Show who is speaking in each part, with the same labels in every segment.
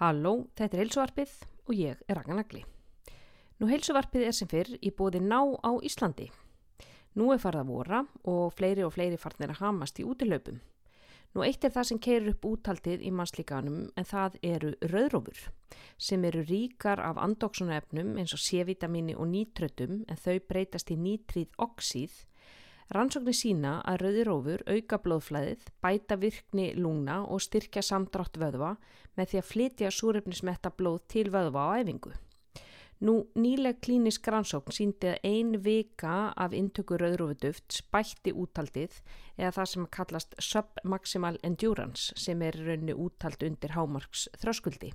Speaker 1: Halló, þetta er heilsuvarpið og ég er Ragnarnagli. Nú heilsuvarpið er sem fyrr í bóði ná á Íslandi. Nú er farða vora og fleiri og fleiri farnir að hamast í útilaupum. Nú eitt er það sem keirir upp úthaldið í mannslíkanum en það eru rauðrófur sem eru ríkar af andoksunefnum eins og C-vitamini og nítrötum en þau breytast í nítrið oxíð Rannsóknir sína að rauðirófur auka blóðflæðið, bæta virkni lungna og styrkja samdrátt vöðva með því að flytja súrefnismetta blóð til vöðva á æfingu. Nú, nýleg klínisk rannsókn síndi að ein vika af intöku rauðrófuduft spætti útaldið eða það sem kallast submaximal endurance sem er í raunni útald undir hámarks þröskuldi.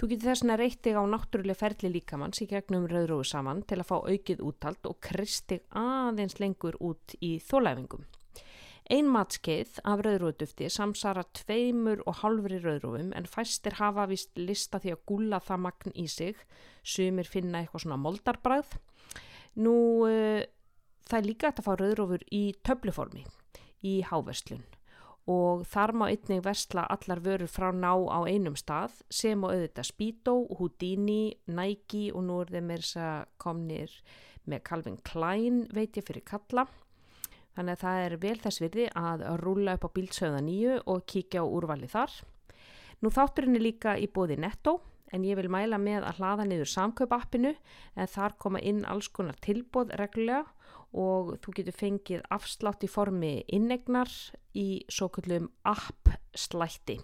Speaker 1: Þú getur þess vegna reyttið á náttúrulega ferli líkamanns í gegnum rauðrófu saman til að fá aukið úttalt og kristið aðeins lengur út í þólæfingum. Ein matskeið af rauðrófudufti samsara tveimur og halvri rauðrófum en fæstir hafa vist lista því að gulla það magn í sig, sumir finna eitthvað svona moldarbræð. Nú uh, það er líka að fá rauðrófur í töfluformi í háverslun og þar má einnig versla allar vörur frá ná á einum stað sem og auðvitað Speedo, Houdini, Nike og nú er þeim er þess að komnir með Calvin Klein veit ég fyrir kalla. Þannig að það er vel þess virði að rúla upp á bílsauða nýju og kíkja á úrvali þar. Nú þátturinn er líka í bóði Netto en ég vil mæla með að hlaða niður samkaup appinu en þar koma inn alls konar tilbóð reglulega og þú getur fengið afslátt í formi innegnar í svo kallum app slætti.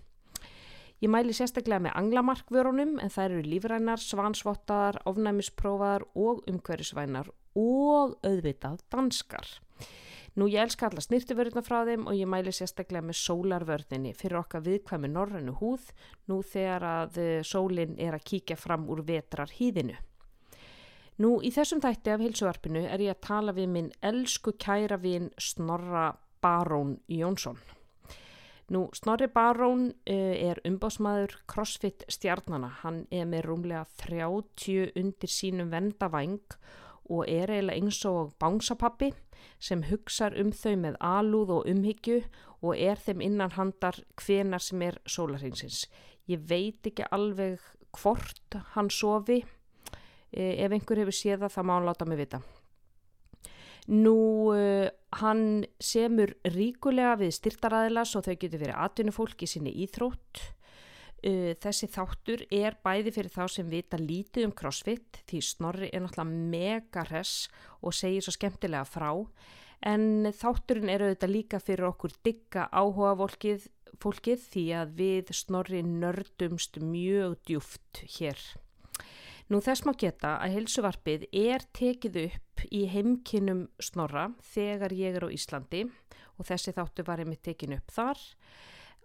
Speaker 1: Ég mæli sérstaklega með anglamarkvörunum en það eru lífrænar, svansvottaðar, ofnæmisprófaðar og umhverjusvænar og auðvitað danskar. Nú ég elska alla snýrtuvörðuna frá þeim og ég mæli sérstaklega með sólarvörðinni fyrir okkar viðkvæmi norrannu húð nú þegar að sólinn er að kíkja fram úr vetrar hýðinu. Nú í þessum þætti af heilsuarpinu er ég að tala við minn elsku kæra vin Snorra Barón Jónsson. Nú Snorri Barón uh, er umbásmaður CrossFit stjarnana. Hann er með rúmlega 30 undir sínum vendavæng og er eiginlega eins og bánsapappi sem hugsa um þau með alúð og umhyggju og er þeim innan handar hvenar sem er sólarheinsins. Ég veit ekki alveg hvort hann sofi E, ef einhver hefur séð það, það má hann láta mig vita. Nú, uh, hann semur ríkulega við styrtaræðila svo þau getur verið atvinnufólk í sinni íþrótt. Uh, þessi þáttur er bæði fyrir þá sem vita lítið um crossfit því snorri er náttúrulega mega hress og segir svo skemmtilega frá en þátturinn eru þetta líka fyrir okkur digga áhuga fólkið, fólkið því að við snorri nördumst mjög djúft hér. Nú þess má geta að helsuvarpið er tekið upp í heimkinnum snorra þegar ég er á Íslandi og þessi þáttu var ég með tekin upp þar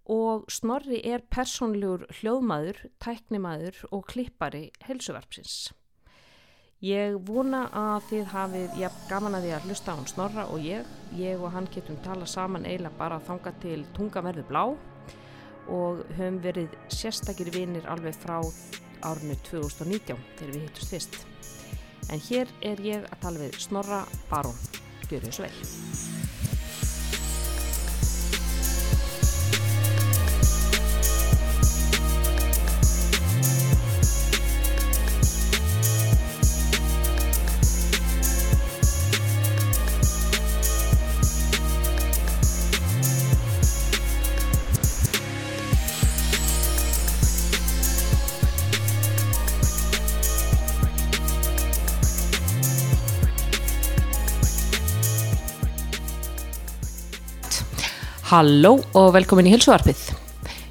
Speaker 1: og snorri er personljúr hljóðmaður, tæknimaður og klippari helsuvarpsins. Ég vona að þið hafið, ég gaman að því að hlusta á hann snorra og ég, ég og hann getum tala saman eiginlega bara þanga til tunga verðu blá og höfum verið sérstakir vinir alveg frá árinu 2019 þegar við hittust fyrst. En hér er ég að tala við Snorra Barón. Gjör þau svo vel. Halló og velkomin í helsuvarpið.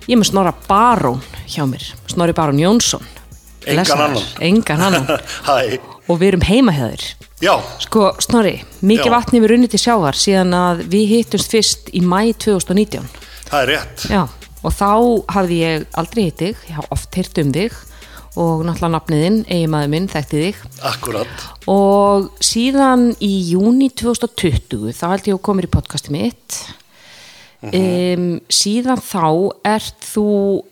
Speaker 1: Ég er með Snorra Barón hjá mér. Snorri Barón Jónsson.
Speaker 2: Engan
Speaker 1: Blessaður.
Speaker 2: annan.
Speaker 1: Engan annan.
Speaker 2: Hæ,
Speaker 1: Og við erum heima hjá þér.
Speaker 2: já,
Speaker 1: Sko, Snorri, mikið
Speaker 2: Já.
Speaker 1: vatni við runnið til sjávar síðan að við hittumst fyrst í mæ 2019.
Speaker 2: það er rétt.
Speaker 1: Já, og þá hafði ég aldrei hitt þig, ég haf oft hirt um þig og náttúrulega nafniðinn, eiginmaður minn, þekkti þig.
Speaker 2: Akkurat,
Speaker 1: Og síðan í júni 2020, þá held ég að komir í Mhm. podcasti mitt, mm síðan þá ert þú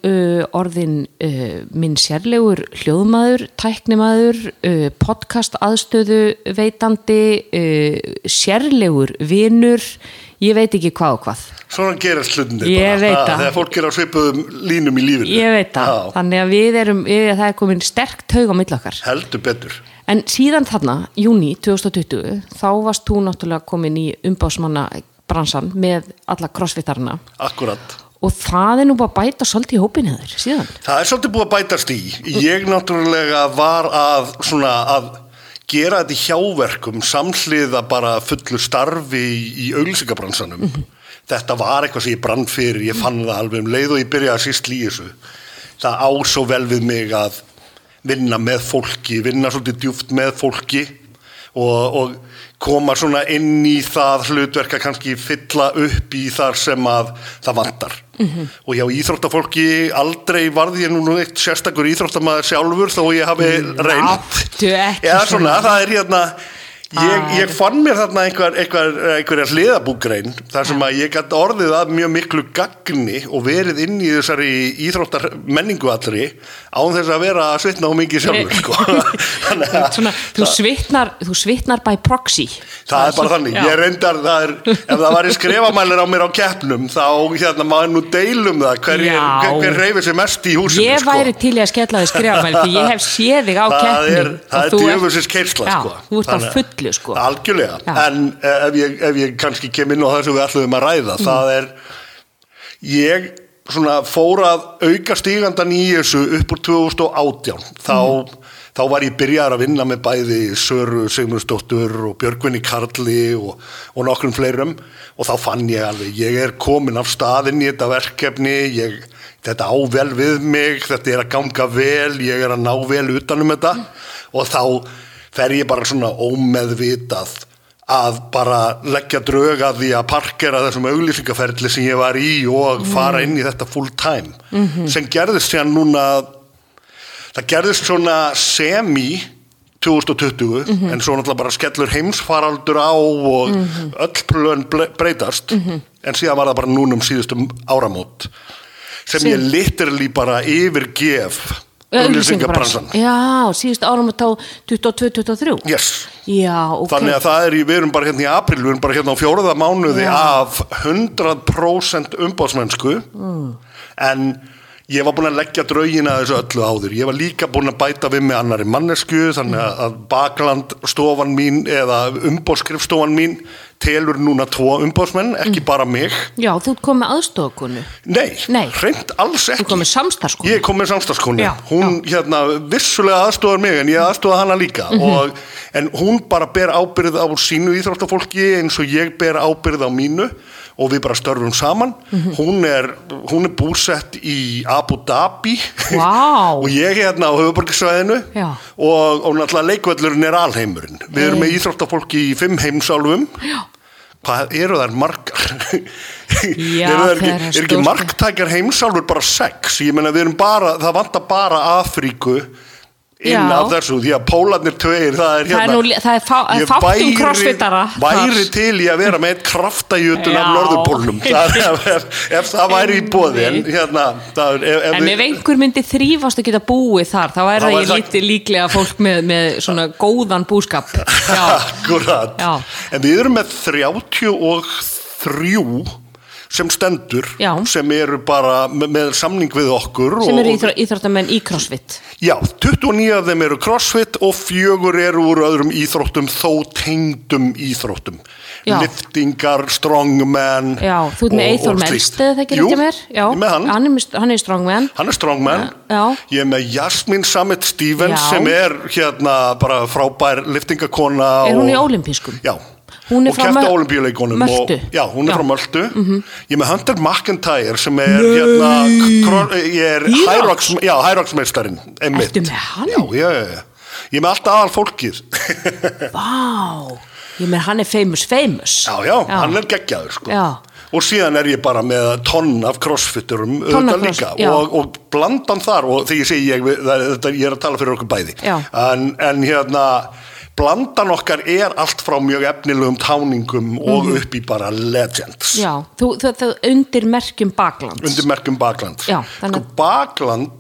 Speaker 1: uh, orðin uh, minn sérlegur hljóðmaður, tæknimaður, uh, podcast aðstöðu veitandi, uh, sérlegur vinur, ég veit ekki hvað og hvað.
Speaker 2: Svona gerast hlutinni bara.
Speaker 1: Ég veit
Speaker 2: Ha,
Speaker 1: það.
Speaker 2: Þegar fólk er á svipuðum línum í lífinu.
Speaker 1: Ég veit það,
Speaker 2: Já,
Speaker 1: þannig að við erum, við, það er komin sterk taug á milli okkar.
Speaker 2: heldur betur.
Speaker 1: En síðan þarna, júni 2020, þá varst þú náttúrulega komin í umbásmanna bransan með alla crossfitarna
Speaker 2: Akkurat.
Speaker 1: og það er nú bara að bæta svolítið í hópin hefur síðan.
Speaker 2: Það er svolítið búið að bætast í. Ég náttúrulega var að, svona, að gera þetta í hjáverkum samhliða bara fullu starfi í, í auglýsingabransanum. Þetta var eitthvað sem ég brann fyrir, ég fann það alveg um leið og ég byrjaði að síst í þessu. Það á svo vel við mig að vinna með fólki, vinna svolítið djúft með fólki og, og koma svona inn í það hlutverk að kannski fylla upp í þar sem að það vantar.
Speaker 1: Mhm.
Speaker 2: Og hjá íþróttafólki aldrei varði ég nú nú eitt sérstakur íþróttamaður sjálfur þó ég hafi reynt.
Speaker 1: Mm, Láttu ekki svona.
Speaker 2: Eða
Speaker 1: Ah.
Speaker 2: svona, það er hérna, ég, ég fann mér þarna einhver, einhver, einhverja hliðabúgrein þar sem að ég gætt orðið að mjög miklu gagni og verið inn í þessari íþróttar menningu allri án þess að vera að svitna á mikið sjálfur sko. Þannig að-
Speaker 1: Svona, þú, svitnar, þú svitnar by proxy.
Speaker 2: Það er bara þannig,
Speaker 1: Já.
Speaker 2: ég reyndar, það er, ef það var í skrifamælir á mér á keppnum, þá hérna maður nú deilum það, hver,
Speaker 1: Já.
Speaker 2: hver, hver reyfir sér mest í húsinu,
Speaker 1: Ég
Speaker 2: sko.
Speaker 1: væri til í að skella þig skrifamæli því ég hef séð þig á
Speaker 2: Það
Speaker 1: keppni
Speaker 2: er- Það er djöfusins keirsla, sko.
Speaker 1: Já, þú ert á
Speaker 2: Þannig-
Speaker 1: fullu sko
Speaker 2: Algjörlega,
Speaker 1: Já.
Speaker 2: en eh, ef ég, ef ég kannski kem inn á það sem við ætlum að ræða, það er, ég svona fór að auka stígandan í þessu upp úr 2018 þá, þá var ég byrjar að vinna með bæði Söru Sigmundsdóttur og Björgvinni Karli og, og nokkrum fleirum og þá fann ég alveg, ég er komin af staðinn í þetta verkefni ég, þetta á vel við mig þetta er að ganga vel, ég er að ná vel utanum þetta og þá fer ég bara svona ómeðvitað að bara leggja drög að því að parkera þessum auglýsingaferli sem ég var í og fara inn í þetta full time sem gerðist síðan núna það gerðist svona semi 2020 en svo náttúrulega bara skellur heimsfaraldur á og öll plön ble- breytast en síðan var það bara núna um síðustum áramót sem ég literally bara yfirgef auglýsingabransan
Speaker 1: Já, síðust árum að tá 22-23
Speaker 2: yes
Speaker 1: Já, ok
Speaker 2: Þannig að það er, í- við erum bara hérna í april, við erum bara hérna á fjóraða mánuði af 100% umbásmennsku
Speaker 1: Mm.
Speaker 2: en ég var búin að leggja draugina þessu öllu áður. Ég var líka búin að bæta við með annari mannesku þannig að- að baklandstofan mín eða umbáskrifstofan mín telur núna tvo umbásmenn,
Speaker 1: Mm.
Speaker 2: ekki bara mig.
Speaker 1: Já, þú ert komið aðstofakonu
Speaker 2: Nei,
Speaker 1: Nei.
Speaker 2: hreint alls
Speaker 1: Þú
Speaker 2: ekki.
Speaker 1: ert komið samstarfskonu
Speaker 2: Ég kom með samstagskonu,
Speaker 1: Já, Mhm.
Speaker 2: hún hérna vissulega aðstofar mig en ég aðstofa hana líka og, en hún bara ber ábyrð á sínu íþróttafólki eins og ég ber ábyrð á mínu og við bara störfum saman
Speaker 1: Mhm.
Speaker 2: hún, er, hún er búsett í Abu Dhabi
Speaker 1: Vá.
Speaker 2: og ég hérna á höfuborgsvæðinu
Speaker 1: Já.
Speaker 2: og, og náttúrulega leikvöllurinn er alheimurinn við erum með íþróttafólki í fimm heimsálfum Já. Hvað eru þær margar?
Speaker 1: Já,
Speaker 2: eru þær
Speaker 1: þegar
Speaker 2: ekki,
Speaker 1: það
Speaker 2: er ekki
Speaker 1: stórt-
Speaker 2: marg marktækjar heimsálfur bara sex ég meina við erum bara, það vantar bara Afríku inn
Speaker 1: Já.
Speaker 2: af þessu því að pólarnir tveir það
Speaker 1: Það
Speaker 2: er
Speaker 1: er
Speaker 2: hérna
Speaker 1: nú li- það er fá-
Speaker 2: Ég
Speaker 1: fátt um
Speaker 2: væri-
Speaker 1: crossfitara
Speaker 2: væri
Speaker 1: þar.
Speaker 2: til í að vera með eitt kraftagjötun af
Speaker 1: Já.
Speaker 2: norðurpólnum það, er- ef, ef, ef það væri í bóði en hérna það, er- ef, ef,
Speaker 1: En ef einhver myndi þrýfast að geta búið þar þá er
Speaker 2: Þá
Speaker 1: það
Speaker 2: væri
Speaker 1: ég
Speaker 2: það-
Speaker 1: lítið líklega fólk með, með svona góðan búskap Já,
Speaker 2: Akkurat.
Speaker 1: Já.
Speaker 2: En við erum með 33 sem stendur
Speaker 1: Já.
Speaker 2: sem eru bara með, með samning við okkur
Speaker 1: sem
Speaker 2: og-
Speaker 1: eru íþró- íþróttamenn í crossfit
Speaker 2: Já, 29 af þeim eru crossfit og fjögur eru úr öðrum íþróttum þó tengdum íþróttum
Speaker 1: Já.
Speaker 2: liftingar, strongman
Speaker 1: Já, þú ert með
Speaker 2: og-
Speaker 1: Eithor
Speaker 2: og
Speaker 1: Melst,
Speaker 2: slíkt.
Speaker 1: eða það ekki
Speaker 2: Jú,
Speaker 1: rétt hjá mér? Já,
Speaker 2: ég er með hann, hann,
Speaker 1: er, mist- hann er strongman.
Speaker 2: er strongman
Speaker 1: Já.
Speaker 2: Ég er með Jasmine Sammet Stevens
Speaker 1: Já.
Speaker 2: sem er hérna bara frábær liftingakona
Speaker 1: Er hún í
Speaker 2: og-
Speaker 1: ólimpískum?
Speaker 2: Já
Speaker 1: Hún er
Speaker 2: og
Speaker 1: frá
Speaker 2: kæfti
Speaker 1: Mö-
Speaker 2: á olimpíuleikunum
Speaker 1: Möltu.
Speaker 2: og, Já, hún er
Speaker 1: Já. Mhm.
Speaker 2: frá Möltu Ég er með Hunter McIntyre sem er hérna kro- Ég er
Speaker 1: Írak?
Speaker 2: Hyrox Já, Hyrox-meistarin einmitt.
Speaker 1: Ertu með hann?
Speaker 2: Já, já, já, já Ég er með allt aðal fólkið
Speaker 1: Vá, ég með hann er famous famous.
Speaker 2: Já, já, hann er geggjaður sko
Speaker 1: Já.
Speaker 2: Og síðan er ég bara með tonn af crossfitturum
Speaker 1: Tonn af
Speaker 2: auðvitað
Speaker 1: cross-
Speaker 2: líka
Speaker 1: já.
Speaker 2: og, og blandan þar og þegar ég segi ég, það, þetta, ég er að tala fyrir okkur bæði
Speaker 1: Já.
Speaker 2: en, en hérna blandan okkar er allt frá mjög efnilegum táningum og upp í bara legends
Speaker 1: Mhm. Já, þú, þú, þú undir merkjum baklands.
Speaker 2: undir merkjum Bakland
Speaker 1: Já, þannig-
Speaker 2: sko, Bakland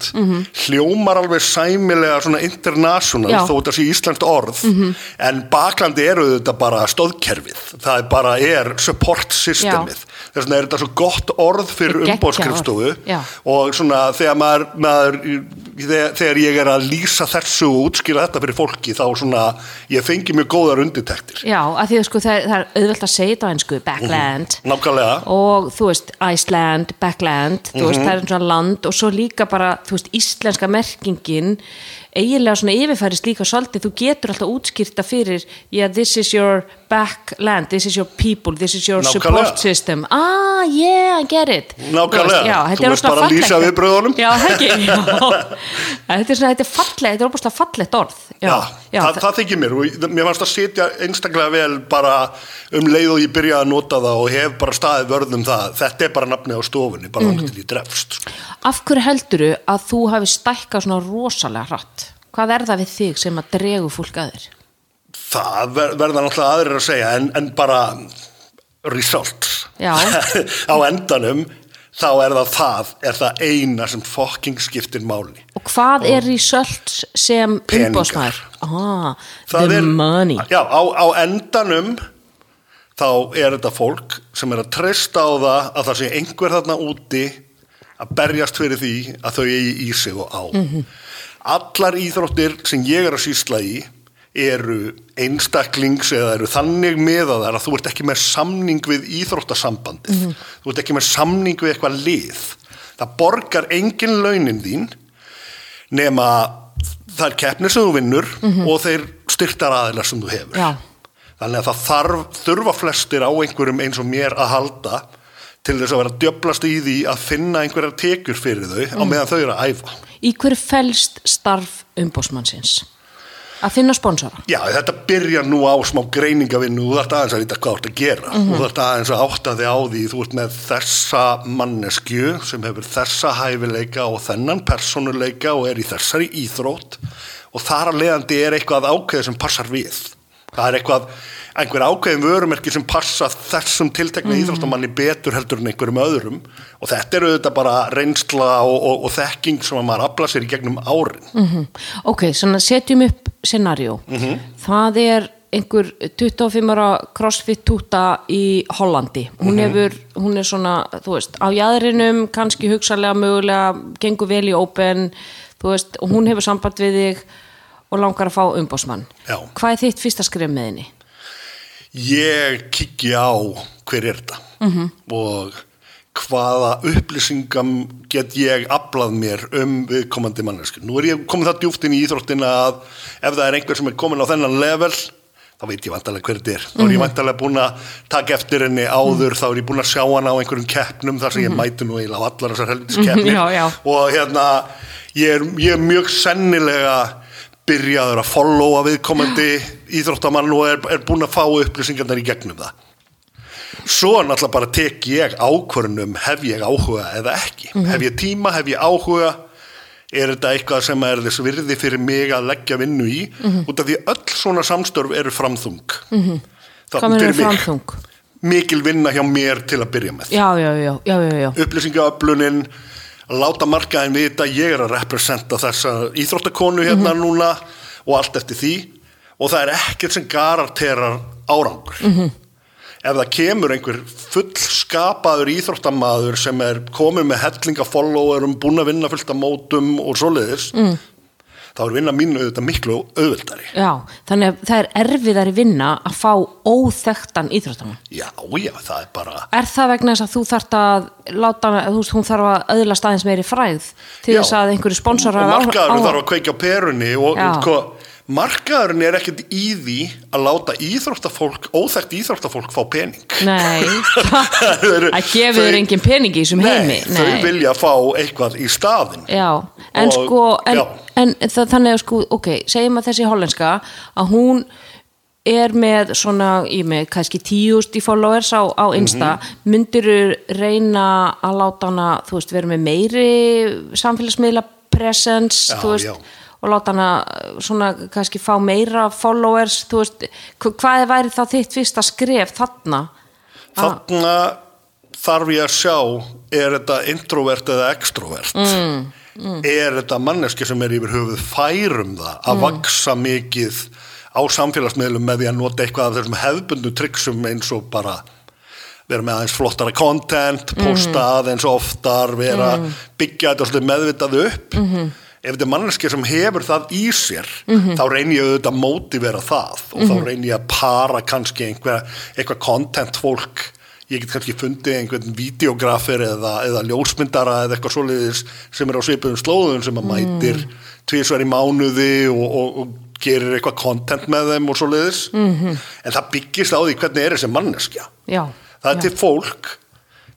Speaker 2: hljómar alveg sæmilega svona international
Speaker 1: Já. Mhm.
Speaker 2: þó þetta sé íslenskt orð en Bakland eru þetta bara stóðkerfið það er bara er support systemið þess vegna er þetta svo gott orð fyrir
Speaker 1: Geggjað orð.
Speaker 2: umbóðskrifstofu
Speaker 1: Já.
Speaker 2: og svona þegar maður, maður þegar, þegar ég er að lýsa þessu og útskýra þetta fyrir fólki þá svona ég fengi mjög góðar undirtektir
Speaker 1: Já, af því að sko það, það er auðvelt að segja þetta á einsku,
Speaker 2: Mhm.
Speaker 1: backland.
Speaker 2: nákvæmlega
Speaker 1: og þú veist Iceland, Backland þú veist,
Speaker 2: Mhm.
Speaker 1: það er svona land og svo líka bara þú veist, íslenska merkingin eiginlega svona yfirfærist líka svolítið þú getur alltaf útskýrta fyrir yeah, this is your backland this is your people, this is your
Speaker 2: Nákvæmlega.
Speaker 1: support system ah, yeah, I get it
Speaker 2: Nákvæmlega.
Speaker 1: Þú já, þetta
Speaker 2: Þú
Speaker 1: er
Speaker 2: veist
Speaker 1: óslega
Speaker 2: bara að lýsa
Speaker 1: fallegt.
Speaker 2: viðbrögðunum.
Speaker 1: já, það ekki já. þetta er svona, þetta er fallegt, þetta er óbúslega fallegt orð já,
Speaker 2: Já, það, það, þykir mér og mér fannst að setja einstaklega vel bara um leið og ég byrjaði að nota það og hef bara staðið vörðum það þetta er bara nafnið á stofunni,
Speaker 1: Mhm.
Speaker 2: bara mm -hmm. til ég drefst sko.
Speaker 1: Af hverju helduru að þú hafi stækkað svona rosalega hratt? Hvað er það við þig sem að dregu fólk að þér?
Speaker 2: það ver, verða náttúrulega aðrir að segja en, en bara result
Speaker 1: Já.
Speaker 2: á endanum þá er það það, er það eina sem fokking skiptir máli
Speaker 1: Og hvað er result sem
Speaker 2: Peningar.
Speaker 1: umbóðsmaður? Ah,
Speaker 2: það
Speaker 1: the
Speaker 2: er,
Speaker 1: money.
Speaker 2: Já, á, á endanum þá er þetta fólk sem er að treysta á það að það sé einhver þarna úti að berjast fyrir því að þau eigi í sig og á.
Speaker 1: Mhm.
Speaker 2: Allar íþróttir sem ég er að sýsla í eru einstaklings eða eru þannig meðaðar að þú ert ekki með samning við íþróttasambandið.
Speaker 1: Mhm.
Speaker 2: Þú ert ekki með samning við eitthvað lið. Það borgar engin launin þín nema þær keppnir sem þú vinnur og þeir styrtar aðeinar sem þú hefur.
Speaker 1: Já.
Speaker 2: Þannig að það þarf, þurfa flestir á einhverjum eins og mér að halda til þess að vera djöblast í því að finna einhverjar tekjur fyrir þau á meðan þau eru að æfa.
Speaker 1: Í hverju felst starf umbóðsmannsins? Að finna sponsora.
Speaker 2: Já, þetta byrjar nú á smá greiningavinnu, þú þarft aðeins að líta hvað þú ert að gera, þú þarft aðeins að átta þig á því, þú ert með þessa manneskju sem hefur þessa hæfileika og þennan persónuleika og er í þessari íþrótt og þar að leiðandi er eitthvað ákveð sem passar við. Það er eitthvað, einhver ákveðin vörumerki sem passa þessum tiltekna íþróttamanni betur heldur en einhverjum öðrum og þetta eru auðvitað bara reynsla og, og, og þekking sem að maður afla sér í gegnum árin.
Speaker 1: Mm Ok, svona setjum upp scenarió. Það er einhver 25 ára crossfit túta í Hollandi. Hún, hefur, hún er svona, þú veist, á jæðrinum, kannski hugsalega mögulega, gengur vel í open, þú veist, og hún hefur samband við þig og langar að fá umbósmann.
Speaker 2: Já.
Speaker 1: Hvað er þitt fyrsta skrif með henni?
Speaker 2: ég kikki á hver er þetta
Speaker 1: Mhm.
Speaker 2: -hmm. og hvaða upplýsingam get ég aflað mér um viðkomandi mannesku. Nú er ég komið það djúft inn í íþróttina að ef það er einhver sem er komin á þennan level þá veit ég vantarlega hver þetta er. Þá
Speaker 1: Mhm.
Speaker 2: er ég vantarlega búin að taka eftir henni áður, þá er ég búin að sjá hana á einhverjum keppnum þar sem ég mæti nú eiginlega á allar þessar
Speaker 1: Mhm.
Speaker 2: helvitiskeppnir
Speaker 1: Já, já.
Speaker 2: og hérna ég er, ég er mjög sennilega byrjaður að followa viðkomandi íþróttamann og er, er búin að fá upplýsingarnar í gegnum það svo náttúrulega bara tek ég ákvörnum hef ég áhuga eða ekki
Speaker 1: Mhm.
Speaker 2: hef ég tíma, hef ég áhuga er þetta eitthvað sem er þess virði fyrir mig að leggja vinnu í
Speaker 1: Mhm.
Speaker 2: út af því öll svona samstörf eru framþung mm -hmm.
Speaker 1: Hvað með framþung?
Speaker 2: mikil vinna hjá mér til að byrja með
Speaker 1: Já, já, já, já, já, já.
Speaker 2: upplýsingaöflunin að láta markaðin vita ég er að representa þessa íþróttakonu hérna núna og allt eftir því og það er ekkert sem garanterar árangur ef það kemur einhver fullskapaður íþróttamaður sem er komið með hellinga followerum, búin að vinna fullt af mótum og svoleiðis þá er vinna mínu auðvitað miklu auðvildari
Speaker 1: Já, þannig að það er erfiðari vinna að fá óþekktan íþróttamann.
Speaker 2: já, já, það er bara
Speaker 1: Er það vegna þess að þú þarft að láta, hana- þú veist, hún þarf að öðla staðins meiri fræð til
Speaker 2: Já.
Speaker 1: þess að einhverju sponsorar
Speaker 2: og markaðurinn
Speaker 1: á-
Speaker 2: þarf að kveikja á perunni og
Speaker 1: Já.
Speaker 2: sko, markaðurinn er ekkert í því að láta íþróttafólk óþekkt íþróttafólk fá pening
Speaker 1: Nei,
Speaker 2: Þau eru-
Speaker 1: að gefa þér
Speaker 2: þau-
Speaker 1: engin peningi í þessum um heimi.
Speaker 2: nei, þau vilja fá eitthvað í staðin
Speaker 1: Já, en
Speaker 2: Og-
Speaker 1: sko, en,
Speaker 2: já.
Speaker 1: en það, þannig að sko, ok, segjum að þessi hollenska að hún er með svona, ég með kannski tíust í followers á, á Insta,
Speaker 2: Mhm.
Speaker 1: mm -hmm. reyna að láta hana, þú veist, vera með meiri samfélagsmiðla presence,
Speaker 2: Já,
Speaker 1: þú veist,
Speaker 2: já.
Speaker 1: og láta hana eh, svona kannski fá meira followers, þú veist, hv- hvað væri þá þitt fyrsta skref þarna? Ah,
Speaker 2: Þarna þarf ég að sjá er þetta introvert eða extrovert mm, er þetta manneski sem er yfir höfuð færum það að
Speaker 1: Mm.
Speaker 2: vaksa mikið á samfélagsmiðlum með því að nota eitthvað af þessum hefbundu tryggsum eins og bara vera með aðeins flottara content, posta aðeins oftar, vera byggja þetta svolítið meðvitað upp ef þetta er manneski sem hefur það í sér þá reyni ég auðvitað að mótivera það og þá reyni ég að para kannski einhver, eitthvað content fólk ég get kannski fundið einhvern videografir eða, eða ljósmyndara eða eitthvað svoleiðis sem er á svipuðum slóðum sem að mætir tvisvar í mánuði og, og, og gerir eitthvað content með þeim og svoleiðis en það byggist á því hvernig er þessi manneskja
Speaker 1: já.
Speaker 2: það er
Speaker 1: já.
Speaker 2: til fólk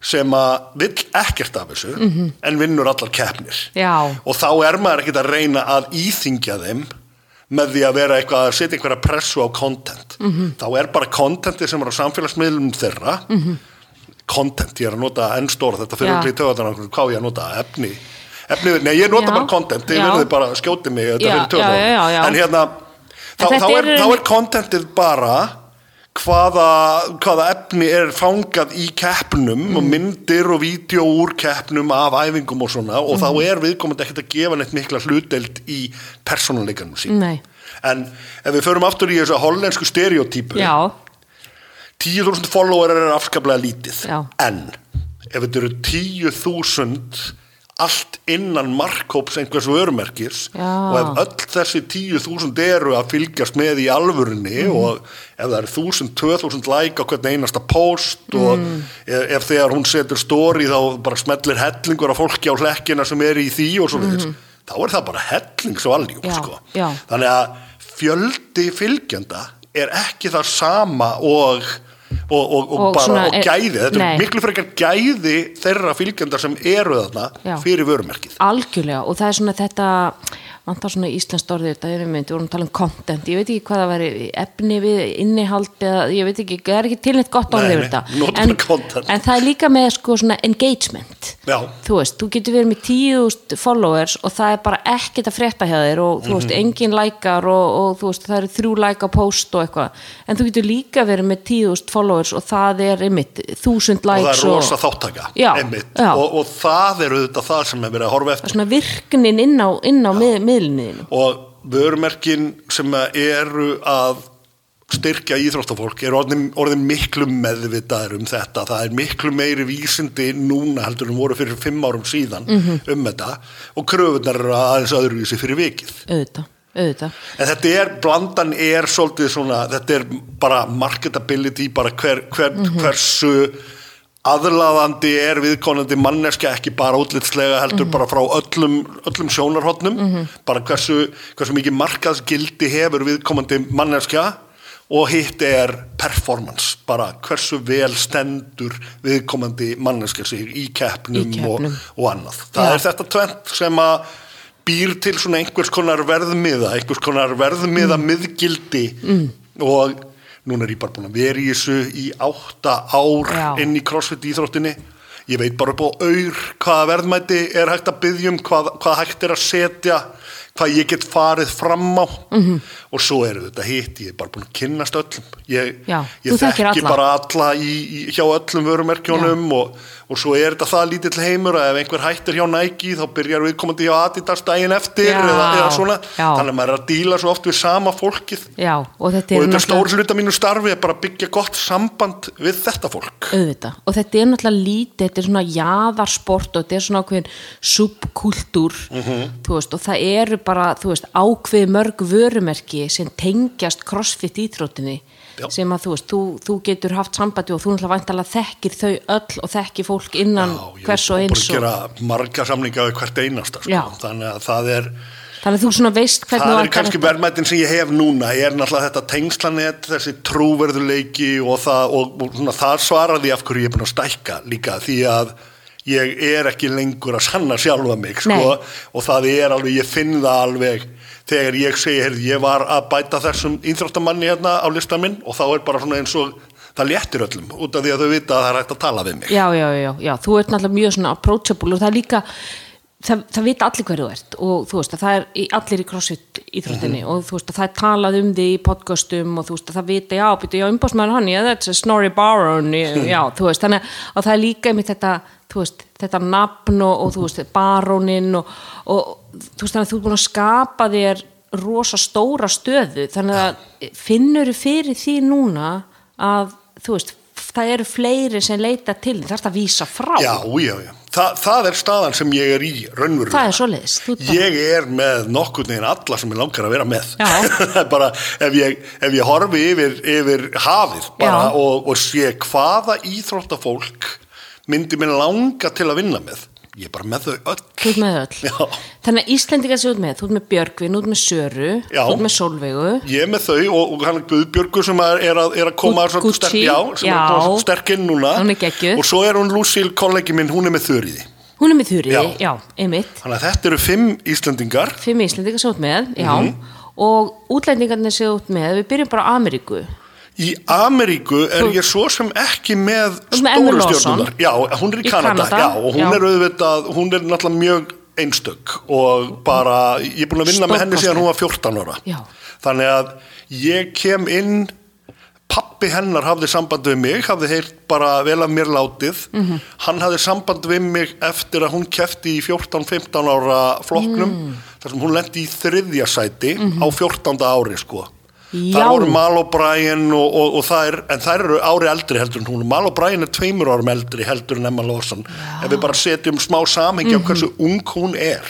Speaker 2: sem að vill ekkert af þessu en vinnur allar keppnir
Speaker 1: Mhm. Já.
Speaker 2: og þá er maður ekkert að reyna að íþingja þeim með því að vera eitthvað að setja einhverja pressu á content
Speaker 1: Mhm.
Speaker 2: þá er bara contentið sem er á samfélagsmiðlum þeirra content, ég er að nota enn stóra þetta
Speaker 1: Mhm.
Speaker 2: fyrir
Speaker 1: Já.
Speaker 2: okkur í töðan hvað á ég að nota efni, efni nei, ég nota
Speaker 1: Já.
Speaker 2: bara content, þið
Speaker 1: Já.
Speaker 2: verðið bara skjóti mig þetta
Speaker 1: Já,
Speaker 2: fyrir töðan
Speaker 1: já, já, já.
Speaker 2: en hérna, þá,
Speaker 1: þetta
Speaker 2: þá, er,
Speaker 1: eru-
Speaker 2: þá er contentið bara hvaða, hvaða efni er fangað í keppnum og
Speaker 1: Mm.
Speaker 2: myndir og vídeo úr keppnum af æfingum og svona og þá
Speaker 1: Mm.
Speaker 2: er viðkomandi ekkert að gefa neitt mikla hlutdeild í persónuleikanum sín
Speaker 1: Nei.
Speaker 2: en ef við förum aftur í þessu hollensku stereotypu
Speaker 1: Já,
Speaker 2: 10.000 follower er afskaplega lítið
Speaker 1: Já.
Speaker 2: en ef þetta eru 10.000 allt innan markhóps einhvers vörumerkis
Speaker 1: Já.
Speaker 2: og ef öll þessi 10.000 eru að fylgjast með í alvörunni
Speaker 1: Mhm.
Speaker 2: og ef það eru 1.000, 2.000 like á hvern einasta post og
Speaker 1: Mm.
Speaker 2: ef, ef þegar hún setur story þá bara smellir hellingur af fólki á hlekkina sem er í því og svo
Speaker 1: Mhm.
Speaker 2: þá er það bara hellingsvaljum
Speaker 1: Já,
Speaker 2: sko.
Speaker 1: já.
Speaker 2: þannig að fjöldi fylgjanda er ekki það sama og og, og, og,
Speaker 1: Og
Speaker 2: bara,
Speaker 1: svona,
Speaker 2: og gæði, þetta
Speaker 1: nei.
Speaker 2: er miklu frekar gæði þeirra fylgjanda sem eru þarna
Speaker 1: Já.
Speaker 2: fyrir vörumerkið
Speaker 1: algjörlega og það er svona þetta vantar svona íslenskt orðið þetta er mynd, við vorum að tala um content, ég veit ekki hvað það væri efni við innihald eða ég veit ekki, það er ekki til neitt gott
Speaker 2: Nei,
Speaker 1: orðið
Speaker 2: nei,
Speaker 1: yfir
Speaker 2: notum
Speaker 1: þetta en,
Speaker 2: bara content.
Speaker 1: en það er líka með sko svona engagement
Speaker 2: Já.
Speaker 1: þú veist, þú getur verið með 10.000 followers og það er bara ekkert að frétta hjá þér og þú
Speaker 2: Mhm.
Speaker 1: veist, engin lækar og, og þú veist, það eru þrjú læka post og eitthvað, en þú getur líka verið með 10.000 followers og það er einmitt, 1000
Speaker 2: og það
Speaker 1: likes
Speaker 2: er rosa þáttaka
Speaker 1: Já,
Speaker 2: einmitt,
Speaker 1: já.
Speaker 2: Og, og það er auðvitað það sem er verið að horfa
Speaker 1: það er
Speaker 2: eftir
Speaker 1: svona virknin inn á, inn á mið, miðlinniðinu
Speaker 2: og vörumerkin sem að eru að styrkja íþróttafólk er orðin, orðin miklu meðvitaður um þetta það er miklu meiri vísindi núna heldur en voru fyrir fimm árum síðan um þetta og kröfunar eru aðeins öðruvísi fyrir vikið
Speaker 1: auðvitað, auðvitað
Speaker 2: En þetta er, blandan er svolítið svona, þetta er bara marketability, bara hver, hver,
Speaker 1: Mhm.
Speaker 2: hversu aðlaðandi er viðkonandi manneskja ekki bara útlitslega heldur
Speaker 1: Mhm.
Speaker 2: bara frá öllum, öllum sjónarhotnum, bara hversu, hversu mikið markaðsgildi hefur viðkomandi manneskja og hitt er performance, bara hversu vel stendur viðkomandi manneskja sig í keppnum,
Speaker 1: Í keppnum.
Speaker 2: Og, og annað. Það
Speaker 1: Já.
Speaker 2: er þetta tvent sem að býr til svona einhvers konar verðmiða, einhvers konar verðmiða
Speaker 1: Mm.
Speaker 2: miðgildi og núna er ég bara búin að vera í þessu í átta ár
Speaker 1: Já.
Speaker 2: inn í crossfit íþróttinni ég veit bara upp á auður hvaða verðmæti er hægt að byggja um, hvað, hvað hægt er að setja hvað ég get farið fram á -hmm.
Speaker 1: Mhm.
Speaker 2: og svo eru þetta hitt, ég er bara búin að kynnast öllum ég,
Speaker 1: Já,
Speaker 2: ég
Speaker 1: þú þekkir
Speaker 2: þekki
Speaker 1: alla.
Speaker 2: bara alla í, í, hjá öllum vörumerkjónum og, og svo er þetta það lítill heimur að ef einhver hættir hjá Nike þá byrjar viðkomandi hjá Adidas daginn eftir
Speaker 1: Já,
Speaker 2: eða, eða svona,
Speaker 1: já.
Speaker 2: þannig að maður er að díla svo oft við sama fólkið
Speaker 1: Já, og þetta
Speaker 2: og
Speaker 1: er
Speaker 2: þetta er stór hluta mínu starfi að bara byggja gott samband við þetta fólk
Speaker 1: auðvitað, og þetta er náttúrulega lítið þetta er svona jaðarsport og þetta er svona ákveðin subkultúr
Speaker 2: Mhm.
Speaker 1: þú veist, og það eru bara þú veist, ákveði mörg vörumerki sem tengjast crossfit ítrótinni
Speaker 2: Já.
Speaker 1: sem að þú veist, þú, þú getur haft sambandi og þú náttúrulega væntalega þekkir þau öll og þekkir fólk innan
Speaker 2: ég
Speaker 1: hvers og
Speaker 2: er
Speaker 1: eins
Speaker 2: búin
Speaker 1: og,
Speaker 2: að gera marga samlinga við hvert einasta
Speaker 1: Já.
Speaker 2: sko. þannig að það er
Speaker 1: þannig að þú svona veist hvernig
Speaker 2: það
Speaker 1: þú
Speaker 2: er
Speaker 1: ætlar
Speaker 2: kannski
Speaker 1: þetta.
Speaker 2: verðmætin sem ég hef núna ég er náttúrulega þetta tengslanett, þessi trúverðuleiki og það, og, og svona, það svaraði af hverju ég er búin að stækka líka því að ég er ekki lengur að sanna sjálfa mig sko,
Speaker 1: Nei.
Speaker 2: og það er alveg, ég finn það alveg þegar ég segi, heyrðu, ég var að bæta þessum íþróttamanni hérna á lista minn og þá er bara svona eins og það léttir öllum út af því að þau vita að það er hægt að tala við mig
Speaker 1: já, já, já, já, þú ert náttúrulega mjög svona approachable og það er líka það, það vita allir hverju þú ert og þú veist að það er í, allir í crossfit íþróttinni og þú veist að það er talað um þig í podcastum og þú veist að það vita já, býtu, já, umbásmaður hann, já, that's a Snorri Baron já, þú veist, þannig að- og það er líka einmitt þetta, þú veist, þetta nafn og, og þú veist, barónin og, og þú veist, þannig að þú er búin að skapa þér rosa stóra stöðu þannig að finnur fyrir því núna að, þú veist það eru fleiri sem leita til þín, það er að vísa frá,
Speaker 2: já, já, já. Þa, það er staðan sem ég er í raunverulega
Speaker 1: það er svoleiðis Þú ert bara-
Speaker 2: ég er með nokkurn veginn alla sem ég langar að vera með
Speaker 1: Já.
Speaker 2: Það er bara ef ég, ef ég horfi yfir, yfir hafið bara,
Speaker 1: Já.
Speaker 2: og, og sé hvaða íþróttafólk myndi mér langa til að vinna með ég er bara með þau öll
Speaker 1: Þú ert með öll.
Speaker 2: Já.
Speaker 1: Þannig að Íslendingar sem þú ert með, þú ert með Björgvin, þú ert með Söru,
Speaker 2: Já.
Speaker 1: þú ert með Solveigu.
Speaker 2: ég er með þau og, og hann Guðbjörgu sem er, er, að, er að koma
Speaker 1: Gu-
Speaker 2: svolítið sterk,
Speaker 1: Gucci.
Speaker 2: já, sem
Speaker 1: Já.
Speaker 2: er svolítið sterk inn núna
Speaker 1: Hún er geggjuð.
Speaker 2: og svo er hún Lucille kollegi minn, hún er með þöriði
Speaker 1: Hún er með Þurriði,
Speaker 2: Já.
Speaker 1: já, einmitt.
Speaker 2: þannig að þetta eru fimm Íslendingar
Speaker 1: Fimm Íslendingar sem þú ert með, já.
Speaker 2: Mhm.
Speaker 1: Og útlendingarnir sem þú ert með, við byrjum bara á Ameríku.
Speaker 2: Í Ameríku er ég svo sem ekki með
Speaker 1: ert með Emma
Speaker 2: stóru
Speaker 1: Lawson.
Speaker 2: stjórnunar. Já, hún er í,
Speaker 1: Í
Speaker 2: Kanada,
Speaker 1: Kanada,
Speaker 2: já, og hún
Speaker 1: já.
Speaker 2: er auðvitað, hún er náttúrulega mjög einstök og bara, ég er búin að vinna með henni
Speaker 1: Stórkostleg.
Speaker 2: síðan hún var 14 ára.
Speaker 1: Já.
Speaker 2: Þannig að ég kem inn, pappi hennar hafði samband við mig, hafði heyrt bara vel af mér látið,
Speaker 1: Mhm.
Speaker 2: hann hafði samband við mig eftir að hún kefti í 14-15 ára flokknum,
Speaker 1: Mm.
Speaker 2: þar sem hún lendi í þriðja sæti á
Speaker 1: Mhm.
Speaker 2: 14. ári sko.
Speaker 1: Já.
Speaker 2: Það voru Mal O'Brien og, og, og þær, en þær eru ári eldri heldur en hún. Mal O'Brien er tveimur árum eldri heldur en Emma Lawson. Ef við bara setjum smá samhengi á hversu ung hún er.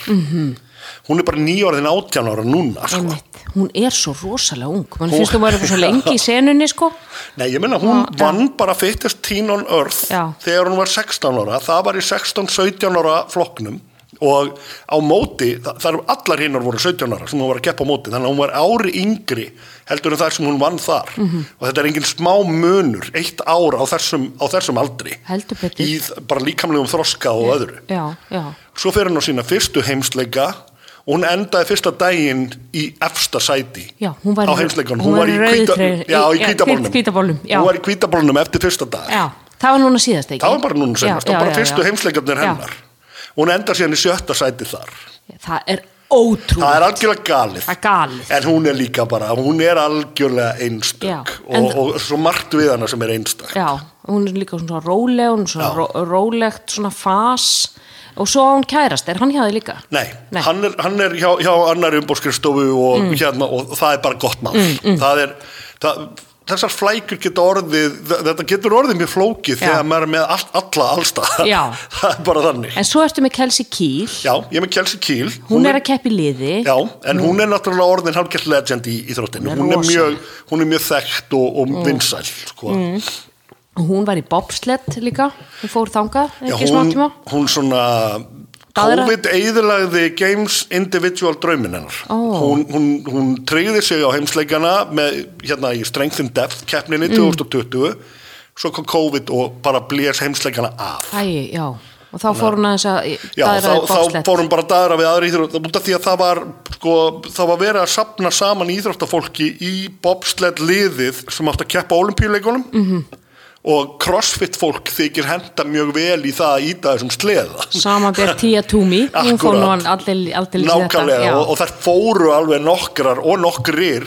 Speaker 2: Hún er bara nýjórðin átján ára núna, sko.
Speaker 1: Einmitt. Hún er svo rosalega ung. Man finnst þú værið svo lengi í senunni, sko.
Speaker 2: Nei, ég meina, hún vann bara fittest teen on earth
Speaker 1: Já.
Speaker 2: þegar hún var 16 ára. Það var í 16-17 ára flokknum og á móti, þa- þar allar hinnar voru 17 ára sem hún var að keppa á móti, þannig að hún var ári yngri heldur en þar sem hún vann þar
Speaker 1: Mhm.
Speaker 2: og þetta er engin smá munur eitt ár á þessum, á þessum aldri
Speaker 1: Heldur betur.
Speaker 2: í þ- bara líkamlegum þroska og öðru
Speaker 1: Já, já.
Speaker 2: svo fer hún á sína fyrstu heimsleika og hún endaði fyrsta daginn í efsta sæti
Speaker 1: Já, hún var í-
Speaker 2: á heimsleikunum,
Speaker 1: hún var
Speaker 2: hún, var
Speaker 1: í
Speaker 2: í,
Speaker 1: rauðu
Speaker 2: hvíta,
Speaker 1: treyju-
Speaker 2: já, í
Speaker 1: já,
Speaker 2: hvítabólnum
Speaker 1: hvítabólnum, já.
Speaker 2: hún var í hvítabólnum eftir fyrsta dag
Speaker 1: Já, það var núna síðast ekki.
Speaker 2: það var bara núna
Speaker 1: Já,
Speaker 2: senast, það var
Speaker 1: já,
Speaker 2: bara
Speaker 1: já,
Speaker 2: fyrstu
Speaker 1: já.
Speaker 2: heimsleikarnir
Speaker 1: Já.
Speaker 2: hennar hún endar síðan í sjötta sæti þar
Speaker 1: Það er ótrúlega.
Speaker 2: það er algjörlega galið
Speaker 1: Það er galið.
Speaker 2: en hún er líka bara, hún er algjörlega
Speaker 1: Já,
Speaker 2: einstök
Speaker 1: en-
Speaker 2: og, og svo margt við hana sem er einstök
Speaker 1: Já, hún er líka svona róleg, hún er svona
Speaker 2: Já.
Speaker 1: ró, rólegt, svona fas og svo á hún kærast, er hann hjá þig líka?
Speaker 2: Nei,
Speaker 1: Nei. Mm.
Speaker 2: Hann, er, hann er hjá, hjá annar umbóðskrifstofu og, hérna, og það er bara gott mál. Það er, það, þessar flækur geta orðið, þ- þetta getur orðið mjög flókið
Speaker 1: Já.
Speaker 2: þegar maður er með all, alla allstað.
Speaker 1: Já.
Speaker 2: það er bara þannig.
Speaker 1: En svo ertu með Kelsey Kiel,
Speaker 2: Já, ég er með Kelsey Kiel.
Speaker 1: hún er að keppi liði,
Speaker 2: Já, en hún er náttúrulega orðin hálfgjart legend í, í þróttinu.
Speaker 1: Hún er
Speaker 2: Hún er
Speaker 1: rosa. Mm.
Speaker 2: mjög, hún er mjög þekkt og, og vinsæl, sko.
Speaker 1: og hún var í bobsled líka, hún fór þangað,
Speaker 2: Já,
Speaker 1: ekki smá
Speaker 2: hún,
Speaker 1: tíma.
Speaker 2: hún svona
Speaker 1: Daðra-
Speaker 2: COVID eðilagði Games Individual draumin hennar
Speaker 1: Ó.
Speaker 2: hún, hún, hún tryggði sig á heimsleikana með hérna í Strength and Depth keppninni
Speaker 1: Mm.
Speaker 2: 2020 svo kom COVID og bara blés heimsleikana af
Speaker 1: Æ, já, og þá fór hún aðeins að
Speaker 2: Já,
Speaker 1: það er
Speaker 2: þá,
Speaker 1: að
Speaker 2: þá
Speaker 1: bobsled.
Speaker 2: fórum bara daðra við aðra íþrótt út af því að það var, sko, það var verið að sapna saman íþróttafólki í bobsled liðið sem átt að keppa á olimpíuleikunum
Speaker 1: Mhm.
Speaker 2: -hmm. og crossfit fólk þykir henda mjög vel í það að íta þessum sleða
Speaker 1: Saman bér Tía Tumi, hún fór nú
Speaker 2: Akkúrat.
Speaker 1: allir allir í
Speaker 2: Nákvæmlega
Speaker 1: já.
Speaker 2: og, og þær fóru alveg nokkrar og nokkrir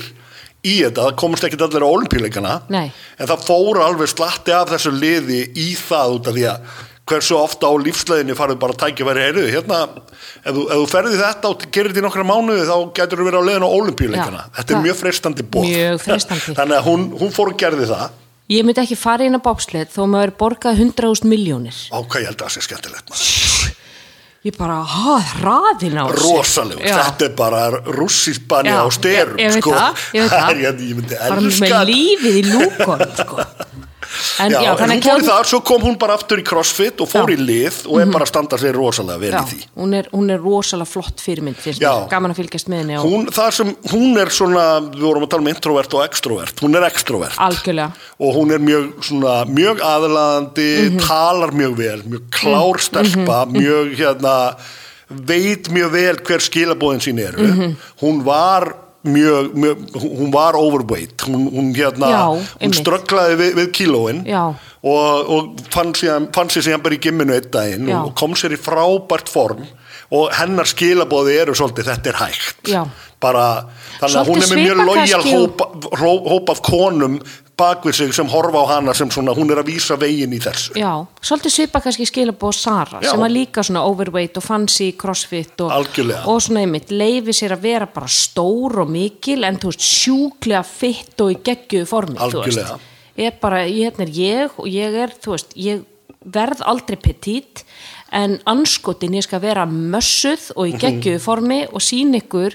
Speaker 2: í þetta, það komast ekkit allir á olimpíuleikana
Speaker 1: Nei.
Speaker 2: en það fóru alveg slatti af þessu liði í það út af því að hversu ofta á lífsleðinni farið bara að tækja verið heyrðu, hérna, ef þú, ef þú ferði þetta og gerir þetta í nokkra mánuði þá getur þú verið á leiðin á olimpíuleikana
Speaker 1: Já.
Speaker 2: þetta
Speaker 1: Það-
Speaker 2: er mjög freistandi bóð
Speaker 1: Mjög freistandi.
Speaker 2: þannig að hún, hún fór og gerði það
Speaker 1: Ég myndi ekki fara inn á bobsled þó maður er borgað 100.000 miljónir.
Speaker 2: ákvæð ég held að það sé skemmtilegt maður.
Speaker 1: Ég bara, ha, hraðin á þessu.
Speaker 2: rosalegur,
Speaker 1: Já.
Speaker 2: þetta er bara rússisbani
Speaker 1: Já,
Speaker 2: á styrum
Speaker 1: ég- ég veit
Speaker 2: sko.
Speaker 1: það, ég veit það.
Speaker 2: er, ég, ég myndi
Speaker 1: bara
Speaker 2: elska
Speaker 1: með lífið í lúkon sko. en já,
Speaker 2: já, en hún
Speaker 1: þannig
Speaker 2: fór í
Speaker 1: að
Speaker 2: það, svo kom hún bara aftur í crossfit og fór
Speaker 1: Já. Mhm.
Speaker 2: í lið og er bara að standa sér rosalega vel í því
Speaker 1: já, hún, er, hún er rosalega flott fyrirmynd finnst
Speaker 2: Já.
Speaker 1: mér, gaman að fylgjast með henni og
Speaker 2: hún, það sem, hún er svona, við vorum að tala um introvert og extrovert, hún er extrovert
Speaker 1: algjörlega
Speaker 2: og hún er mjög, svona, mjög aðlaðandi,
Speaker 1: Mhm.
Speaker 2: talar meg vel
Speaker 1: Mm.
Speaker 2: mjög klár stelpa mjög hérna veit mjög vel hver skilabóðin sín eru
Speaker 1: Mhm.
Speaker 2: hún var mjög, mjög hún var overweight hún, hún hérna,
Speaker 1: Já,
Speaker 2: hún
Speaker 1: einmitt.
Speaker 2: strögglaði við, við kílóin
Speaker 1: Já.
Speaker 2: og, og fann, síðan, fann sér síðan bara í gimminu einn daginn
Speaker 1: Já.
Speaker 2: og kom sér í frábært form og hennar skilabóði eru svolítið þetta er hægt
Speaker 1: Já.
Speaker 2: bara þannig að hún er
Speaker 1: Svolítið
Speaker 2: með mjög
Speaker 1: svipað
Speaker 2: lojal
Speaker 1: kannski og-
Speaker 2: hóp, hó- hóp af konum bak við sig sem horfa á hana sem svona hún er að vísa veginn í þessu
Speaker 1: Já, svolítið svipa kannski skilabóð Sara
Speaker 2: Já.
Speaker 1: sem var líka svona overweight og fancy crossfit og,
Speaker 2: Algjörlega.
Speaker 1: og svona einmitt leifi sér að vera bara stór og mikil en þú veist sjúklega fitt og í geggjuðu formi þú veist.
Speaker 2: Algjörlega.
Speaker 1: er bara, ég- hérna er ég og ég er, þú veist, ég verð aldrei petit en anskotin ég skal vera mössuð og
Speaker 2: Mhm.
Speaker 1: í geggjuðu formi og sín ykkur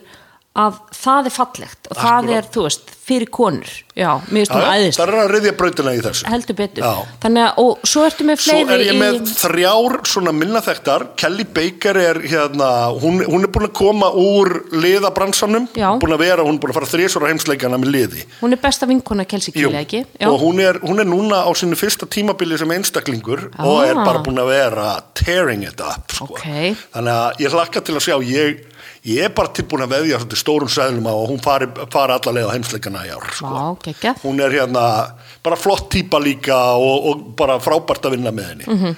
Speaker 1: að það er fallegt og það
Speaker 2: Akkúrat.
Speaker 1: er, þú veist, fyrir konur já, mér finnst hún
Speaker 2: Já,
Speaker 1: æðist
Speaker 2: það er að riðja brautina í þessu
Speaker 1: heldur betur
Speaker 2: Já.
Speaker 1: þannig að, og svo ertu með
Speaker 2: Svo
Speaker 1: fleiri
Speaker 2: er ég með
Speaker 1: í,
Speaker 2: þrjár svona minnaþektar, Kelly Baker er hérna, hún, hún er búin að koma úr liðabransanum,
Speaker 1: Já.
Speaker 2: búin að vera, hún er búin að fara þrísvara heimsleikana með liði.
Speaker 1: hún er besta vinkona Kelsey
Speaker 2: Jú,
Speaker 1: Kili ekki Já.
Speaker 2: og hún er, hún er núna á sínu fyrsta tímabili sem einstaklingur
Speaker 1: Ah.
Speaker 2: og er bara búin að vera tearing it up sko.
Speaker 1: Ok.
Speaker 2: þannig að ég hlakka til að sjá ég, ég er bara tilbúin að veðja svolítið stórum sæðlum á og hún fari, fari allalega heimsleikana í ár sko.
Speaker 1: Vá, geggjað.
Speaker 2: hún er hérna bara flott típa líka og, og bara frábært að vinna með henni
Speaker 1: Mhm.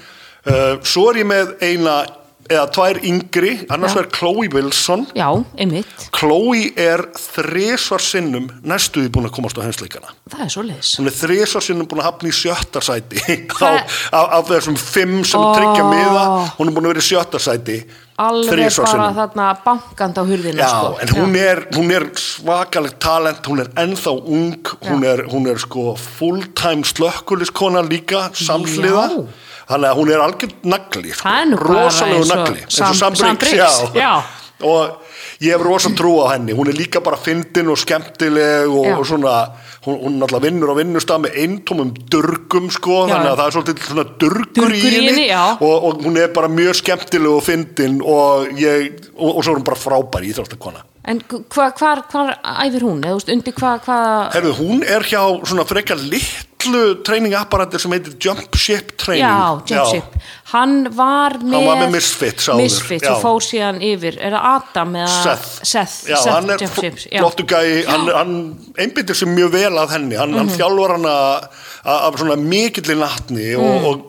Speaker 2: uh, svo er ég með eina eða tvær yngri, annars
Speaker 1: Já.
Speaker 2: er Chloe Wilson
Speaker 1: já, einmitt,
Speaker 2: Chloe er þrisvar sinnum næstuði búin að komast á heimsleikana
Speaker 1: það er svo leiðis
Speaker 2: hún er þrisvar sinnum búin að hafna í sjötta sæti
Speaker 1: Það-
Speaker 2: á, á, af þessum fimm sem
Speaker 1: Ó.
Speaker 2: tryggja miða hún er búin að vera í sjötta sæti
Speaker 1: alveg
Speaker 2: þrisvar
Speaker 1: bara
Speaker 2: sinnum.
Speaker 1: þarna bankand á hurðina
Speaker 2: Já,
Speaker 1: sko.
Speaker 2: en hún er, hún er svakalegt talent, hún er ennþá ung, hún er, hún er sko full-time slökkuliskona líka, samsliða,
Speaker 1: Já.
Speaker 2: þannig að hún er algjörn nagli, sko,
Speaker 1: Það er nú bara
Speaker 2: rosalegu
Speaker 1: eins og
Speaker 2: nagli, eins
Speaker 1: Sam-
Speaker 2: og
Speaker 1: Sam
Speaker 2: sambriks,
Speaker 1: Briggs, já.
Speaker 2: og ég hef rosa trú á henni, hún er líka bara fyndin og skemmtileg og,
Speaker 1: Já.
Speaker 2: og svona, hún, hún alltaf vinnur á vinnustaf með eintómum durgum, sko,
Speaker 1: Já.
Speaker 2: þannig að það er svolítið svona durgur,
Speaker 1: Durgur í henni, já.
Speaker 2: og, og hún er bara mjög skemmtileg og fyndin og, ég, og, og svo er hún bara frábær í Íþróttakona.
Speaker 1: en hvað hva, hva, æfir hún, eða þú veist, undir hvað hva,
Speaker 2: Herðu, hún er hjá svona frekar litlu treiningapparati sem heitir Jump Ship Training.
Speaker 1: já, Jensip, hann var með,
Speaker 2: Hann var með Misfits áður,
Speaker 1: Misfits og
Speaker 2: já.
Speaker 1: fór síðan yfir, er það Adam eða
Speaker 2: Seth.
Speaker 1: Seth,
Speaker 2: Já,
Speaker 1: Seth
Speaker 2: hann er
Speaker 1: Jensip, já. Mhm.
Speaker 2: flottu gæi, hann, hann einbyttir sér mjög vel að henni, hann, hann þjálfar hana a- af svona mikilli natni og,
Speaker 1: Mhm.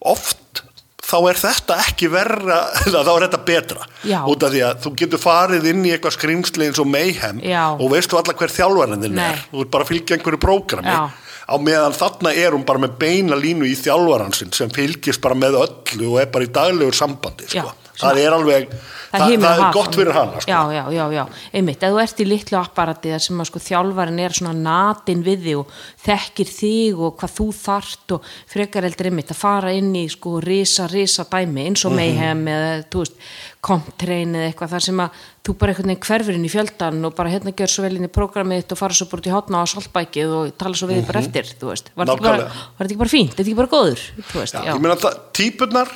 Speaker 2: og oft þá er þetta ekki verra, eða þá er þetta betra
Speaker 1: Já.
Speaker 2: út af því að þú getur farið inn í eitthvað skrýmsli eins og mayhem
Speaker 1: Já.
Speaker 2: og veistu alla hver þjálfarinn þinn
Speaker 1: Nei.
Speaker 2: er, þú ert bara að fylgja einhverju prógrami
Speaker 1: Já.
Speaker 2: á meðan þarna er hún bara með beina línu í þjálfaransinn sem fylgist bara með öllu og er bara í daglegur sambandi
Speaker 1: Já,
Speaker 2: sko.
Speaker 1: svona.
Speaker 2: það er alveg,
Speaker 1: það,
Speaker 2: það,
Speaker 1: himinn og
Speaker 2: það
Speaker 1: haf.
Speaker 2: er gott fyrir hana sko.
Speaker 1: já, já, já, já, einmitt, ef þú ert í litlu apparati þar sem að sko þjálfarin er svona natin við þig og þekkir þig og hvað þú þart og frekar eldur einmitt að fara inn í sko risa, risa dæmi eins
Speaker 2: Mhm.
Speaker 1: og mayhem eða, þú veist, komptrein eða eitthvað þar sem að þú bara einhvern veginn hverfur inn í fjöldan og bara hérna gjör svo vel inn í prógramið þitt og fara svo bara út í hotna á soltbækið og tala svo við þig bara eftir, þú veist var þetta ekki bara,
Speaker 2: Mhm. Nákvæmlega.
Speaker 1: var þetta ekki bara fínt, þetta ekki bara góður þú veist, já,
Speaker 2: ég meina það, típunar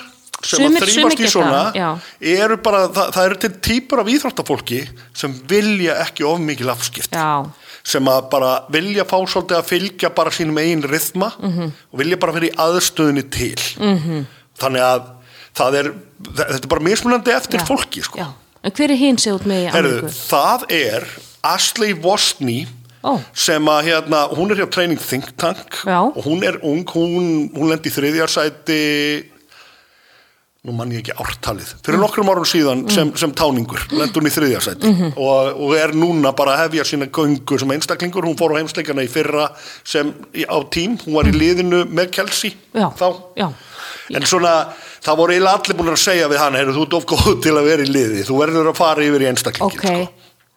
Speaker 2: sem
Speaker 1: Sumir- sumir
Speaker 2: að þrýfast
Speaker 1: geta
Speaker 2: í
Speaker 1: það,
Speaker 2: svona
Speaker 1: já.
Speaker 2: eru bara, það, það eru til típur af íþróttafólki sem vilja ekki of mikil afskipt
Speaker 1: Já.
Speaker 2: sem að bara vilja fá svolítið að fylgja bara sínum eigin rithma
Speaker 1: Mhm.
Speaker 2: og vilja bara fyrir aðstöðunni til -hmm. þannig að það er, þetta er bara mismunandi eftir
Speaker 1: já,
Speaker 2: fólki sko.
Speaker 1: já. en hver er hinn sem út með í
Speaker 2: Herðu,
Speaker 1: Ameríku?
Speaker 2: það er Ashley Vosni
Speaker 1: Ó.
Speaker 2: sem að hérna, hún er hjá Training Think Tank
Speaker 1: Já.
Speaker 2: og hún er ung, hún, hún lendi í þriðjarsæti nú mann ég ekki ártalið fyrir
Speaker 1: Mm.
Speaker 2: nokkrum árum síðan sem, sem táningur lendi hún í þriðjarsæti
Speaker 1: Mhm.
Speaker 2: og, og er núna bara að hefja sína göngu sem einstaklingur, hún fór á heimsleikana í fyrra sem í- á tím, hún var í liðinu með Kelsey
Speaker 1: Mm. já,
Speaker 2: þá
Speaker 1: já,
Speaker 2: En svona, það voru eiginlega allir búin að segja við hann, heyrðu, þú ert of góð til að vera í liði, þú verður að fara yfir í einstaklingin,
Speaker 1: ok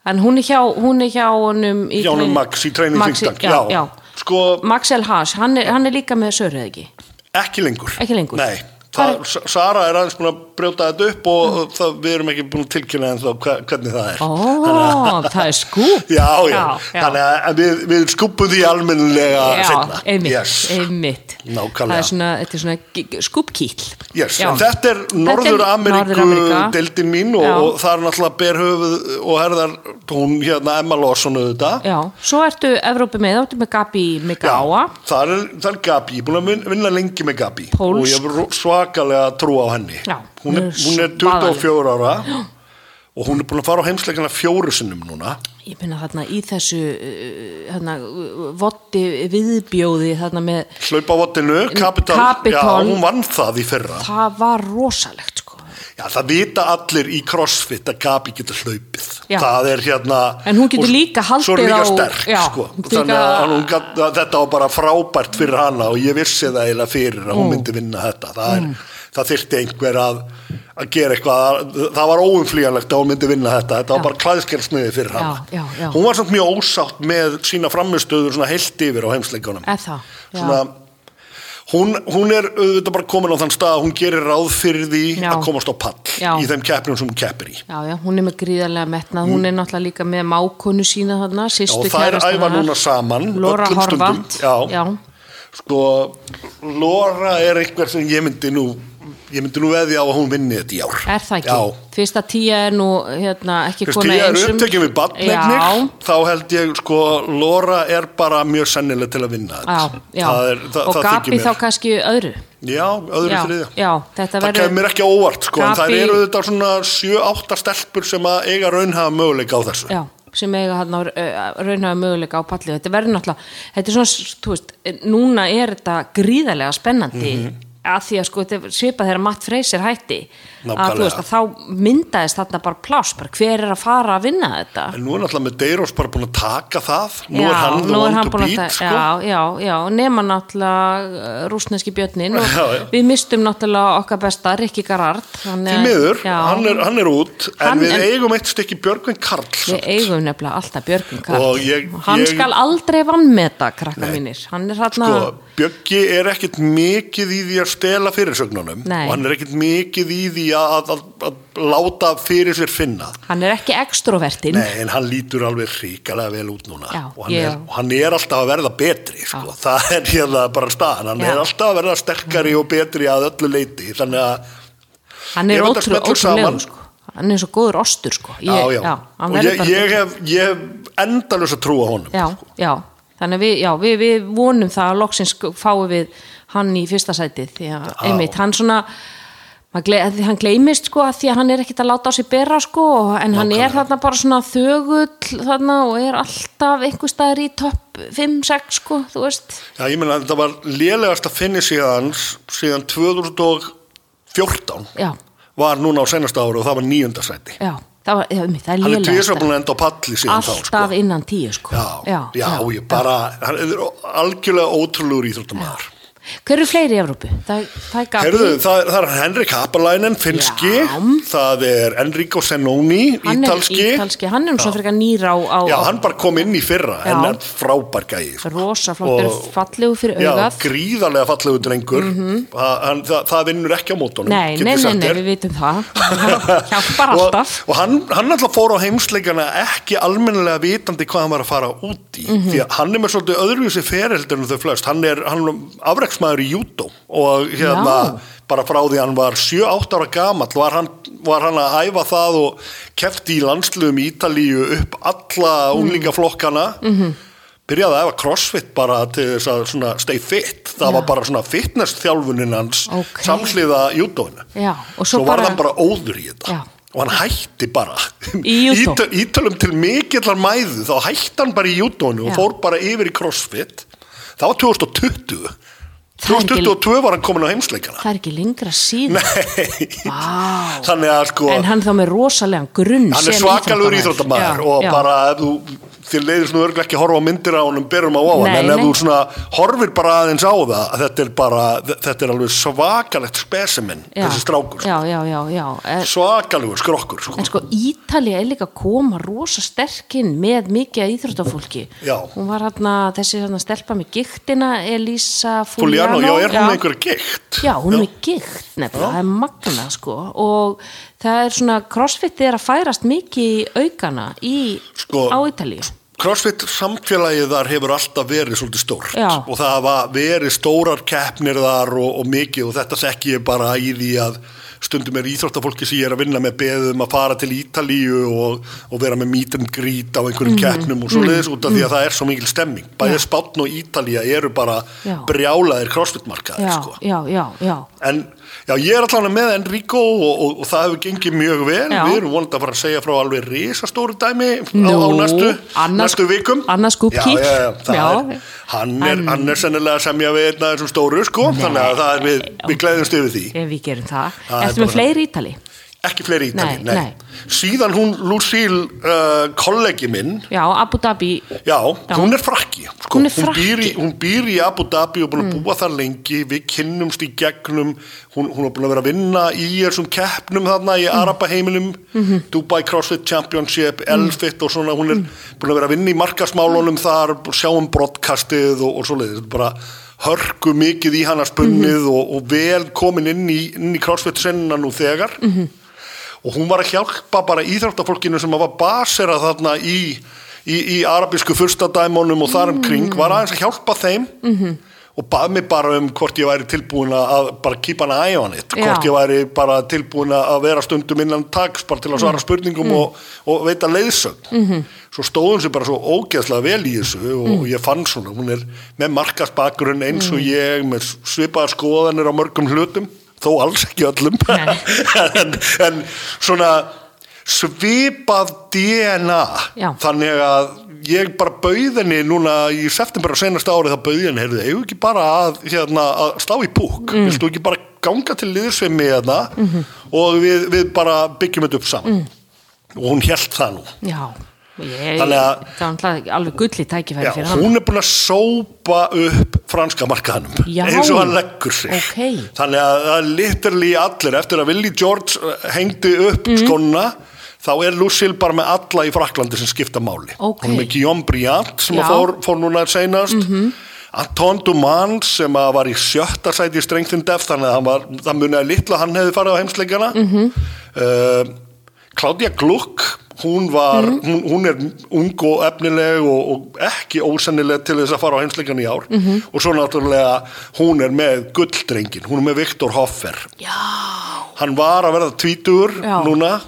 Speaker 1: en hún er hjá hún er hjá honum í
Speaker 2: sko. Jánum
Speaker 1: trein-
Speaker 2: Max í training
Speaker 1: Max í-
Speaker 2: Maxi,
Speaker 1: já, já.
Speaker 2: Sko,
Speaker 1: Max El Haas, hann er, hann er líka með Söru eða ekki
Speaker 2: ekki lengur.
Speaker 1: Ekki lengur.
Speaker 2: Nei.
Speaker 1: Hvar-
Speaker 2: Það, Sa- Sara er aðeins búin að brjóta þetta upp og mm. það, við erum ekki búin að tilkynna en þá hvernig það er.
Speaker 1: ó, það er skúp
Speaker 2: Já, já,
Speaker 1: já.
Speaker 2: þannig að en við, við skupum því almennilega
Speaker 1: Já,
Speaker 2: seinna.
Speaker 1: einmitt,
Speaker 2: Yes.
Speaker 1: einmitt
Speaker 2: Nákvæmlega.
Speaker 1: Það er svona, þetta er svona skúpkýll
Speaker 2: Yes, en þetta er Norður-Ameríku deildin mín og,
Speaker 1: Já.
Speaker 2: og það er náttúrulega ber höfuð og herðar hún hérna Emma Lawson auðvitað
Speaker 1: Já, svo ertu Evrópi með, þá ertu með Gabi Migáa
Speaker 2: Já, það er, það er Gabi, ég er búin að vin- vinna lengi með Gabi
Speaker 1: Pólsk.
Speaker 2: og ég hef ro- svakalega trú á henni
Speaker 1: Já,
Speaker 2: hún, er,
Speaker 1: hún
Speaker 2: hún
Speaker 1: er
Speaker 2: er 24 ára og hún er búin að fara á heimsleikana fjóru sinnum núna
Speaker 1: Ég finna þarna í þessu uh, þarna, votti viðbjóði þarna með,
Speaker 2: hlaupa á vatninu, Capital,
Speaker 1: Capital.
Speaker 2: Já, hún vann það í fyrra
Speaker 1: það var rosalegt sko
Speaker 2: Já, það vita allir í crossfit að Gabi getur hlaupið.
Speaker 1: Já.
Speaker 2: Það er hérna...
Speaker 1: En hún getur
Speaker 2: og s-
Speaker 1: líka haldið
Speaker 2: Svo er hún líka
Speaker 1: á-
Speaker 2: sterk,
Speaker 1: já,
Speaker 2: sko.
Speaker 1: hún getur
Speaker 2: Þannig
Speaker 1: líka-
Speaker 2: að hún gat, að þetta var bara frábært fyrir hana og ég vissi það eiginlega fyrir að
Speaker 1: Mm.
Speaker 2: hún myndi vinna þetta. Það, er, það þyrfti einhver að, að gera eitthvað. Það- Það var óumflýjanlegt að hún myndi vinna þetta. Þetta var
Speaker 1: Já.
Speaker 2: bara klæðskelsniði fyrir hana.
Speaker 1: Já, já, já.
Speaker 2: Hún var samt mjög ósátt með sína framistöður svona heilt yfir á heimsleikunum.
Speaker 1: Eða það, já.
Speaker 2: Svona, hún, hún er auðvitað bara komin á þann stað að hún gerir ráð fyrir því
Speaker 1: Já.
Speaker 2: að komast á pall
Speaker 1: Já.
Speaker 2: í þeim keppnum sem hún keppir í
Speaker 1: Já, já, hún er með gríðarlega metnað, hún er náttúrulega líka með mákonu sína þarna,
Speaker 2: Mm. Já,
Speaker 1: sýstu
Speaker 2: og það er æfa núna saman
Speaker 1: Lóra
Speaker 2: öllum stundum.
Speaker 1: Horvat,
Speaker 2: já. sko, Lóra er einhver sem ég myndi nú ég myndi nú veðja á að hún vinni þetta í ár
Speaker 1: er það ekki?
Speaker 2: já,
Speaker 1: Fyrsta tíja er nú hérna, ekki
Speaker 2: Þú veist,
Speaker 1: kona
Speaker 2: ég er
Speaker 1: eins um-
Speaker 2: upptekið við
Speaker 1: Já,
Speaker 2: batnefnir, þá held ég, sko, Lóra er bara mjög sennileg til að vinna þetta.
Speaker 1: já, já.
Speaker 2: Það er, það,
Speaker 1: og
Speaker 2: það þykir
Speaker 1: Gabi
Speaker 2: mér.
Speaker 1: þá kannski öðru
Speaker 2: Já, öðru
Speaker 1: já,
Speaker 2: þriðja.
Speaker 1: já, þetta
Speaker 2: Það
Speaker 1: verður
Speaker 2: kemur mér ekki á óvart sko, en það
Speaker 1: Gabi-
Speaker 2: eru þetta svona 7-8 stelpur sem að eiga raunhafa möguleika á þessu.
Speaker 1: já, sem eiga hann á raunhafa möguleika á pallið, þetta verður náttúrulega þetta er svona, þú veist, núna er þetta gríðarlega spennandi
Speaker 2: Mhm.
Speaker 1: að því að sko, þetta er svipað þegar Matt Freyser hætti að
Speaker 2: Nákvæmlega.
Speaker 1: þú veist, að þá myndaðist þarna bara pláss, bara hver er að fara að vinna þetta
Speaker 2: En nú er náttúrulega með Deirós bara búin að taka það. Nú
Speaker 1: já,
Speaker 2: er
Speaker 1: nú
Speaker 2: hann the
Speaker 1: er
Speaker 2: one
Speaker 1: hann
Speaker 2: to
Speaker 1: búinn að
Speaker 2: beat
Speaker 1: ta-
Speaker 2: sko.
Speaker 1: já, já, já, nema náttúrulega uh, rúsneski björnin og
Speaker 2: Já, já.
Speaker 1: við mistum náttúrulega okkar besta Rikki Garard hann,
Speaker 2: Því miður, hann er, hann er út, en
Speaker 1: Hann-
Speaker 2: við
Speaker 1: en-
Speaker 2: eigum eitt stykki Björgvin Karls.
Speaker 1: við eigum nefnilega alltaf Björgun Garard
Speaker 2: Og ég-
Speaker 1: hann
Speaker 2: ég-
Speaker 1: skal aldrei vannmeta krakka mínir, hann er hann
Speaker 2: Sko, Bjöggi er ekkit mikið í því að stela fyrirsögnunum
Speaker 1: Nei.
Speaker 2: og hann er ekkit mikið í því að, að, að, að láta fyrir sér finna.
Speaker 1: hann er ekki ekstrovertin
Speaker 2: Nei, en hann lítur alveg ríkalega vel út núna
Speaker 1: Já,
Speaker 2: og, hann
Speaker 1: ég-
Speaker 2: er, og hann er alltaf að verða betri sko. það er hérna bara staðan hann
Speaker 1: Já. Mm.
Speaker 2: er alltaf að verða sterkari og betri að öllu leiti þannig að,
Speaker 1: hann
Speaker 2: Ég
Speaker 1: er
Speaker 2: veit að
Speaker 1: ótrú,
Speaker 2: smellur saman.
Speaker 1: ótrúlega sko. hann er svo góður ostur sko. ég,
Speaker 2: já, já,
Speaker 1: hann
Speaker 2: og
Speaker 1: verður
Speaker 2: ég,
Speaker 1: bara-
Speaker 2: ég hef, ég hef endalösa trú á honum
Speaker 1: já, já, þannig að við, já, við, við vonum það að loksins fáum við hann í fyrsta sætið því að einmitt, hann svona maður gle- að því hann gleymist sko að því að hann er ekkit að láta á sig bera sko en hann er þarna bara svona þögull þarna og er alltaf einhver staðar í topp 5-6 sko, þú veist
Speaker 2: Já, ég meina að þetta var lélegast að finni síðan síðan 2014
Speaker 1: já,
Speaker 2: var núna á senasta ára og það var nýjöndasæti
Speaker 1: já, það, var, já, einmitt, það er
Speaker 2: hann er
Speaker 1: lélega
Speaker 2: tvisar búin að enda á palli síðan þá sko.
Speaker 1: alltaf innan 10 sko
Speaker 2: já, já, ég bara hann er algjörlega ótrúlegur íþróttamæður
Speaker 1: hver eru fleiri í Evrópu? Það, það er Gabi,
Speaker 2: Herðu, það, það er Henrik Hapalainen, finski,
Speaker 1: Já.
Speaker 2: það er Enrico Senoni,
Speaker 1: hann er
Speaker 2: ítalski.
Speaker 1: ítalski hann er um svo frekar nýr á, á
Speaker 2: Já, hann bara kom inn í fyrra,
Speaker 1: Já.
Speaker 2: en er frábær gæði. sko.
Speaker 1: rosa flottur,
Speaker 2: Og-
Speaker 1: fallegu fyrir
Speaker 2: Já,
Speaker 1: augað
Speaker 2: gríðarlega fallegu drengur. það, hann, það, það vinnur ekki á mótunum.
Speaker 1: Mhm. Nei,
Speaker 2: get ég
Speaker 1: nei, nei,
Speaker 2: sagt
Speaker 1: nei,
Speaker 2: þér.
Speaker 1: við vitum það Hann Hjálpar
Speaker 2: Og,
Speaker 1: alltaf
Speaker 2: og hann, hann alltaf fór á heimsleikana ekki almennilega vitandi hvað hann var að fara út í
Speaker 1: Mhm.
Speaker 2: því að hann er með svolítið öðruvísi fereldur en þau flest, hann er, hann er afreksmaður í júdó og hérna
Speaker 1: Já.
Speaker 2: bara frá því hann var 7-8 ára gamall var hann, var hann að æfa það og kefti í landsluðum í Ítalíu upp alla
Speaker 1: Mhm.
Speaker 2: unglingaflokkana -hmm. byrjaði að æfa crossfit bara til þess að svona stay fit það var bara svona fitness þjálfunin hans
Speaker 1: Ókei.
Speaker 2: samhliða júdóinu
Speaker 1: Já, og svo
Speaker 2: svo
Speaker 1: bara-
Speaker 2: var hann bara óður í þetta
Speaker 1: Já.
Speaker 2: og hann hætti bara
Speaker 1: Í júdó.
Speaker 2: Ítal- Ítölum til mikillar mæðu þá hætti hann bara í júdónu
Speaker 1: Já.
Speaker 2: og fór bara yfir í crossfit það var 2020
Speaker 1: Það er ekki-
Speaker 2: 2022 var hann komin á heimsleikana
Speaker 1: Það er ekki lengra síðan
Speaker 2: Nei,
Speaker 1: Vá.
Speaker 2: þannig að sko
Speaker 1: En hann þá með rosalegan grunn
Speaker 2: hann
Speaker 1: sem
Speaker 2: er svakalur
Speaker 1: íþróttamaður.
Speaker 2: íþróttamæður og
Speaker 1: Já, já.
Speaker 2: bara ef þú þér leiðist nú örglega ekki að horfa á myndir á honum berum á á hann,
Speaker 1: Nei,
Speaker 2: en ef
Speaker 1: nei.
Speaker 2: þú svona horfir bara aðeins á það þetta er bara, þetta er alveg svakalegt spesimen,
Speaker 1: Já.
Speaker 2: þessi strákur sko.
Speaker 1: Já, já, já, já En-
Speaker 2: svakalegur skrokkur sko.
Speaker 1: En sko Ítalía er líka að koma rosa sterkinn með mikið af íþróttafólki
Speaker 2: Já.
Speaker 1: Hún var hérna, þessi hérna stelpa með giktina Elisa Fuliano
Speaker 2: Fuliano, já, er hún með einhverja gikt?
Speaker 1: Já, hún er með gikt nefnilega, það er magna sko og það er svona, crossfit er að færast mikið í aukana í,
Speaker 2: Sko-
Speaker 1: á Ítalíu.
Speaker 2: CrossFit samfélagið þar hefur alltaf verið svolítið stórt
Speaker 1: Já.
Speaker 2: og það hafa verið stórar keppnir þar og, og mikið og þetta þekki ég bara í því að stundum er íþróttafólki sem ég er að vinna með beðum að fara til Ítalíu og, og vera með meet and greet á einhverjum
Speaker 1: Mhm.
Speaker 2: keppnum og svo leiðis út af því að það er svo mikil stemming bæðið Spátn og Ítalía eru bara
Speaker 1: Já.
Speaker 2: brjálaðir CrossFit markaðir
Speaker 1: Já,
Speaker 2: sko.
Speaker 1: já, já, já.
Speaker 2: En já, ég er allavega með Enrico og, og, og það hefur gengið mjög vel.
Speaker 1: Já.
Speaker 2: Við erum vonandi að fara að segja frá alveg risastóru dæmi á,
Speaker 1: Nú,
Speaker 2: á næstu,
Speaker 1: annars-
Speaker 2: næstu vikum.
Speaker 1: annars
Speaker 2: Já,
Speaker 1: scoop-kick.
Speaker 2: já, já, það
Speaker 1: Já.
Speaker 2: er, hann, er, hann er sennilega að semja við einn af þessum stóru, sko. Þannig að það er við, við glæðumst yfir því.
Speaker 1: Ef við gerum það.
Speaker 2: Það er
Speaker 1: Ertu með
Speaker 2: bara-
Speaker 1: fleiri Ítali?
Speaker 2: ekki fleiri ítali,
Speaker 1: Nei, nei.
Speaker 2: síðan hún Lucille uh, kollegi minn
Speaker 1: Já, Abu Dhabi
Speaker 2: Já,
Speaker 1: Já.
Speaker 2: hún er frakki, sko.
Speaker 1: Hún er frakki. Mm.
Speaker 2: býr í, hún býr í Abu Dhabi og búin að búa þar lengi, við kynnumst í gegnum, hún, hún er búin að vera að vinna í þessum keppnum þarna
Speaker 1: Mm.
Speaker 2: í Arabaheiminum,
Speaker 1: Mhm.
Speaker 2: Dubai CrossFit Championship,
Speaker 1: Mm.
Speaker 2: Elfit og svona, hún er búin að vera að vinna í markasmálunum þar, sjá um broadcastið og, og svoleiðis, Þetta er bara hörku mikið í hana spunnið
Speaker 1: Mhm.
Speaker 2: og, og vel komin inn í, inn í CrossFit senna nú þegar
Speaker 1: Mhm.
Speaker 2: og hún var að hjálpa bara íþróttafólkinu sem var basera þarna í, í, í arabísku furstadæmonum og þar um kring, var aðeins að hjálpa þeim -hmm. og bað mig bara um hvort ég væri tilbúin að bara kýpa hana æja hann eitt,
Speaker 1: Já.
Speaker 2: hvort ég væri bara tilbúin að vera stundum innan taks bara til að svara
Speaker 1: Mm.
Speaker 2: spurningum og, og veita leiðsögn -hmm.
Speaker 1: Mhm.
Speaker 2: svo stóð hún sér bara svo ógeðslega vel í þessu og
Speaker 1: Mm.
Speaker 2: ég fann svona, hún er með markasbakgrunn eins og ég með svipaða skoðanir á mörgum hlutum þó alls ekki öllum
Speaker 1: Nei.
Speaker 2: en, en svona svipað DNA
Speaker 1: Já.
Speaker 2: þannig að ég bara bauð henni núna í september og senast árið þá bauð ég henni, heyrðu, eigum við ekki bara að, hérna, að slá í búk, mm. vilstu ekki bara ganga til liðsveimi hérna og við, við bara byggjum þetta upp saman og hún hélt það nú
Speaker 1: Já, ég, það
Speaker 2: Þannig að-
Speaker 1: var náttúrulega alveg gulli tækifæri
Speaker 2: Já,
Speaker 1: fyrir hann
Speaker 2: hún er búin að sópa upp franska markaðanum
Speaker 1: Já.
Speaker 2: eins og hann leggur sig
Speaker 1: Ókei.
Speaker 2: þannig að það er literally allir eftir að Willi George eh, hengdi upp
Speaker 1: Mhm.
Speaker 2: mm. skona þá er Lucille bara með alla í Fraklandi sem skipta máli
Speaker 1: Ókei.
Speaker 2: hún er með Guillaume Briand sem
Speaker 1: Já.
Speaker 2: að fór, fór núna seinast Anton Duman sem að var í sjötta sæti í Strength and Depth þannig að hann var, það muniði litla að hann hefði farið á heimsleikana mm Claudia Gluck hún var, hún, hún er ung og efnileg og, og ekki ósennileg til þess að fara á heimsleikan í ár og svo náttúrulega hún er með gulldrengin, hún er með Viktor Hoffer
Speaker 1: Já,
Speaker 2: hann var að verða tvítur
Speaker 1: Já. Mhm.
Speaker 2: núna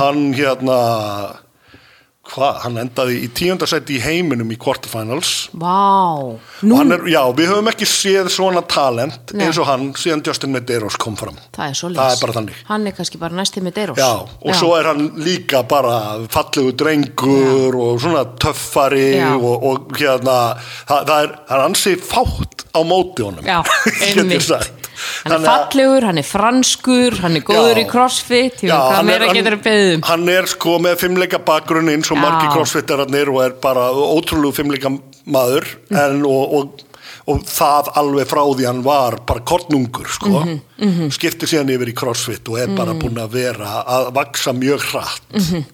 Speaker 2: hann hérna hvað, hann endaði í tíundasæti í heiminum í quarterfinals
Speaker 1: vá
Speaker 2: og
Speaker 1: Nú,
Speaker 2: hann er, já, við höfum ekki séð svona talent
Speaker 1: Nei.
Speaker 2: eins og hann síðan Justin Medeiros kom fram
Speaker 1: það er svolítið
Speaker 2: það er bara þannig
Speaker 1: Hann er kannski bara næstið með Deirós
Speaker 2: Já, og svo er hann líka bara fallegu drengur og svona töffari
Speaker 1: Já.
Speaker 2: og, og hérna, það, það er, það er ansi fátt á móti honum.
Speaker 1: Já,
Speaker 2: Get ég
Speaker 1: einmitt.
Speaker 2: sagt.
Speaker 1: Hann er
Speaker 2: Þannig að-
Speaker 1: fallegur, hann er franskur, hann er góður
Speaker 2: Já.
Speaker 1: í crossfit, ég veit
Speaker 2: Já,
Speaker 1: hvað
Speaker 2: hann er-
Speaker 1: meira
Speaker 2: hann-
Speaker 1: getur að um. beðum.
Speaker 2: Hann er sko með fimmleika bakgrunn eins og
Speaker 1: Já.
Speaker 2: margir crossfittararnir og er bara ótrúlegu fimmleika maður
Speaker 1: Mm.
Speaker 2: en, og, og, og það alveg frá því hann var bara kornungur sko
Speaker 1: Mhm,
Speaker 2: skipti síðan yfir í crossfit og er
Speaker 1: Mm.
Speaker 2: bara búin að vera að vaksa mjög hratt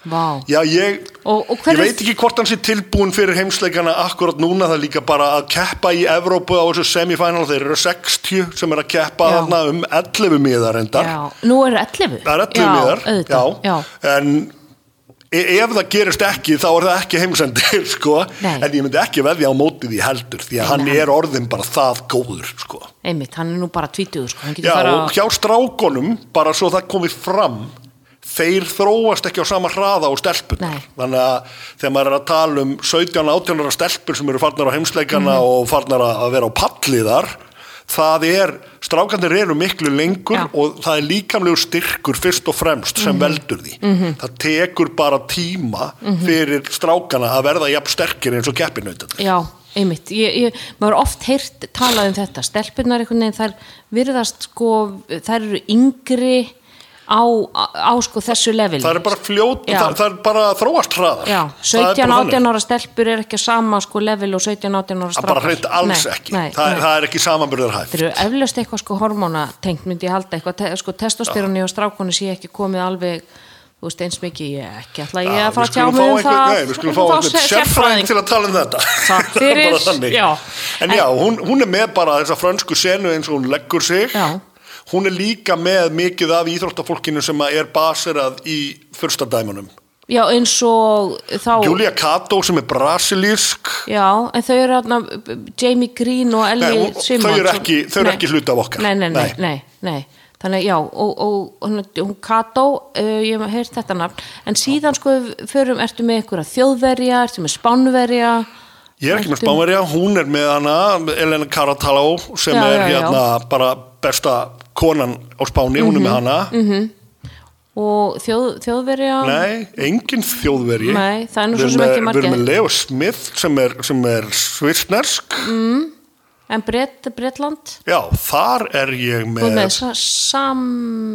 Speaker 1: Vá,
Speaker 2: Já, ég,
Speaker 1: Mhm. Og- og hver
Speaker 2: ég
Speaker 1: er-
Speaker 2: veit ekki hvort hann sé tilbúin fyrir heimsleikana akkurat núna, það er líka bara að keppa í Evrópu á þessu semifinal, þeir eru 60 sem er að keppa
Speaker 1: Já.
Speaker 2: þarna um 11 miðar endar,
Speaker 1: já, nú eru 11.
Speaker 2: það er 11 miðar
Speaker 1: auðvitað, já.
Speaker 2: en e ef það gerist ekki þá er það ekki heimsendir sko,
Speaker 1: Nei.
Speaker 2: en ég myndi ekki veðja á mótið í heldur, því að hann er orðin bara það góður sko.
Speaker 1: Einmitt, hann er nú bara 20, sko, hann getur
Speaker 2: Já,
Speaker 1: bara...
Speaker 2: og hjá strákonum, bara svo það komið fram, þeir þróast ekki á sama hraða á stelpunar.
Speaker 1: Nei.
Speaker 2: Þannig að þegar maður er að tala um 17-18 ára stelpur sem eru farnar á heimsleikana
Speaker 1: Mhm.
Speaker 2: og farnar að að vera á palli þar, það er, strákanir eru miklu lengur
Speaker 1: Já. Mhm.
Speaker 2: og það er líkamlegu styrkur fyrst og fremst sem veldur því. Það tekur bara tíma
Speaker 1: Mhm.
Speaker 2: fyrir strákana að verða jafn sterkir eins og keppinautin.
Speaker 1: Já, einmitt, ég, ég, maður hefur oft heyrt talað um þetta, stelpunar einhvern veginn þær virðast sko, þær eru yngri á, á, á sko þessu level
Speaker 2: Það er bara fljót,
Speaker 1: Já.
Speaker 2: það, það er bara að þróast hraðar.
Speaker 1: Já,
Speaker 2: Það er bara
Speaker 1: 17,
Speaker 2: þannig.
Speaker 1: 18 ára stelpur er ekki á sama sko level og 17, 18 ára
Speaker 2: Það bara
Speaker 1: strákar
Speaker 2: hreint alls
Speaker 1: nei,
Speaker 2: ekki.
Speaker 1: nei,
Speaker 2: það,
Speaker 1: nei.
Speaker 2: það er ekki samanbyrðarhæft.
Speaker 1: Þeir eru eflaust eitthvað sko hormónatengt myndi ég halda eitthvað, te, sko testosteroni og strákunni sé ekki komið alveg þú veist eins mikið, ég ekki ætla ég að fara að tjá mig um það
Speaker 2: Nei, við
Speaker 1: Þá
Speaker 2: skulum fá einhvern
Speaker 1: sé-
Speaker 2: sérfræðing til að tala um þetta.
Speaker 1: Takk
Speaker 2: Það er bara
Speaker 1: fyrir,
Speaker 2: þannig.
Speaker 1: já.
Speaker 2: En já, hún, hún er með bara þessa frönsku senu eins og hún leggur sig.
Speaker 1: Já.
Speaker 2: Hún er líka með mikið af íþróttafólkinu sem að er baserað í fyrstadæmunum.
Speaker 1: Já, eins og þá
Speaker 2: Julia Kato sem er brasilísk.
Speaker 1: Já, en þau eru hérna Jamie Green og
Speaker 2: Nei,
Speaker 1: Ellie
Speaker 2: hún-
Speaker 1: Simmons
Speaker 2: þau eru ekki- þau eru
Speaker 1: Nei.
Speaker 2: ekki hluti af okkar.
Speaker 1: Nei, nei, nei,
Speaker 2: Nei.
Speaker 1: nei, nei. Þannig já, og, og hún, hún Kato, uh, ég hef heyrt þetta nafn en síðan sko við förum, ertu með einhverja þjóðverja, ertu með spánverja
Speaker 2: Ég er ekki með
Speaker 1: Ertu-
Speaker 2: spánverja, hún er með hana, Elena Carataló sem
Speaker 1: Já,
Speaker 2: er
Speaker 1: já, já.
Speaker 2: hérna bara besta konan á Spáni,
Speaker 1: Mhm.
Speaker 2: hún er með hana.
Speaker 1: og þjóð, þjóðverja
Speaker 2: Nei, engin þjóðveri
Speaker 1: Nei, það er nú svo
Speaker 2: Við erum
Speaker 1: sem
Speaker 2: með-
Speaker 1: ekki margir. Mm.
Speaker 2: Við erum með Leo Smith sem er, sem er svisnersk
Speaker 1: En Bret, Bretland,
Speaker 2: Já, þar er ég
Speaker 1: þú
Speaker 2: með...
Speaker 1: er með sa, Sam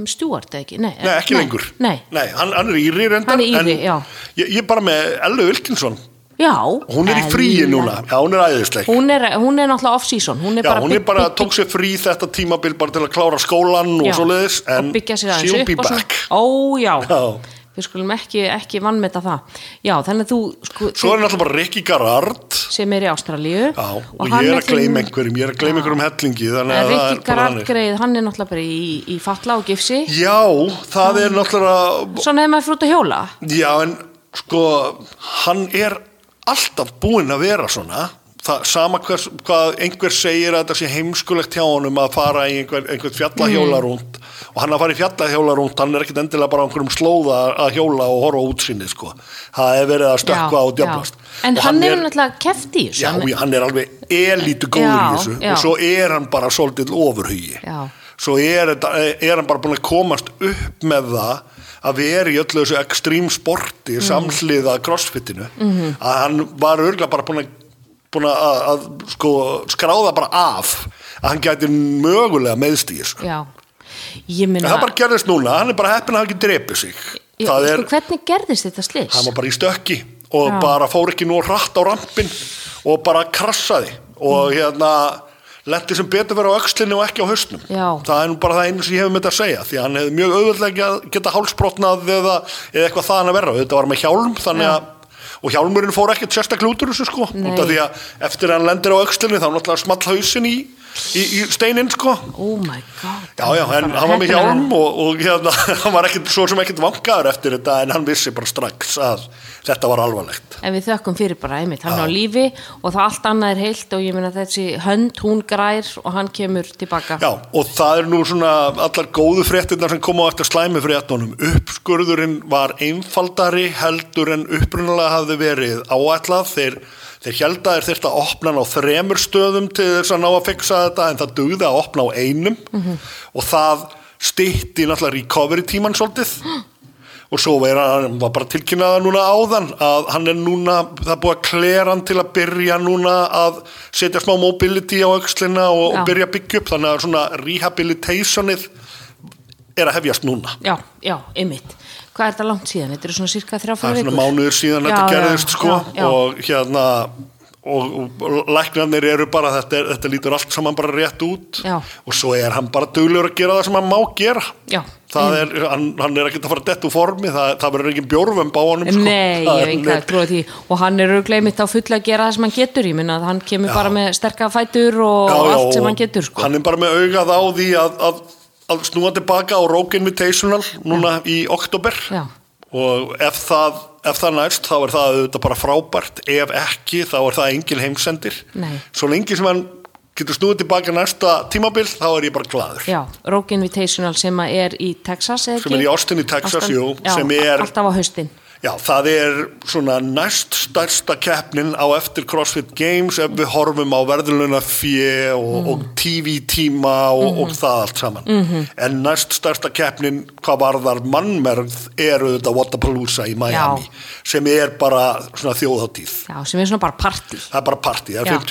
Speaker 1: Stewart, eða ekki? Nei,
Speaker 2: Eh, Nei, ekki lengur.
Speaker 1: Nei,
Speaker 2: Nei, hann, hann er íri reyndar.
Speaker 1: Hann er Íri,
Speaker 2: en
Speaker 1: já.
Speaker 2: Ég, ég er bara með Ellu Wilkinson.
Speaker 1: já.
Speaker 2: Hún er í fríi
Speaker 1: Ella.
Speaker 2: núna. Já, hún er æðisleg.
Speaker 1: Hún er, hún er náttúrulega off-season. Hún er
Speaker 2: Já,
Speaker 1: bara,
Speaker 2: hún er
Speaker 1: bygg-
Speaker 2: bara,
Speaker 1: bygg-
Speaker 2: tók sér frí þetta tímabil bara til að klára skólan
Speaker 1: Já,
Speaker 2: og svoleiðis.
Speaker 1: og
Speaker 2: En
Speaker 1: byggja sér aðeins
Speaker 2: she'll
Speaker 1: upp
Speaker 2: be
Speaker 1: og svona.
Speaker 2: back.
Speaker 1: Ó, já.
Speaker 2: Já.
Speaker 1: Við skulum ekki, ekki vannmeta það. Já, þannig að þú, sko,
Speaker 2: Svo er náttúrulega bara Ricky Garrard.
Speaker 1: sem er í Ástralíu.
Speaker 2: Já, og, ég er að gleyma einhverjum, ég er að gleyma einhverjum hellingi, þannig að það er
Speaker 1: Rikki
Speaker 2: bara
Speaker 1: Garard
Speaker 2: hannig.
Speaker 1: greið, hann er náttúrulega bara í, í fatla og gifsi.
Speaker 2: Já, það er náttúrulega,
Speaker 1: Svona hefur maður frútt að hjóla.
Speaker 2: já en sko, hann er alltaf búinn að vera svona, það, sama hvers, hvað einhver segir að þetta sé heimskulegt hjá honum að fara í einhver, einhvern
Speaker 1: Mm.
Speaker 2: fjallahjólarúnd og hann að fara í fjallahjólarúnd, hann er ekkit endilega bara á einhverjum slóða að hjóla og horfa á útsýnið sko, það er verið að stökkva
Speaker 1: Já,
Speaker 2: og djöflast.
Speaker 1: já. En
Speaker 2: Og
Speaker 1: hann, er náttúrulega keft í þessu.
Speaker 2: Já,
Speaker 1: Hann-
Speaker 2: já, hann er alveg elítu góður
Speaker 1: Já,
Speaker 2: í þessu
Speaker 1: já.
Speaker 2: og svo er hann bara svolítið ofurhugi.
Speaker 1: Já.
Speaker 2: Svo er, þetta- er hann bara búin að komast upp með það að vera í öllu þessu ekstrím
Speaker 1: Mhm.
Speaker 2: sporti samhliða crossfitinu -hmm. að hann var örgulega bara búin að, búin að, að, að sko, skráða bara af að hann gæti mögulega meðst í þessu.
Speaker 1: Já, ég
Speaker 2: En
Speaker 1: minna
Speaker 2: það bara gerðist núna, hann er bara heppin að hafa ekki drepið sig.
Speaker 1: ég,
Speaker 2: það
Speaker 1: sko,
Speaker 2: er,
Speaker 1: Hvernig gerðist þetta slis?
Speaker 2: hann var bara í stökki og
Speaker 1: Já.
Speaker 2: bara fór ekki nú rætt á rampin og bara krassaði og
Speaker 1: Mm.
Speaker 2: hérna lendi sem betur vera á öxlinni og ekki á hausnum
Speaker 1: Já.
Speaker 2: það er nú bara það einu sem ég hef með þetta að segja því að hann hefði mjög auðvöldlega geta hálsbrotnað eða, eða eitthvað það hann að verra þetta var með hjálm þannig að og hjálmurinn fór ekkert sérstaklega út úr þessu sko
Speaker 1: Nei.
Speaker 2: út af því að eftir að hann lendir á öxlinni þá náttúrulega small hausin í, í, í steinin sko
Speaker 1: Oh my god
Speaker 2: Já, já, en hann var með hjálm og, og hérna, hann var ekkit, svo sem ekkit vangaður eftir þetta en hann vissi bara strax að þetta var alvarlegt.
Speaker 1: En við þökkum fyrir bara einmitt, hann er á lífi og það allt annað er heilt og ég minna þessi hönd, hún grær og hann kemur tilbaka
Speaker 2: Já, og það er nú svona allar góðu fréttirnar sem koma á eftir slæmi fréttunum. Uppskurðurinn var einfaldari heldur en upprunalega hafði verið áætlað. Þeir, þeir held að þeir þyrfti að opna hann á þremur stöðum til þess að ná að fixa þetta en það dugði að opna á einum og það stýtti náttúrulega recovery tíman svolítið. og svo er hann, hann var bara tilkynnaða núna áðan að hann er núna, það er búið að klera hann til að byrja núna að setja smá mobility á öxlina og,
Speaker 1: Já.
Speaker 2: og byrja að byggja upp, þannig að svona rehabilitationið er að hefjast núna.
Speaker 1: já, já, einmitt Hvað er þetta langt síðan? Þetta eru svona cirka þrjá
Speaker 2: Það
Speaker 1: fara
Speaker 2: er svona mánuður síðan
Speaker 1: Já,
Speaker 2: þetta
Speaker 1: já,
Speaker 2: gerðist sko
Speaker 1: já, já.
Speaker 2: og hérna og, og læknarnir eru bara þetta, er, þetta lítur allt saman bara rétt út
Speaker 1: Já.
Speaker 2: og svo er hann bara duglur að gera það sem hann má gera
Speaker 1: Já. Mm.
Speaker 2: það er, hann, hann er ekkert að fara dett úr formi, það, það verður engin bjórvömb á honum sko.
Speaker 1: Nei, ég
Speaker 2: Það er-
Speaker 1: hef enga að trúa því og hann er auðvitað einmitt á fulla að gera það sem hann getur ég minna að hann kemur bara með sterka fætur og
Speaker 2: Já, já,
Speaker 1: allt sem
Speaker 2: og
Speaker 1: hann getur sko.
Speaker 2: hann er bara með augað á því að, að, að snúa tilbaka á Rogue Invitational núna í oktober
Speaker 1: Já.
Speaker 2: og ef það, ef það næst þá er það auðvitað bara frábært ef ekki þá er það engin heimsendir
Speaker 1: Nei.
Speaker 2: svo lengi sem hann getur snúið tilbaka næsta tímabil þá er ég bara gladur
Speaker 1: Já, Rogue Invitational sem að er í Texas eða
Speaker 2: Sem er í Austin í Texas, jú,
Speaker 1: já,
Speaker 2: sem er-
Speaker 1: Alltaf á haustin
Speaker 2: Já, það er svona næst stærsta keppnin á eftir CrossFit Games ef við horfum á verðluna fjö og,
Speaker 1: Mm.
Speaker 2: og TV-tíma og, og
Speaker 1: Mm-hmm.
Speaker 2: það allt saman. -hmm. En næst stærsta keppnin, hvað varðar mannmerð, er auðvitað Whatapalooza í Miami,
Speaker 1: Já.
Speaker 2: sem er bara svona þjóðatíð.
Speaker 1: Já, sem er svona bara partí
Speaker 2: Það er bara partí, það
Speaker 1: Já.
Speaker 2: er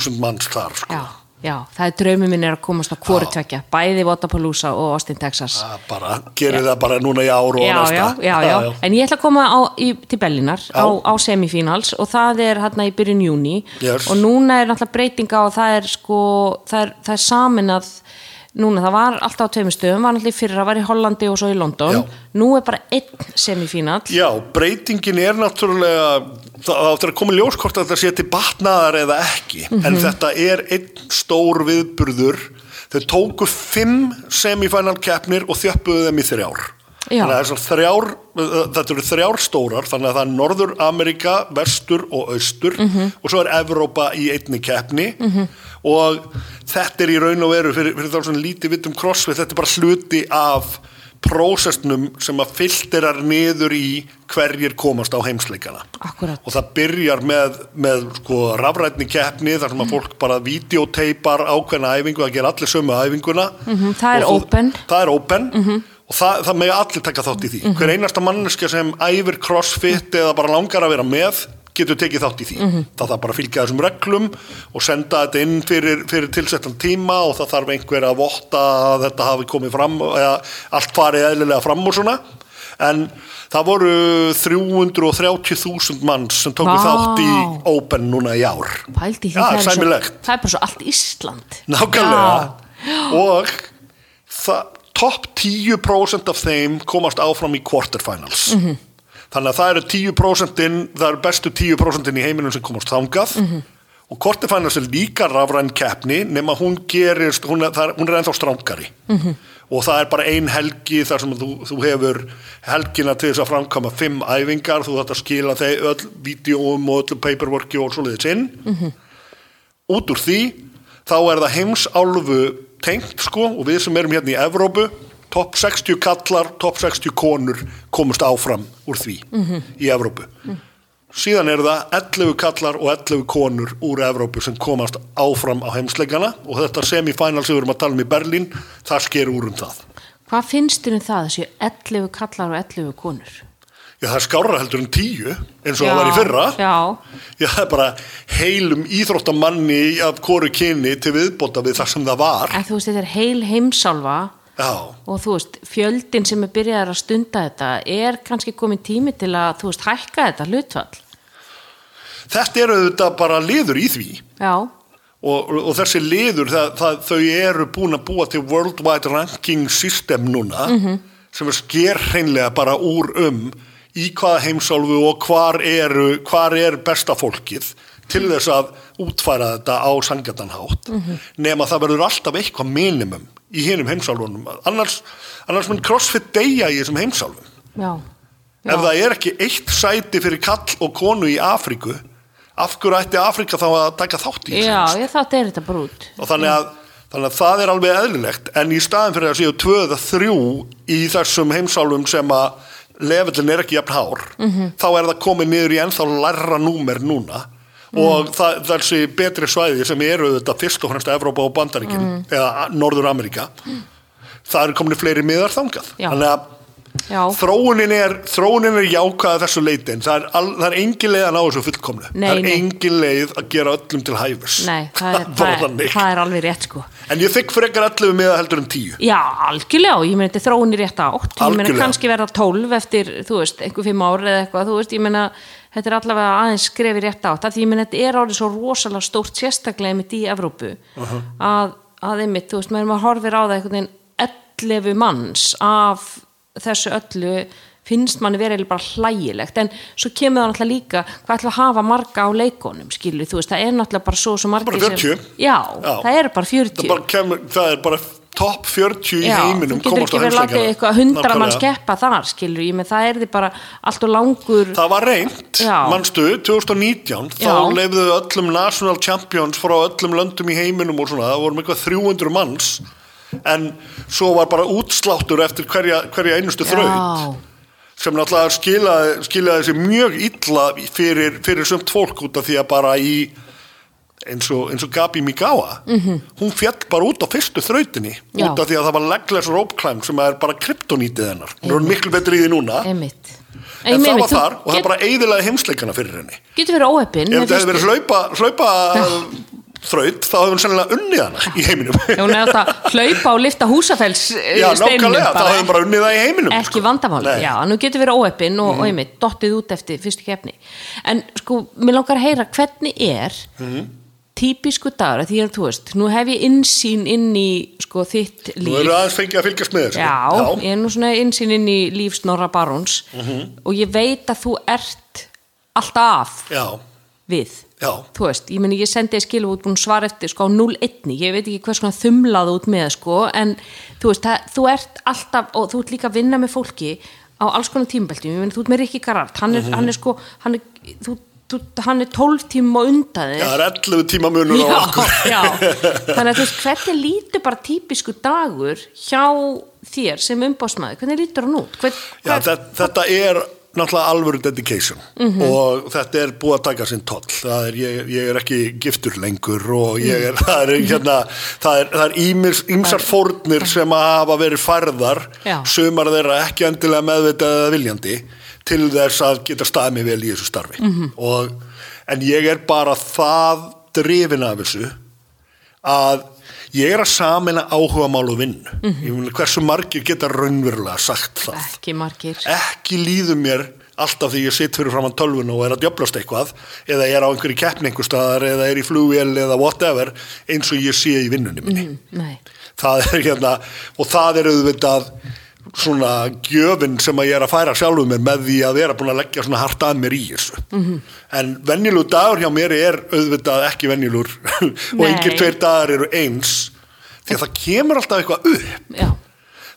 Speaker 2: 50-60.000 manns þar, sko.
Speaker 1: Já, já, það er draumi minn er að komast á hvori tvekja Bæði Vatapalooza og Austin, Texas
Speaker 2: Það bara, gerir það bara núna í ár og
Speaker 1: já,
Speaker 2: næsta.
Speaker 1: já, já, já, En ég ætla að koma á, í, til Bellinar á, á semifínals og það er hérna í byrjun júni
Speaker 2: Yes.
Speaker 1: og núna er náttúrulega breytinga og það er sko, það er, það er samin að núna, það var alltaf á tveimur stöðum var náttúrulega í fyrra, var í Hollandi og svo í London
Speaker 2: Já.
Speaker 1: Nú er bara einn semifínal
Speaker 2: Já, breytingin er náttúrulega það áttur að koma í ljós hvort að þetta sé til batnaðar eða ekki en þetta er einn stór viðburður þau tóku fimm semifinal keppnir og þjöppuðu þeim í þrjár
Speaker 1: Já.
Speaker 2: þannig að þessar þrjár uh, þetta eru þrjár stórar þannig að það er Norður Amerika, Vestur og Austur og svo er Evrópa í einni keppni og þetta er í raun og veru fyrir, fyrir þá svona lítið vitt um crossfit þetta er bara hluti af prósessnum sem að filterar niður í hverjir komast á heimsleikana
Speaker 1: Akkurat.
Speaker 2: og það byrjar með, með sko, rafrætni keppni þar sem að fólk bara videoteipar ákveðna æfingu það ger allir sömu æfinguna
Speaker 1: Mhm, það er
Speaker 2: Og þú-
Speaker 1: open.
Speaker 2: það er open og það, það mega allir taka þátt í því hver einasta manneska sem æfir crossfit eða bara langar að vera með getur tekið þátt í því mm -hmm. það þarf bara að fylgja þessum reglum og senda þetta inn fyrir, fyrir tilsettan tíma og það þarf einhver að votta að þetta hafi komið fram eða allt farið eðlilega fram og svona en það voru 330.000 manns sem tóku
Speaker 1: Vá.
Speaker 2: þátt í Open núna í ár
Speaker 1: Pældi í því
Speaker 2: Já,
Speaker 1: það er svo-
Speaker 2: sæmilegt.
Speaker 1: Það er bara svo allt Ísland
Speaker 2: Nákvæmlega og það, topp 10% af þeim komast áfram í quarterfinals þannig að það eru 10% það eru bestu 10% í heiminum sem komast þangað og quarterfinals er líka rafræn keppni nema hún gerist, hún er, það er, hún er ennþá strángari og það er bara ein helgi þar sem þú, þú hefur helgina til þess að framkama fimm æfingar þú þetta skila þeir öll vídjóum og öllu paperworki og svoleiðis inn út úr því þá er það heimsálfu tengt sko og við sem erum hérna í Evrópu topp 60 kallar, topp 60 konur komust áfram úr því í Evrópu síðan eru það 11 kallar og 11 konur úr Evrópu sem komast áfram á heimsleikana og þetta semifinal sem við erum að tala um í Berlín það sker úr um það
Speaker 1: Hvað finnst þér um það þessi 11 kallar og 11 konur?
Speaker 2: Já, það er skárra heldur en 10 eins og það var í fyrra
Speaker 1: Já,
Speaker 2: Já, það er bara heilum íþróttamanni af koru kyni til viðbóta við það sem það var
Speaker 1: en þú veist þetta er heil heimsálfa
Speaker 2: Já,
Speaker 1: og þú veist fjöldin sem er byrjaðar að stunda þetta er kannski komin tími til að þú veist hækka þetta hlutfall
Speaker 2: Þetta eru auðvitað bara liður í því
Speaker 1: Já,
Speaker 2: og, og þessi liður, það, það, þau eru búin að búa til Worldwide Ranking System núna sem er sker hreinlega bara úr um í hvaða heimsálfu og hvar, eru, hvar er besta fólkið til þess að útfæra þetta á sangatanhátt nema það verður alltaf eitthvað minimum í hinum heimsálfunum annars, annars mun crossfit deyja í þessum heimsálfum
Speaker 1: já, já.
Speaker 2: Ef það er ekki eitt sæti fyrir kall og konu í Afríku, af hverju ætti Afríka þá að taka þátt í þessu?
Speaker 1: Já, ég þátt er þetta bara út
Speaker 2: Og þannig að, þannig að það er alveg eðlilegt, en í staðin fyrir að séu tvö eða þrjú í þessum heimsálum sem að lefellin er ekki jafn hár,
Speaker 1: Mhm.
Speaker 2: þá er það komið niður í ennþá lærra númer núna
Speaker 1: Mhm.
Speaker 2: og það, þessi betri svæði sem eru þetta fyrst og fremst Evrópa og Bandaríkin
Speaker 1: Mhm.
Speaker 2: eða Norður-Ameríka, það eru komin fleiri miðar þangað.
Speaker 1: Já.
Speaker 2: Þannig að
Speaker 1: Já,
Speaker 2: þróunin er, þróunin er jákvæða þessu leitin, það er, al, það er engin leið að ná þessu fullkomnu,
Speaker 1: Nei,
Speaker 2: það er
Speaker 1: nei.
Speaker 2: engin leið að gera öllum til hæfis
Speaker 1: nei, það er,
Speaker 2: Bara
Speaker 1: það, er,
Speaker 2: þannig.
Speaker 1: það er alveg rétt sko
Speaker 2: en ég þykk frekar 11 með heldur en 10
Speaker 1: Já, algjörlega og ég meina þetta er þróun í rétt átt ég meina
Speaker 2: Algjörlega.
Speaker 1: kannski verða 12 eftir, þú veist, einhver fimm ári eða eitthvað, þú veist, ég meina þetta er allavega aðeins skrefi rétt átt af því ég meina þetta er árið svo rosalega stórt sérstaklega einmitt í Evrópu að, að einmitt, þú veist, maður maður horfir á það einhvern veginn 11 manns af þessu öllu finnst manni verið eiginlega bara hlægilegt en svo kemur það náttúrulega líka hvað ætlum við að hafa marga á leikonum skilur, þú veist, það er náttúrulega bara svo, svo margir
Speaker 2: Bara 40.
Speaker 1: sem, já,
Speaker 2: Já.
Speaker 1: það eru bara 40
Speaker 2: það, bara kemur, það er bara topp 40 í heiminum
Speaker 1: þú getur
Speaker 2: komast á
Speaker 1: ekki verið látið
Speaker 2: heimsækjana.
Speaker 1: eitthvað hundra mann
Speaker 2: Nákvæmlega.
Speaker 1: skeppa þar skilur ég með það er því bara allt og langur
Speaker 2: það var reynd,
Speaker 1: Já.
Speaker 2: manstu 2019, þá
Speaker 1: Já.
Speaker 2: leifðu öllum national champions frá öllum löndum í heiminum og svona, það vorum eitthvað 300 manns en svo var bara útsláttur eftir hverja, hverja einustu þraut sem náttúrulega skilaði, skilaði sér mjög illa fyrir, fyrir sumt fólk út af því að bara í eins og, eins og Gabi Migawa -hmm. hún fjall bara út á fyrstu þrautinni
Speaker 1: Mhm. Já.
Speaker 2: út af því að það var legless rope climb sem er bara kryptonítið hennar hún er miklu betri í því núna
Speaker 1: Já, einmitt
Speaker 2: en
Speaker 1: Ég meina,
Speaker 2: það var
Speaker 1: þú
Speaker 2: þar og það
Speaker 1: get,
Speaker 2: er bara eigðilega heimsleikana fyrir henni
Speaker 1: getur verið óheppin
Speaker 2: ef þetta hefði verið hlaupa, hlaupa þraut þá hefði hún sennilega unnið hana í heiminum
Speaker 1: hún er alltaf hlaupa og lifta húsafells
Speaker 2: Já, nákvæmlega, þá hefði hún bara unnið það í heiminum sko.
Speaker 1: ekki vandamál,
Speaker 2: Nei. Mm.
Speaker 1: já, nú getur verið óeppin og, og einmitt, dottið út eftir fyrstu kefni en sko, mér langar að heyra hvernig er
Speaker 2: Mhm.
Speaker 1: típisku dagur, af því að þú veist nú hef ég innsýn inn í sko, þitt líf
Speaker 2: Nú eru aðeins fengið að fylgjast með þessu
Speaker 1: Já, ég er nú svona einsinn inn í líf Snorra Baróns og ég veit að þú ert alltaf
Speaker 2: já,
Speaker 1: við.
Speaker 2: já.
Speaker 1: Þú veist, ég meni ég sendi að skilu út búin svar eftir sko á 0-1, ég veit ekki hvers konar þumlaðu út með sko, en þú veist, það, þú ert alltaf, og þú ert líka að vinna með fólki á alls konar tímbeltum, ég meni þú ert með Rikki Garart, hann er, hann er sko, hann er, þú, þú, hann er 12 tíma á undan þér
Speaker 2: Já, það er 11 tíma munur á
Speaker 1: já,
Speaker 2: okkur.
Speaker 1: já. þannig að þú veist hvernig lítur bara típisku dagur hjá þér sem umbásmaður hvernig lítur hann út Hvern,
Speaker 2: Já, þetta, þetta er náttúrulega alvöru dedication
Speaker 1: Mhm.
Speaker 2: og þetta er búið að taka sinn toll. Það er, ég, ég er ekki giftur lengur og ég
Speaker 1: Mm.
Speaker 2: er, það
Speaker 1: Mhm.
Speaker 2: er, hérna, það er, það er ímis, ímsar fórnir sem að hafa verið færðar,
Speaker 1: Já.
Speaker 2: sumar þeirra ekki endilega meðvitað eða viljandi til þess að geta staðið mig vel í þessu starfi
Speaker 1: Mhm.
Speaker 2: -hmm. og, en ég er bara það drifin af þessu að ég er að samina áhuga mál og vinnu ég meina hversu margir geta raunverulega sagt það
Speaker 1: Mhm. ekki margir.
Speaker 2: ekki líðu mér alltaf því ég sitt fyrir framann tölvun og er að djöblast eitthvað eða ég er á einhverju keppni einhver staðar eða er í flugvél eða whatever eins og ég sé í vinnunni minni
Speaker 1: Nei,
Speaker 2: það er hérna og það er auðvitað svona gjöfin sem að ég er að færa sjálfum mér með því að vera búin að leggja svona hart að mér í þessu -hmm. en venjulur dagur hjá mér er auðvitað ekki venjulur og
Speaker 1: Nei.
Speaker 2: engir tveir dagar eru eins því að það kemur alltaf eitthvað upp
Speaker 1: já,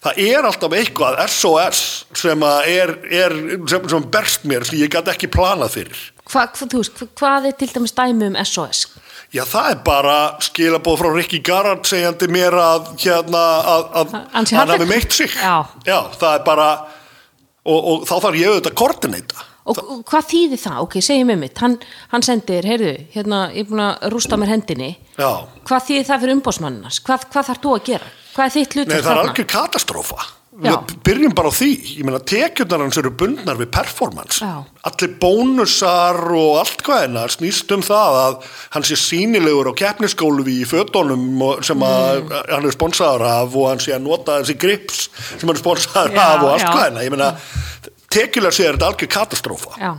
Speaker 2: það er alltaf eitthvað SOS sem að er, er sem, sem berst mér sem ég gæti ekki planað fyrir
Speaker 1: Hva, hva, þú veist, hva, hvað er til dæmis dæmi um SOS?
Speaker 2: já það er bara skilabóð frá Rikki Garrard segjandi mér að hérna að, að
Speaker 1: Ha- hann sé
Speaker 2: hann
Speaker 1: handtekinn?
Speaker 2: hafi meitt sig
Speaker 1: Já.
Speaker 2: það er bara og, og þá þarf ég auðvitað að koordinata
Speaker 1: Og og hvað þýðir það? Ok, segjum mér mitt, hann, hann sendir, heyrðu, hérna, ég er búin að rústa mér hendinni.
Speaker 2: já
Speaker 1: Hvað þýðir það fyrir umbósmanninas? Hvað, hvað þarf þú að gera? Hvað er þitt
Speaker 2: Nei,
Speaker 1: hlutur
Speaker 2: það er algjör katastrófa
Speaker 1: Já.
Speaker 2: Við byrjum bara á því, ég meina tekjurnar hans eru bundnar við performance
Speaker 1: Já.
Speaker 2: allir bónusar og allt hvað hennar snýst um það að hann sé sínilegur á keppnisskólu í fötunum og- sem að
Speaker 1: Mm.
Speaker 2: hann er sponsaður af og hann sé að nota þessi grips sem hann er sponsaður
Speaker 1: Já,
Speaker 2: af og allt
Speaker 1: já.
Speaker 2: hvað hennar ég meina, tekjulega sé er þetta algjör katastrófa
Speaker 1: Já,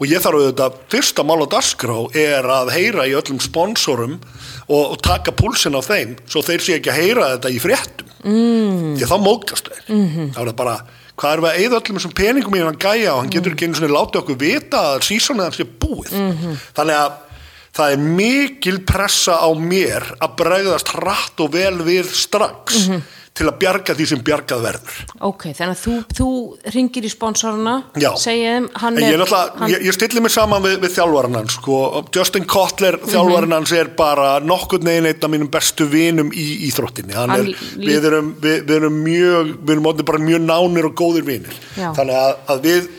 Speaker 2: og ég þarf auðvitað, fyrsta mál á dasgrá er að heyra í öllum sponsorum og, og taka púlsinn á þeim svo þeir sé ekki að heyra þetta í fréttum mm. því að þá mókast þeir mm. þá er það bara, hvað erum við að eyða öllum þessum peningum í hann gæja og hann getur ekki einu svona látið okkur vita að sísonið hans er búið -hmm. þannig að það er mikil pressa á mér að bregðast hratt og vel við strax til að bjarga því sem bjargað verður
Speaker 1: ok, þannig að þú, þú ringir í sponsoruna,
Speaker 2: Já.
Speaker 1: segir þeim, hann
Speaker 2: En
Speaker 1: er...
Speaker 2: ég, náttúrulega-
Speaker 1: hann,
Speaker 2: ég, ég stilli mig saman við, við þjálfarinn hans sko. Justin Kotler,
Speaker 1: Mhm.
Speaker 2: mm þjálfarinn hans er bara nokkurn veginn einn af mínum bestu vinum í íþróttinni Hann
Speaker 1: Hann
Speaker 2: er,
Speaker 1: lí-
Speaker 2: við, erum, við, við erum mjög við erum orðnir bara mjög nánir og góðir vinir
Speaker 1: Já.
Speaker 2: þannig að, að við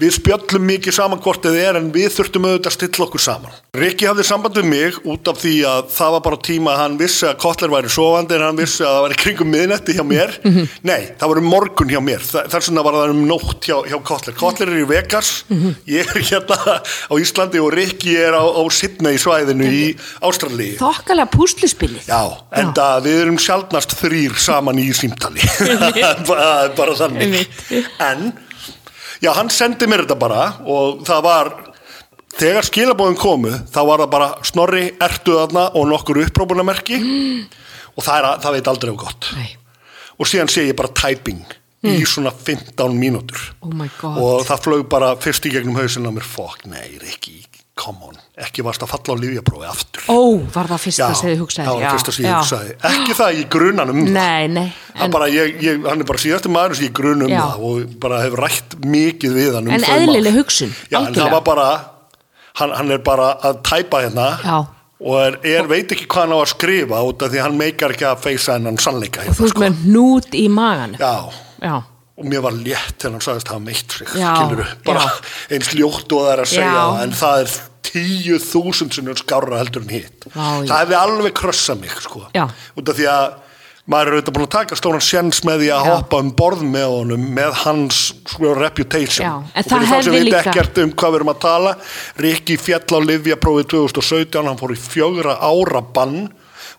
Speaker 2: við spjöllum mikið saman hvort þið er en við þurftum auðvitað að stilla okkur saman Rikki hafði samband við mig út af því að það var bara tíma að hann vissi að Kotler væri sofandi en hann vissi að það væri kringum miðnætti hjá mér nei, það var um morgun hjá mér Þa, þess vegna var það um nótt hjá, hjá Kotler Kotler er í Vegas, ég er hérna á Íslandi og Rikki er á, á Sydney svæðinu í Ástralíu
Speaker 1: Þokkalega púsluspilið.
Speaker 2: Já, enda við erum sjálfnast þrýr saman í símtali bara, bara þannig en, já, hann sendi mér þetta bara og það var þegar skilabóðin komu, þá var það bara snorri, ertu þarna og nokkur upprópunamerki og það, er, að- það veit aldrei of gott
Speaker 1: Nei,
Speaker 2: og síðan sé ég bara typing í svona 15 mínútur
Speaker 1: oh my god.
Speaker 2: og það flög bara fyrst í gegnum hausinn á mér, fuck, nei, ekki come on, ekki varst að falla á lífjaprófi aftur
Speaker 1: Ó, var það fyrsta
Speaker 2: Já,
Speaker 1: sem þið hugsaði?
Speaker 2: það var það fyrsta sem ég
Speaker 1: já.
Speaker 2: hugsaði ekki það í grunanum
Speaker 1: Nei, nei,
Speaker 2: en,
Speaker 1: en,
Speaker 2: bara, ég, ég, hann er bara síðasti maður sem ég grun um
Speaker 1: Já.
Speaker 2: það og bara hef rætt mikið við hann um
Speaker 1: en
Speaker 2: þau mál.
Speaker 1: eðlileg hugsun,
Speaker 2: já, en það var bara hann, hann er bara að tæpa hérna
Speaker 1: Já.
Speaker 2: og er, er, veit ekki hvað hann á að skrifa út af því að hann meikar ekki að feysa hennan sannleika
Speaker 1: Þú
Speaker 2: hérna,
Speaker 1: veist með hnút í maganu.
Speaker 2: já,
Speaker 1: já.
Speaker 2: og mér var létt þegar hann sagðist að hafa meitt sig
Speaker 1: Já,
Speaker 2: skilurðu, bara eins ljótt og það er að segja
Speaker 1: Já.
Speaker 2: það, en það er tíu þúsund sem er skárra heldur en hitt
Speaker 1: Vá, já.
Speaker 2: það hefði alveg krossað mig sko.
Speaker 1: Já.
Speaker 2: út af því að maður er auðvitað búin að taka stóran sjens með því að
Speaker 1: Já.
Speaker 2: hoppa um borð með honum með hans sko, reputation
Speaker 1: Já, en
Speaker 2: og
Speaker 1: það
Speaker 2: fyrir þá sem
Speaker 1: hefði
Speaker 2: veit
Speaker 1: líka-
Speaker 2: ekkert um hvað við erum að tala Rikki fjall á Livjaprófi 2017 hann fór í fjögra ára bann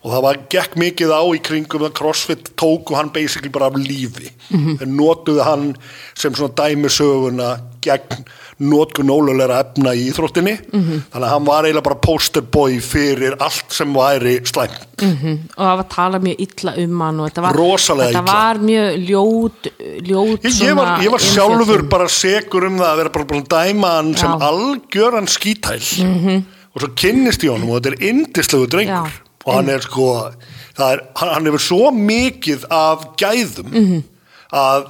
Speaker 2: og það var, gekk mikið á í kringum að CrossFit tóku hann basically bara af lífi
Speaker 1: Mhm.
Speaker 2: en notuðu hann sem svona dæmisöguna gegn notkun ólulega efna í íþróttinni
Speaker 1: Mhm.
Speaker 2: þannig að hann var eiginlega bara posterboy fyrir allt sem væri slæmt
Speaker 1: og það var talað mjög illa um hann og þetta var,
Speaker 2: Rosalega
Speaker 1: þetta
Speaker 2: illa.
Speaker 1: var mjög ljót, ljót
Speaker 2: Ég, ég, var,
Speaker 1: svona
Speaker 2: ég var sjálfur
Speaker 1: umfjöllun.
Speaker 2: bara segur um það að vera bara búin að dæma hann sem algjöran skítæl og svo kynnist ég honum og þetta er indislegu drengur
Speaker 1: Mhm. Já.
Speaker 2: og hann er sko það er, hann, hann hefur svo mikið af gæðum
Speaker 1: Mhm.
Speaker 2: að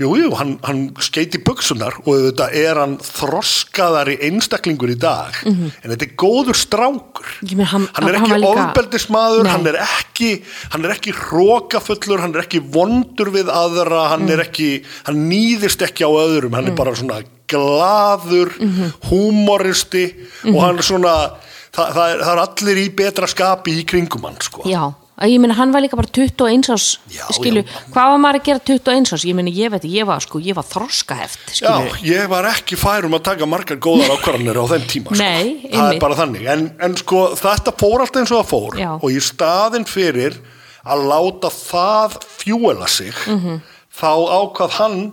Speaker 2: jú, jú, hann, hann skeiti buksunar og þetta er hann þroskaðari einstaklingur í dag en þetta er góður strákur
Speaker 1: Mhm. Ég meina, hann-
Speaker 2: hann er
Speaker 1: hann
Speaker 2: ekki
Speaker 1: var líka-
Speaker 2: ofbeldismadur
Speaker 1: Nei.
Speaker 2: hann er ekki, hann er ekki rókafullur, hann er ekki vondur við aðra, hann
Speaker 1: Mm.
Speaker 2: er ekki hann nýðist ekki á öðrum, hann er bara svona glaður
Speaker 1: Mhm.
Speaker 2: húmoristi og hann er svona það, það, er, það er allir í betra skapi í kringum hann sko
Speaker 1: já, að ég meina hann var líka bara 21 árs
Speaker 2: Já,
Speaker 1: skilu,
Speaker 2: já.
Speaker 1: hvað var maður að gera 21 árs ég meina ég veit, ég var sko, ég var þroskaheft
Speaker 2: Já,
Speaker 1: skilu,
Speaker 2: ég var ekki færum að taka margar góðar ákvarðanir á þeim tíma sko.
Speaker 1: Nei,
Speaker 2: það
Speaker 1: einmitt.
Speaker 2: er bara þannig en, en sko þetta fór allt eins og það fór
Speaker 1: Já.
Speaker 2: og í staðin fyrir að láta það fjúela sig
Speaker 1: Mhm.
Speaker 2: þá ákvað hann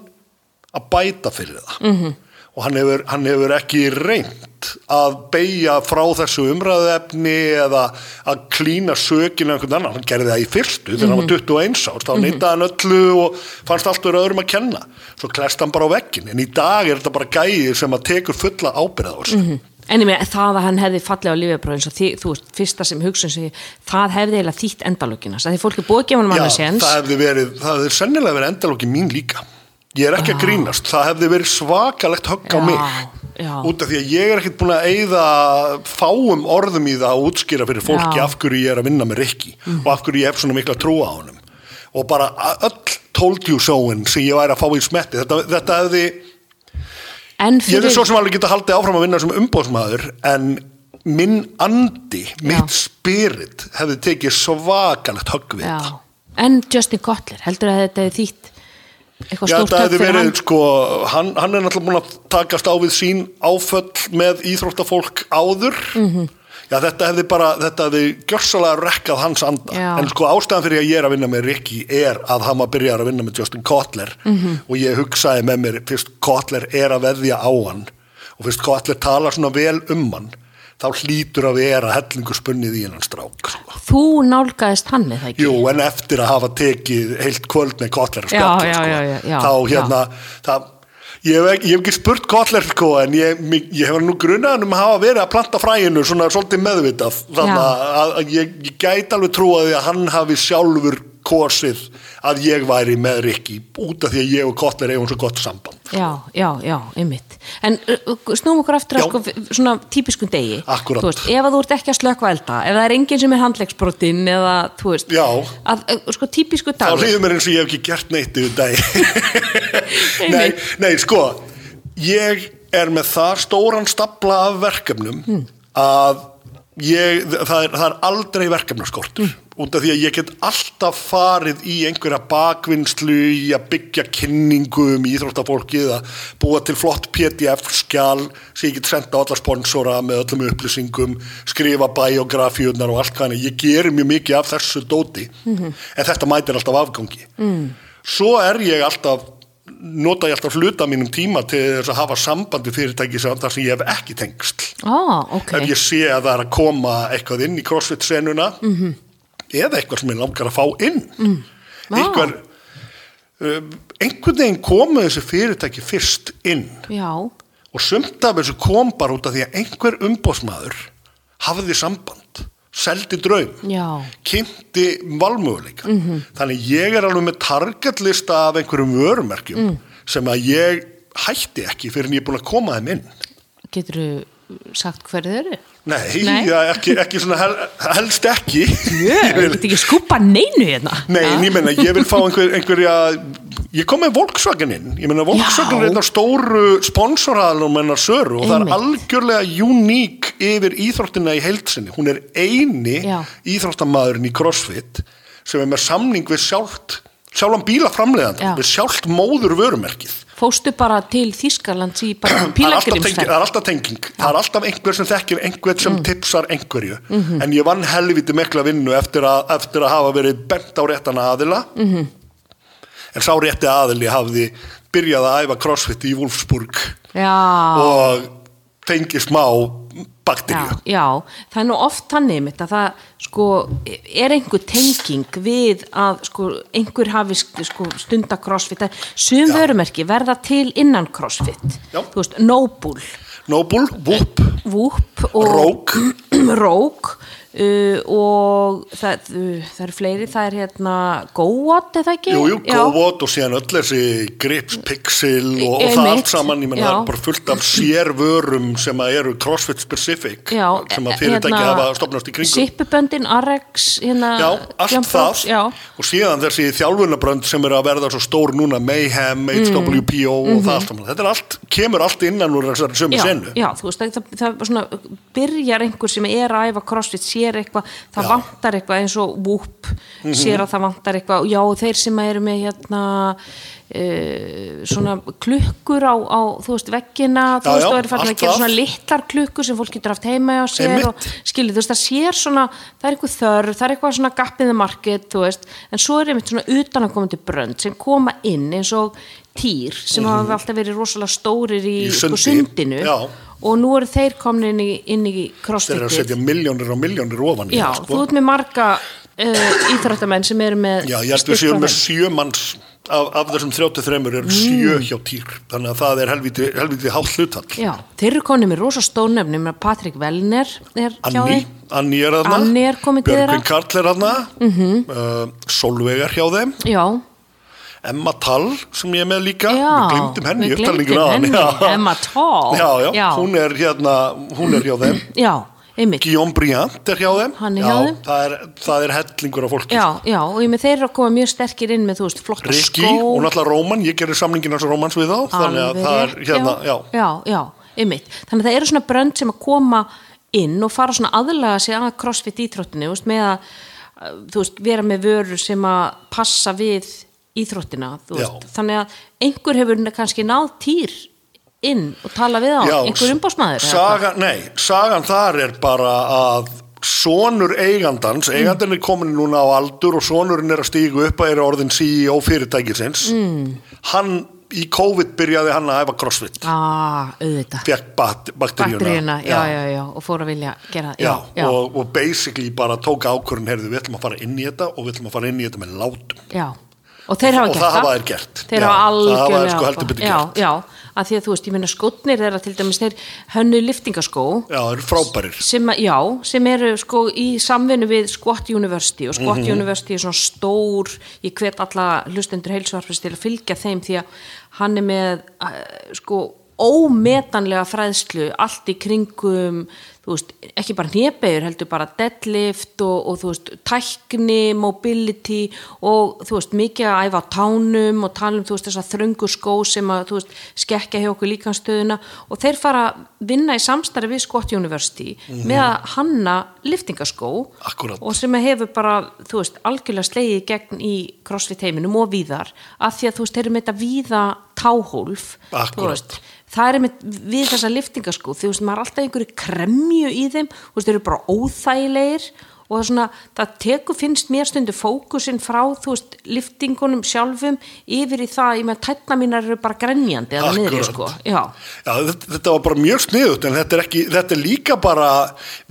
Speaker 2: að bæta fyrir það
Speaker 1: Mhm.
Speaker 2: -hmm. og hann hefur, hann hefur ekki reynt að beigja frá þessu umræðefni eða að klína sökinu einhvern annan, hann gerði það í fyrstu þegar
Speaker 1: Mhm.
Speaker 2: hann var 21 árs, þá neytaði hann öllu og fannst allt verið öðrum að kenna svo klest hann bara á veggin, en í dag er þetta bara gæði sem að tekur fulla ábyrða á
Speaker 1: Mhm.
Speaker 2: þessu
Speaker 1: en ég meina það að hann hefði fallið á lífjabróð eins og því, þú veist, fyrsta sem hugsun sig, það hefði eiginlega þýtt endalökina því fólk er búið að gefa hann manna séns
Speaker 2: það hefði verið, það hefði sennilega verið endalóki mín líka. Ég er ekki að grínast, það hefði verið svakalegt högg á
Speaker 1: Já,
Speaker 2: mig.
Speaker 1: já.
Speaker 2: Út af því að ég er ekkert búin að eyða fáum orðum í það að útskýra fyrir
Speaker 1: Já.
Speaker 2: fólki
Speaker 1: Mm.
Speaker 2: af hverju ég er að vinna með Rikki og af hverju ég hef svona mikla trúa á honum. Og bara a- öll told you so-in sem ég væri að fá í smetti, þetta, þetta hefði,
Speaker 1: en
Speaker 2: ég
Speaker 1: fyrir,
Speaker 2: hefði svo sem alveg geta haldið áfram að vinna sem umbóðsmaður en minn andi, mitt spirit hefði tekið svakalegt högg við
Speaker 1: já, en Justin Gottler heldur að þetta hefði þýtt eitthvað
Speaker 2: Já,
Speaker 1: stórt högg
Speaker 2: þetta hefði
Speaker 1: fyrir
Speaker 2: verið,
Speaker 1: hann
Speaker 2: sko, hann, hann er náttúrulega búin að takast á við sín áföll með íþróttafólk áður.
Speaker 1: Mhm.
Speaker 2: -hmm. Já, þetta hefði bara, þetta hefði gjörsalega rekkað hans anda.
Speaker 1: Já.
Speaker 2: En sko, ástæðan fyrir að ég er að vinna með Rikki er að hann var byrjar að vinna með Justin Kotler
Speaker 1: Mhm.
Speaker 2: -hmm. og ég hugsaði með mér, fyrst Kotler er að veðja á hann og fyrst Kotler talar svona vel um hann, þá hlýtur að vera hellingu spunnið í hennan strák. sko.
Speaker 1: þú nálgaðist hann með það ekki
Speaker 2: Jú, en eftir að hafa tekið heilt kvöld með Kotler að
Speaker 1: Já,
Speaker 2: spjalla,
Speaker 1: já,
Speaker 2: sko,
Speaker 1: já, já, já,
Speaker 2: þá
Speaker 1: já.
Speaker 2: hérna, það, ég, hef, ekki- ég hef ekki spurt Kotler, sko, en ég, mig- ég hef nú grunaðan um að hafa verið að planta fræinu svona svolítið meðvitað, þannig
Speaker 1: Já.
Speaker 2: að, að, að ég, ég gæti alveg trúaði að hann hafi sjálfur kosið að ég væri með Rikki, út af því að ég og Kotler eigum svo gott samband.
Speaker 1: Já, já, já, einmitt. En uh, uh, snúum okkur aftur
Speaker 2: Já.
Speaker 1: að sko, f- svona típiskun degi.
Speaker 2: Akkúrat.
Speaker 1: Þú veist, ef að þú ert ekki að slökva elda, ef það er enginn sem er handlegsbrotinn eða, þú veist,
Speaker 2: Já.
Speaker 1: að, uh, sko, típisku
Speaker 2: Þá
Speaker 1: dagur.
Speaker 2: líður mér eins og ég hef ekki gert neitt yfir dag nei,
Speaker 1: Einmitt.
Speaker 2: nei, sko Ég er með það stóran stapla af verkefnum að ég, það, er, það er aldrei verkefnaskortur út af því að ég get alltaf farið í einhverja bakvinnslu í að byggja kynningu um íþróttafólkið að búa til flott pdf-skjal sem ég get senda á alla sponsora með öllum upplýsingum skrifa biografíunar og allt hvaðan ég gerir mjög mikið af þessu dóti en þetta mætir alltaf afgangi mm. svo er ég alltaf nota ég alltaf hluta af mínum tíma til þess að hafa sambandi fyrirtæki sem þar sem ég hef ekki tengst
Speaker 1: Á, ok.
Speaker 2: ef ég sé að það er að koma eitthvað inn í crossfit senuna -hmm. eða eitthvað sem ég langar að fá inn mm.
Speaker 1: Vá.
Speaker 2: einhver um, einhvern veginn komu þessi fyrirtæki fyrst inn
Speaker 1: Já,
Speaker 2: og sumt af þessu kom bara út af því að einhver umbóðsmaður hafði samband, seldi draum
Speaker 1: já,
Speaker 2: kynnti valmöguleika þannig ég er alveg með targetlista af einhverjum vörumerkjum sem að ég hætti ekki fyrir en ég er búin að koma þeim inn
Speaker 1: getur þú sagt hverju þau eru?
Speaker 2: Nei,
Speaker 1: Nei.
Speaker 2: já, ekki, ekki svona hel, helst ekki Ég
Speaker 1: Ég
Speaker 2: vil-
Speaker 1: get ekki skupa neinu hérna.
Speaker 2: Nei,
Speaker 1: Ha?
Speaker 2: en ég meina, ég vil fá einhver, einhverja ég kom með Volkswagen inn ég meina, Volkswagen
Speaker 1: Já.
Speaker 2: er þetta stóru sponsoraðalum hennar Söru og það
Speaker 1: Einmitt.
Speaker 2: er algjörlega uník yfir íþróttina í heilsinni hún er eini
Speaker 1: Já.
Speaker 2: íþróttamaðurinn í CrossFit sem er með samning við sjálft sjálfan bílaframleðan,
Speaker 1: Já.
Speaker 2: við sjálft móður vörumerkið
Speaker 1: Fóstu bara til Þískaland í bara
Speaker 2: Það er alltaf tenging-
Speaker 1: pílagrimsferð.
Speaker 2: það er alltaf tenging það er alltaf einhver sem þekkir einhver sem tipsar einhverju en ég vann helviti mikla vinnu eftir að, eftir að hafa verið bent á réttan aðila -hmm. en sá rétti aðili hafði byrjað að æfa crossfit í Wolfsburg
Speaker 1: Já.
Speaker 2: og fengi smá bakteríu
Speaker 1: já, já, það er nú oft þannig mitt að það sko, er einhver tenging við að sko, einhver hafi sko, stunda crossfit Það- sum
Speaker 2: Já.
Speaker 1: vörumerki verða til innan crossfit
Speaker 2: Já.
Speaker 1: þú veist, Noble,
Speaker 2: Noble, Whoop,
Speaker 1: Whoop og
Speaker 2: Rók
Speaker 1: Rók uh, og það, uh, það eru fleiri það er hérna GoWatt eða ekki?
Speaker 2: Jú, jú,
Speaker 1: Já.
Speaker 2: GoWatt og síðan öll þessi Grips, Pixel og, og það
Speaker 1: Einmitt.
Speaker 2: allt saman, ég menn það
Speaker 1: Já.
Speaker 2: er bara fullt af sérvörum sem að eru CrossFit specific
Speaker 1: Já,
Speaker 2: sem að fyrirtæki
Speaker 1: hérna,
Speaker 2: hafa stopnast í kringum
Speaker 1: Sippuböndin, Arrex hérna,
Speaker 2: Já, allt
Speaker 1: Jump
Speaker 2: það
Speaker 1: Ropes, já.
Speaker 2: og síðan þessi þjálfunabrönd sem eru að verða svo stór núna Mayhem,
Speaker 1: Mm.
Speaker 2: HWPO og það allt saman, þetta er allt, kemur allt innan úr þessari
Speaker 1: Mhm.
Speaker 2: sömu
Speaker 1: já,
Speaker 2: senu
Speaker 1: já, þú veist, það, það, það er svona, byrjar einhver sem er að æfa crossfit sé sér eitthvað það vantar eitthvað eins og Whoop
Speaker 2: Mhm.
Speaker 1: sér að það vantar eitthvað og já þeir sem eru með hérna uh, svona klukkur á, á þú veist veggina þú
Speaker 2: Já,
Speaker 1: veist
Speaker 2: já,
Speaker 1: og eru farin
Speaker 2: allt
Speaker 1: að gera
Speaker 2: það.
Speaker 1: svona litlar klukkur sem fólk getur haft heima á sér
Speaker 2: Einmitt.
Speaker 1: og skilur þú veist það sér svona það er eitthvað þörf, það er eitthvað svona gappiði markið þú veist en svo er einmitt svona utanakomandi brönd sem koma inn eins og týr sem
Speaker 2: Mhm.
Speaker 1: hafa alltaf verið rosalega stórir í,
Speaker 2: Í
Speaker 1: sko,
Speaker 2: sundi.
Speaker 1: sundinu
Speaker 2: Já.
Speaker 1: og nú eru þeir komin inn í, inn í
Speaker 2: þeir eru að
Speaker 1: crossfitið
Speaker 2: setja um sko. miljónir og miljónir ofan í
Speaker 1: Já,
Speaker 2: það,
Speaker 1: þú ert með marga uh, íþróttamenn sem eru með
Speaker 2: Já, ég held við
Speaker 1: styrk
Speaker 2: séum
Speaker 1: frá
Speaker 2: með
Speaker 1: þeim.
Speaker 2: sjö manns af, af þessum 33 eru sjö hjá týr þannig að það er helviti, helviti hátt hlutall
Speaker 1: Mm. Já, þeir eru komin með rosa stónefni með Patrik Velner er hjá
Speaker 2: Anni,
Speaker 1: þeim
Speaker 2: Anni er aðna
Speaker 1: Anni er komin til
Speaker 2: Björgvin
Speaker 1: þeirra. Mhm.
Speaker 2: Karl er aðna mm Solveig er hjá þeim
Speaker 1: Já,
Speaker 2: Emma Tall sem ég er með líka
Speaker 1: já
Speaker 2: við glimtum henni,
Speaker 1: við
Speaker 2: upptalningur
Speaker 1: gleymdum
Speaker 2: aðan
Speaker 1: henni, Emma Tall
Speaker 2: já, já, hún er hérna hún er hjá þeim
Speaker 1: Já, einmitt
Speaker 2: Guillaume Briand er hjá þeim
Speaker 1: Hann er
Speaker 2: já,
Speaker 1: hjá þeim.
Speaker 2: Það, er, það er hellingur af fólki
Speaker 1: Já, já, og ég með þeir eru að koma mjög sterkir inn með, þú veist, flotta
Speaker 2: Rikki
Speaker 1: skó
Speaker 2: og náttúrulega Róman, ég gerir samningin hans Rómans við þá þannig að
Speaker 1: Alveg
Speaker 2: það er
Speaker 1: rétt,
Speaker 2: hérna, já,
Speaker 1: já, já, einmitt þannig að það eru svona brönd sem að koma inn og fara svona aðlaga sig að crossfit íþróttinu, þú veist, með að uh, þú veist, vera með vörur sem að passa við íþróttina þú
Speaker 2: Já.
Speaker 1: veist, þannig að einhver hefur kannski náð týr inn og tala við á, einhver umbásmaður
Speaker 2: saga, Nei, sagan þar er bara að sonur
Speaker 1: Mm.
Speaker 2: eigandans, eigandinn er komin núna á aldur og sonurinn er að stígu upp að er orðin CEO fyrirtækisins mm. hann í COVID byrjaði hann að æfa crossfit
Speaker 1: ah, auðvitað,
Speaker 2: fekk bat, bakteríuna,
Speaker 1: bakteríuna já, já, já, og fór að vilja gera það
Speaker 2: Já, Og, og basically bara tók ákvörðin heyrðu, við ætlum að fara inn í þetta og við ætlum að fara inn í þetta með látum
Speaker 1: Já, og þeir hafa
Speaker 2: Og
Speaker 1: gert
Speaker 2: það hafa þeir gert.
Speaker 1: Þeir
Speaker 2: Já,
Speaker 1: hafa
Speaker 2: það hafa
Speaker 1: algjörlega
Speaker 2: þeir sko heldur betur
Speaker 1: já,
Speaker 2: gert.
Speaker 1: Já, að því að þú veist, ég meina skotnir þeirra til dæmis þeir hönnu liftingaskó
Speaker 2: Já, það eru frábærir
Speaker 1: sem, að- já, sem eru sko í samvinnu við Squat University og Squat
Speaker 2: Mhm.
Speaker 1: University er svona stór ég hvet alla hlustendur heilsuarfis til að fylgja þeim því að hann er með uh, sko ómetanlega fræðslu allt í kringum þú veist, ekki bara hnepegur heldur bara deadlift og, og þú veist tækni, mobility og þú veist, mikið að æfa á tánum og tala um þú veist þessa þröngu skó sem að þú veist, skekja hjá okkur líkanstöðuna og þeir fara að vinna í samstarfi við Scott University með að hanna liftingaskó
Speaker 2: Akkúrat.
Speaker 1: og sem að hefur bara, þú veist, algjörlega slegið í gegn í crossfit heiminum og víðar af því að þú veist, þeir eru með þetta víða táhólf, þú
Speaker 2: Akkúrat.
Speaker 1: veist það er með, við þessa liftingaskó þú veist, maður er alltaf í einhverju kremju í þeim þú veist, þeir eru bara óþægilegir og það, er svona, það tekur finnst mér stundu fókusinn frá, þú veist, liftingunum sjálfum yfir í það, ég með tætna mínar eru bara grenjandi eða niður,
Speaker 2: Akkúrat.
Speaker 1: sko já,
Speaker 2: Já, þetta, þetta var bara mjög sniðut en þetta er, ekki, þetta er líka bara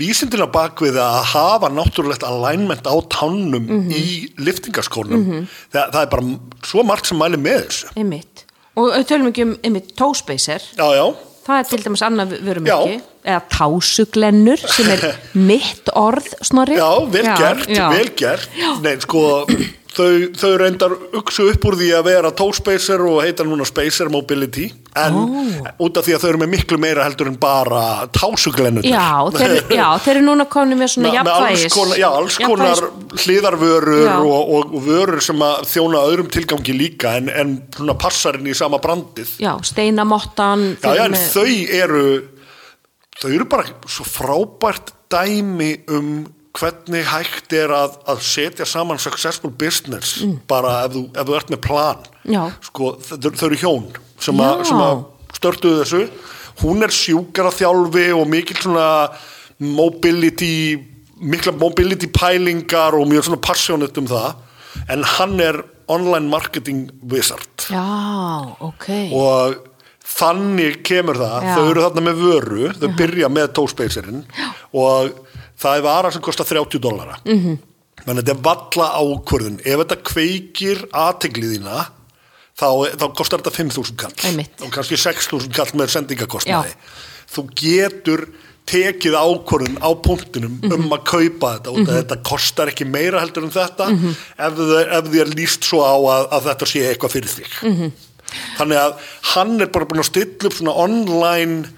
Speaker 2: vísindina bakvið að hafa náttúrulegt alignment á tánum í liftingaskónum
Speaker 1: Mhm.
Speaker 2: það, það er bara svo margt sem mæli með þessu
Speaker 1: einmitt og við tölum ekki um, einmitt, tóspacer
Speaker 2: Já, já,
Speaker 1: Það er til dæmis annað vörumörki
Speaker 2: Já.
Speaker 1: eða tásuglennur sem er mitt orð snorri.
Speaker 2: já, vel gert,
Speaker 1: já.
Speaker 2: vel gert Nei, sko, þau, þau reyndar uksu upp úr því að vera tóspacer og heita núna spacer mobility en út af því að þau eru með miklu meira heldur en bara tásuglennunar
Speaker 1: Já, þeir, já, þeir eru núna komin með svona
Speaker 2: Me- með alls
Speaker 1: jafnvægis.
Speaker 2: konar, já, alls konar
Speaker 1: jafnvægis-
Speaker 2: hliðarvörur
Speaker 1: Já.
Speaker 2: og, og, og vörur sem að þjóna öðrum tilgangi líka en, en svona passar inn í sama brandið já,
Speaker 1: Já, steinamottan.
Speaker 2: já, en þau eru þau eru bara svo frábært dæmi um hvernig hægt er að, að setja saman successful business bara ef þú, ef þú ert með plan
Speaker 1: Mm. Já.
Speaker 2: sko, þau, þau eru hjón sem, a,
Speaker 1: Já.
Speaker 2: sem að störtuðu þessu hún er sjúkara þjálfi og mikil svona mobility mikla mobility pælingar og mjög svona passionate um það en hann er online marketing wizard
Speaker 1: Já, ok.
Speaker 2: og þannig kemur það
Speaker 1: Já.
Speaker 2: þau eru þarna með vöru, þau byrja með tóspacerinn og það er vara sem kostar 30 dollara mm
Speaker 1: Mhm.
Speaker 2: -hmm. menn þetta er valla ákvörðun ef þetta kveikir aðteglið þína þá, þá kostar þetta 5.000 kall
Speaker 1: Einmitt.
Speaker 2: og kannski 6.000 kall með sendingakostnaði
Speaker 1: Já.
Speaker 2: þú getur tekið ákvörðun á punktinum
Speaker 1: Mhm.
Speaker 2: um að kaupa þetta og mm þetta kostar ekki meira heldur en þetta
Speaker 1: Mhm.
Speaker 2: ef, þau- ef því er líst svo á að, að þetta sé eitthvað fyrir þig þannig að hann er bara búin að stilla upp svona online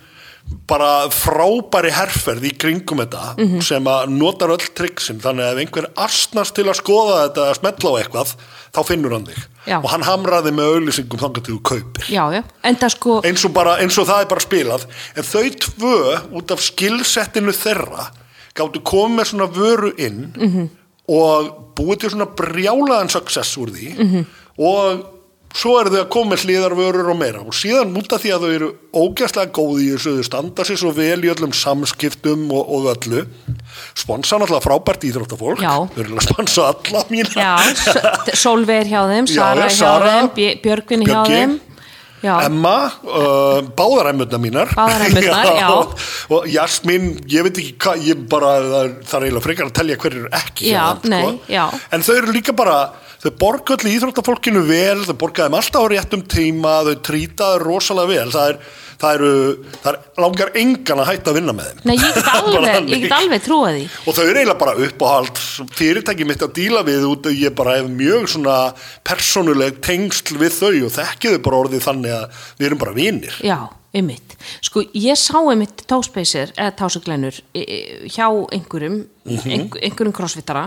Speaker 2: bara frábæri herferð í kringum þetta sem að notar öll triksin þannig að ef einhver astnast til að skoða þetta að smetla á eitthvað þá finnur hann þig
Speaker 1: Já.
Speaker 2: og hann hamraði með auðlýsingum þangað til þú kaupir
Speaker 1: Já, já. En það sko,
Speaker 2: eins og, bara, eins og það er bara spilað en þau tvö út af skilsettinu þeirra gáttu komið með svona vöru inn og búið til svona brjálaðan success úr því og svo eru þau að koma með hliðarvörur og meira og síðan múta því að þau eru ógæslega góð í þessu, þau standa sér svo vel í öllum samskiptum og, og öllu sponsa náttúrulega frábært íþróttafólk
Speaker 1: Já.
Speaker 2: þau eru að sponsa alla mína
Speaker 1: Já, S- Sólveig er hjá þeim,
Speaker 2: Já,
Speaker 1: Sara
Speaker 2: já,
Speaker 1: er hjá
Speaker 2: Sara,
Speaker 1: þeim, Bj- Björgvin er hjá
Speaker 2: Bjöggi.
Speaker 1: þeim. Já,
Speaker 2: Emma, uh, báðar emmurnar mínar
Speaker 1: Báðar emmurnar, já.
Speaker 2: Og Jasmín, ég veit ekki hvað ég bara, það er- það er eiginlega frekar að telja hverjir eru ekki
Speaker 1: Já,
Speaker 2: hérna,
Speaker 1: nei, já.
Speaker 2: En þau eru líka bara, þau borga öll íþróttafólkinu vel þau borga þeim alltaf á réttum tíma þau trýta þau rosalega vel það er, það eru, það er langar engan að hætta að vinna með þeim
Speaker 1: nei, ég get
Speaker 2: Bara
Speaker 1: alveg, ég
Speaker 2: þannig.
Speaker 1: get alveg trúa því.
Speaker 2: Og þau eru eiginlega bara uppáhald fyrirtæki mitt að díla við út og ég bara hef mjög svona persónuleg tengsl við þau og þekki þau bara orðið þannig að við erum bara vinir.
Speaker 1: Já, einmitt. Sko, ég sá einmitt táspeisir, eða tásaglennur, hjá einhverjum,
Speaker 2: Mhm.
Speaker 1: einhver, einhverjum crossfittara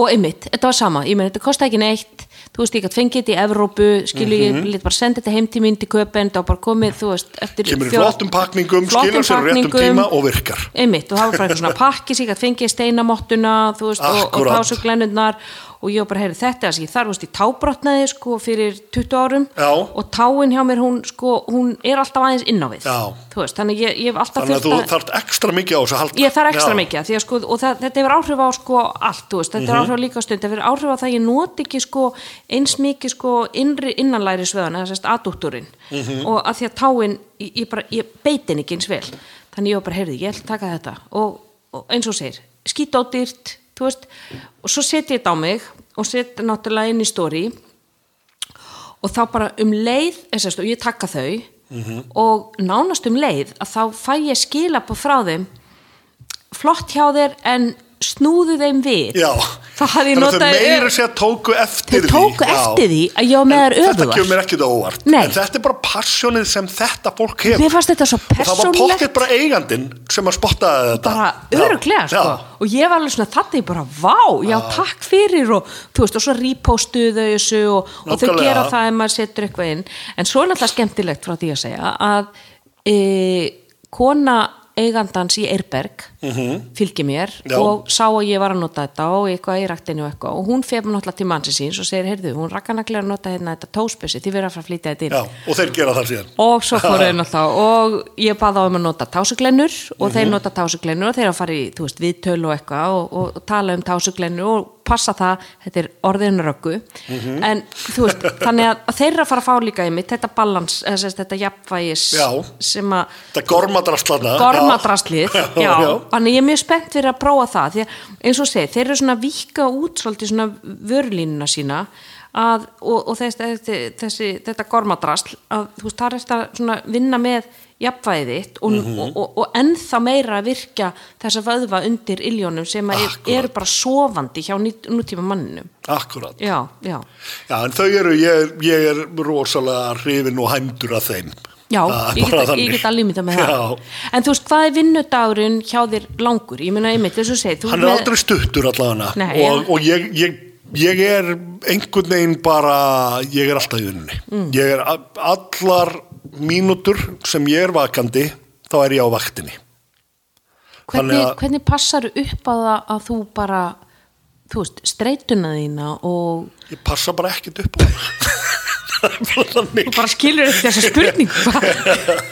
Speaker 1: og einmitt, þetta var sama, ég meina, þetta kosti ekki neitt, þú veist, ég gætt fengið þetta í Evrópu, skilu,
Speaker 2: Mhm.
Speaker 1: ég lít bara senda þetta heim til mín til köpen, það var bara komið, þú veist, eftir
Speaker 2: Kemur í
Speaker 1: fjóra-
Speaker 2: flottum pakningum,
Speaker 1: flottum
Speaker 2: skilar sér á réttum
Speaker 1: pakningum.
Speaker 2: tíma og virkar.
Speaker 1: einmitt og það var bara eitthvað svona pakki sig að fengi steinamottuna þú veist, og, og
Speaker 2: Akkúrat.
Speaker 1: tásuglennurnar og ég var bara heyrði þetta þess að ég þarf, þú veist, ég tábrotnaði sko fyrir 20 árum
Speaker 2: Já.
Speaker 1: og táin hjá mér, hún sko, hún er alltaf aðeins inn á við,
Speaker 2: Já.
Speaker 1: þú veist, þannig ég, ég hef alltaf
Speaker 2: Þannig að þú
Speaker 1: þurft að-
Speaker 2: þarft ekstra mikið á þessu að halda.
Speaker 1: ég þarf ekstra
Speaker 2: Já.
Speaker 1: mikið, af því að sko, og það, þetta hefur áhrif á sko allt, þú veist, þetta mm áhrif á líka stund, þetta hefur áhrif á það að ég noti ekki sko eins mikið sko innri innanlæri svöðan, eða sérst adútturinn og að því að táin, ég, ég bara, ég beitin ekki eins vel, þannig ég var bara, heyrði, ég ætla að taka þetta og, og eins og þú segir, skýt á dýrt, þú veist, og svo setja ég þetta á mig og setja náttúrulega inn í stóri og þá bara um leið sérst, og ég taka þau og nánast um leið að þá fæ ég skilabóð frá þeim flott hjá þér en snúðu þeim við
Speaker 2: Já.
Speaker 1: það hafði ég
Speaker 2: Þannig að
Speaker 1: notað
Speaker 2: þau meira sér að tóku eftir
Speaker 1: Þau
Speaker 2: því.
Speaker 1: tóku
Speaker 2: Já.
Speaker 1: eftir því að ég var með
Speaker 2: En
Speaker 1: þær
Speaker 2: Þetta
Speaker 1: öfugar.
Speaker 2: kemur ekkit á óvart.
Speaker 1: Nei.
Speaker 2: En þetta er bara passjónið sem þetta fólk hefur.
Speaker 1: mér fannst þetta svo
Speaker 2: Og það var pokkett
Speaker 1: persónlegt
Speaker 2: bara eigandinn sem að spottaði þetta.
Speaker 1: bara
Speaker 2: Já.
Speaker 1: öruglega sko.
Speaker 2: Já.
Speaker 1: og ég var alveg svona þetta ég bara vá, já takk fyrir og þú veist og svo repostuðu þau þessu og, og þau
Speaker 2: Nákvæmlega.
Speaker 1: gera það ef maður setur eitthvað inn en svo er náttúrulega skemmtilegt frá því að segja að e, kona eigandans í Eirberg fylgir mér
Speaker 2: Mhm. Já.
Speaker 1: og sá að ég var að nota þetta og eitthvað í raktinu og eitthvað og hún fef náttúrulega til mannsins síns og segir, heyrðu, hún rakkanaklega að nota hérna þetta tóspessi, þið verða að fara að flytja þetta inn
Speaker 2: Já, og þeir gera það síðan.
Speaker 1: og svo fóru þeir náttúrulega og ég baði á um að nota tásuglennur og þeir nota tásuglennur og þeir að fara í þú veist, viðtölu og eitthvað og, og, og tala um tásuglennur og passa það þetta er orðinu röggu en þú veist, þannig að, að þeir að fara að fá líka í mitt þetta balans, eða sérst, þetta jafnvægis
Speaker 2: Já.
Speaker 1: sem að
Speaker 2: Þetta gormadrastlana.
Speaker 1: gormadraslið
Speaker 2: Já.
Speaker 1: já,
Speaker 2: Já.
Speaker 1: þannig ég er mjög spennt fyrir að prófa það því að eins og segi, þeir eru svona vika út svolítið svona vörlínuna sína að, og, og þess, þessi, þessi, þetta gormadrasl að þú veist, það er þetta svona vinna með jafnvæðið þitt og,
Speaker 2: Mhm.
Speaker 1: og, og, og ennþá meira að virkja þessa vöðva undir iljónum sem að er,
Speaker 2: Akkúrat.
Speaker 1: eru bara sofandi hjá nýt- nútíma manninum
Speaker 2: Akkurat.
Speaker 1: já, já,
Speaker 2: Já, en þau eru, ég, ég er rosalega hrifin og hæmdur að þeim.
Speaker 1: Já,
Speaker 2: Það er
Speaker 1: ég
Speaker 2: Ah, bara
Speaker 1: get, ég
Speaker 2: þannig.
Speaker 1: get alveg mynda með það
Speaker 2: Já,
Speaker 1: En þú veist, hvað er vinnudagurinn hjá þér langur? Ég meina einmitt, þess að segja þú
Speaker 2: hann
Speaker 1: ert
Speaker 2: er
Speaker 1: með-
Speaker 2: aldrei stuttur allavega
Speaker 1: Nei,
Speaker 2: og, og ég, ég, ég er einhvern veginn bara, ég er alltaf í unni.
Speaker 1: Mm.
Speaker 2: Ég er a- allar mínútur sem ég er vakandi, þá er ég á vaktinni.
Speaker 1: hvernig,
Speaker 2: Þannig að-
Speaker 1: hvernig passar upp á það að þú bara þú veist, streituna þína og
Speaker 2: Ég passa bara ekkert upp á það. Það er bara þannig.
Speaker 1: bara skilur upp þessa spurning hvað-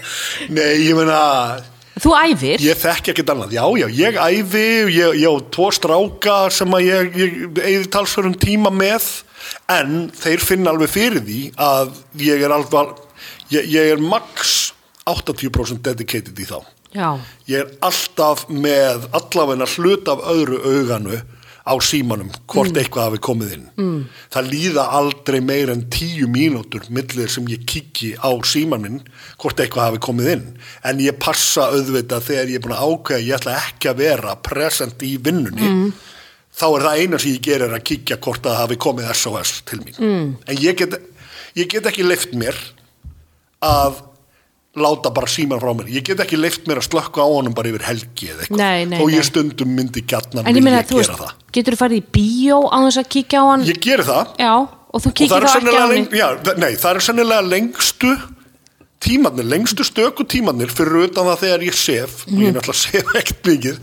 Speaker 2: Nei, ég meina,
Speaker 1: þú æfir
Speaker 2: Ég þekki ekkert annað, já, já, ég æfi, ég, ég á tvo stráka sem að ég, ég eigði talsverðum tíma með, en þeir finna alveg fyrir því að ég er alveg, ég, ég er max 80% dedicated í þá.
Speaker 1: já,
Speaker 2: Ég er alltaf með allavegna hlut af öðru auganu á símanum, hvort eitthvað hafi komið inn. Mm. Það líða aldrei meir en tíu mínútur millir sem ég kiki á símanum, hvort eitthvað hafi komið inn. En ég passa auðvitað þegar ég er búin að ákveða, að ég ætla ekki að vera present í vinnunni, þá er það eina sem ég gerir að kíkja hvort að það hafi komið SOS til mín. Mm. En ég get, ég get ekki leift mér að láta bara síman frá mér ég get ekki leift mér að slökka á honum bara yfir helgi eða eitthvað,
Speaker 1: Nei, nei,
Speaker 2: þó
Speaker 1: nei.
Speaker 2: ég stundum myndi gjarnan
Speaker 1: en ég meina,
Speaker 2: vilja
Speaker 1: þú
Speaker 2: gera
Speaker 1: veist,
Speaker 2: það
Speaker 1: getur þú farið í bíó á þess að kíkja á hann
Speaker 2: ég geri það
Speaker 1: já, og þú
Speaker 2: og það
Speaker 1: kíkir
Speaker 2: eru
Speaker 1: þá ekki á
Speaker 2: sennilega
Speaker 1: hann
Speaker 2: leng, já, þa- nei, það eru sennilega lengstu tímanir, lengstu stöku tímanir fyrir utan það þegar ég sef og
Speaker 1: Mhm.
Speaker 2: ég er náttúrulega sef ekkert mikið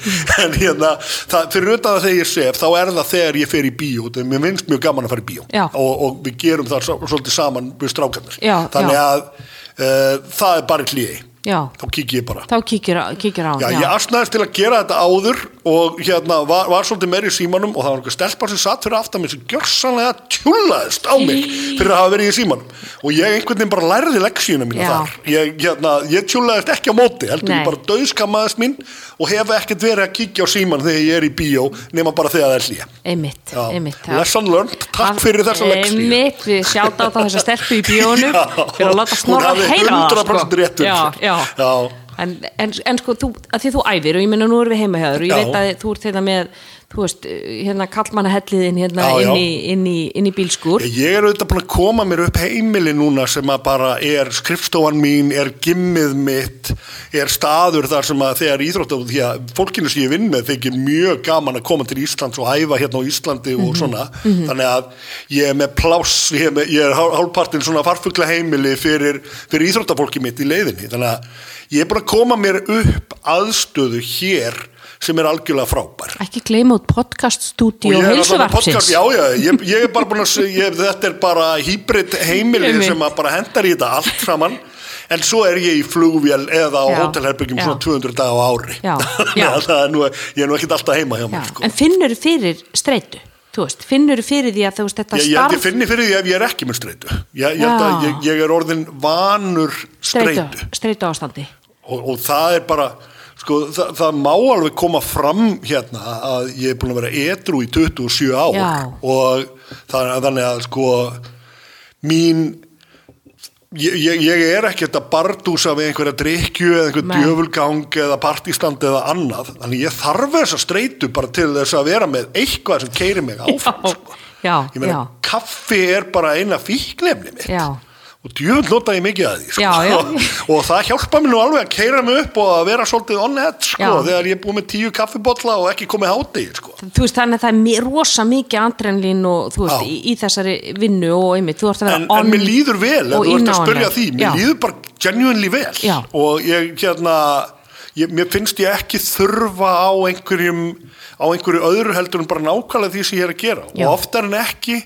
Speaker 2: en hérna, það, fyrir utan það þegar ég sef þá er það þegar ég fer í bíó þegar mér finnst mjög gaman að fara í bíó
Speaker 1: Já.
Speaker 2: og, og við gerum það svo- svolítið saman við strákarnir
Speaker 1: Já,
Speaker 2: þannig
Speaker 1: já.
Speaker 2: að uh, það er bara hlýi
Speaker 1: Já.
Speaker 2: þá kík ég bara
Speaker 1: Þá kíkir, á- kíkir á hann.
Speaker 2: Já, ég asnaðist til að gera þetta áður og hérna var, var svolítið meiri í símanum og það var einhver stelpa sem satt fyrir aftan mér sem gjörsanlega tjúlaðist á mig fyrir að hafa verið í símanum og ég einhvern veginn bara lærði leksíuna mína
Speaker 1: Já.
Speaker 2: þar ég, hérna, ég tjúlaðist ekki á móti heldur
Speaker 1: Nei.
Speaker 2: ég bara döðskamaðist mín og hef ekkert verið að kíkja á síman þegar ég er í bíó nema bara þegar það er hlýja
Speaker 1: Einmitt,
Speaker 2: Já.
Speaker 1: einmitt. já.
Speaker 2: Lesson learned, takk fyrir þessa leksíu
Speaker 1: Einmitt, við sjátt á þessa stelpu í bíónu
Speaker 2: Já.
Speaker 1: fyrir að láta snorra
Speaker 2: Hún hafði
Speaker 1: heyra það,
Speaker 2: 100%
Speaker 1: sko.
Speaker 2: rétt fyrir
Speaker 1: já,
Speaker 2: sér.
Speaker 1: já.
Speaker 2: Já.
Speaker 1: En, en, en sko, þú, að því þú æfir og ég meina nú erum við heima hjá þér og ég
Speaker 2: Já.
Speaker 1: veit að þú ert hérna með þú veist, hérna kallmannahelliðin hérna
Speaker 2: Já, já.
Speaker 1: inn, í, inn, í, inn í bílskur
Speaker 2: Ég er auðvitað búin að koma mér upp heimili núna sem að bara er skrifstofan mín, er gimmið mitt, er staður þar sem að þegar íþrótt því að fólkinu sem ég vinn með þykir mjög gaman að koma til Íslands og æfa hérna á Íslandi og svona. Þannig að ég er með pláss, ég er, með, ég er hál- hálfpartinn svona farfugla heimili fyrir, fyrir íþróttafólki mitt í leiðinni. Þannig að ég er búin að koma mér upp aðstöðu hér sem er algjörlega frábær
Speaker 1: ekki gleyma út podcaststudio
Speaker 2: Sko, ég er alltaf með podcast-
Speaker 1: heilsuvarpsins
Speaker 2: Já, já, ég, ég er bara búin að seg- ég, þetta er bara hýbrit heimili
Speaker 1: Einmitt.
Speaker 2: sem að bara hendar í þetta allt saman en svo er ég í flugvél eða á
Speaker 1: Já,
Speaker 2: hótelherbyggjum
Speaker 1: já.
Speaker 2: svona 200 dag á ári
Speaker 1: Já,
Speaker 2: Þannig
Speaker 1: já.
Speaker 2: að það er nú, ég er nú ekkert alltaf heima hjá
Speaker 1: Já,
Speaker 2: mér sko.
Speaker 1: en finnur fyrir streitu þú veist, finnur fyrir því að þú veist þetta
Speaker 2: ég, ég,
Speaker 1: starf
Speaker 2: ég finni fyrir því ef ég er ekki með streitu ég, ég, held að
Speaker 1: Já.
Speaker 2: ég, ég er orðin vanur streitu
Speaker 1: streitu ástandi
Speaker 2: og, og það er bara sko, það, það má alveg koma fram hérna að ég er búin að vera edru í 27 ár
Speaker 1: Já.
Speaker 2: og það, þannig að sko mín ég, ég, ég er ekkert að bardúsa við einhverja drikju eða einhver
Speaker 1: Nei.
Speaker 2: djöfulgang eða partístand eða annað þannig ég þarf þessa streitu bara til þess að vera með eitthvað sem keiri mig áfram
Speaker 1: Já,
Speaker 2: sko.
Speaker 1: já,
Speaker 2: ég meina,
Speaker 1: já.
Speaker 2: kaffi er bara eina fíknefni mitt
Speaker 1: Já.
Speaker 2: og djöfull nota ég mikið að því sko.
Speaker 1: Já, já.
Speaker 2: og það hjálpa mér nú alveg að keira mig upp og að vera svolítið on edge sko,
Speaker 1: Já.
Speaker 2: þegar ég er búið með tíu kaffibotla og ekki komið hátegi sko.
Speaker 1: þú veist þannig að það er mi- rosa mikið andrenlín og þú veist í,
Speaker 2: Já.
Speaker 1: í þessari vinnu og einmitt, þú ert að vera
Speaker 2: en, en
Speaker 1: on
Speaker 2: mér líður vel en
Speaker 1: og
Speaker 2: þú ert að
Speaker 1: inn á
Speaker 2: spyrja
Speaker 1: hana.
Speaker 2: því, mér
Speaker 1: Já.
Speaker 2: líður bara genuinely vel
Speaker 1: Já.
Speaker 2: og ég hérna ég, mér finnst ég ekki þurfa á einhverjum á einhverju öðru heldur en bara nákvæmlega því sem ég er að gera
Speaker 1: Já.
Speaker 2: og oftar en ekki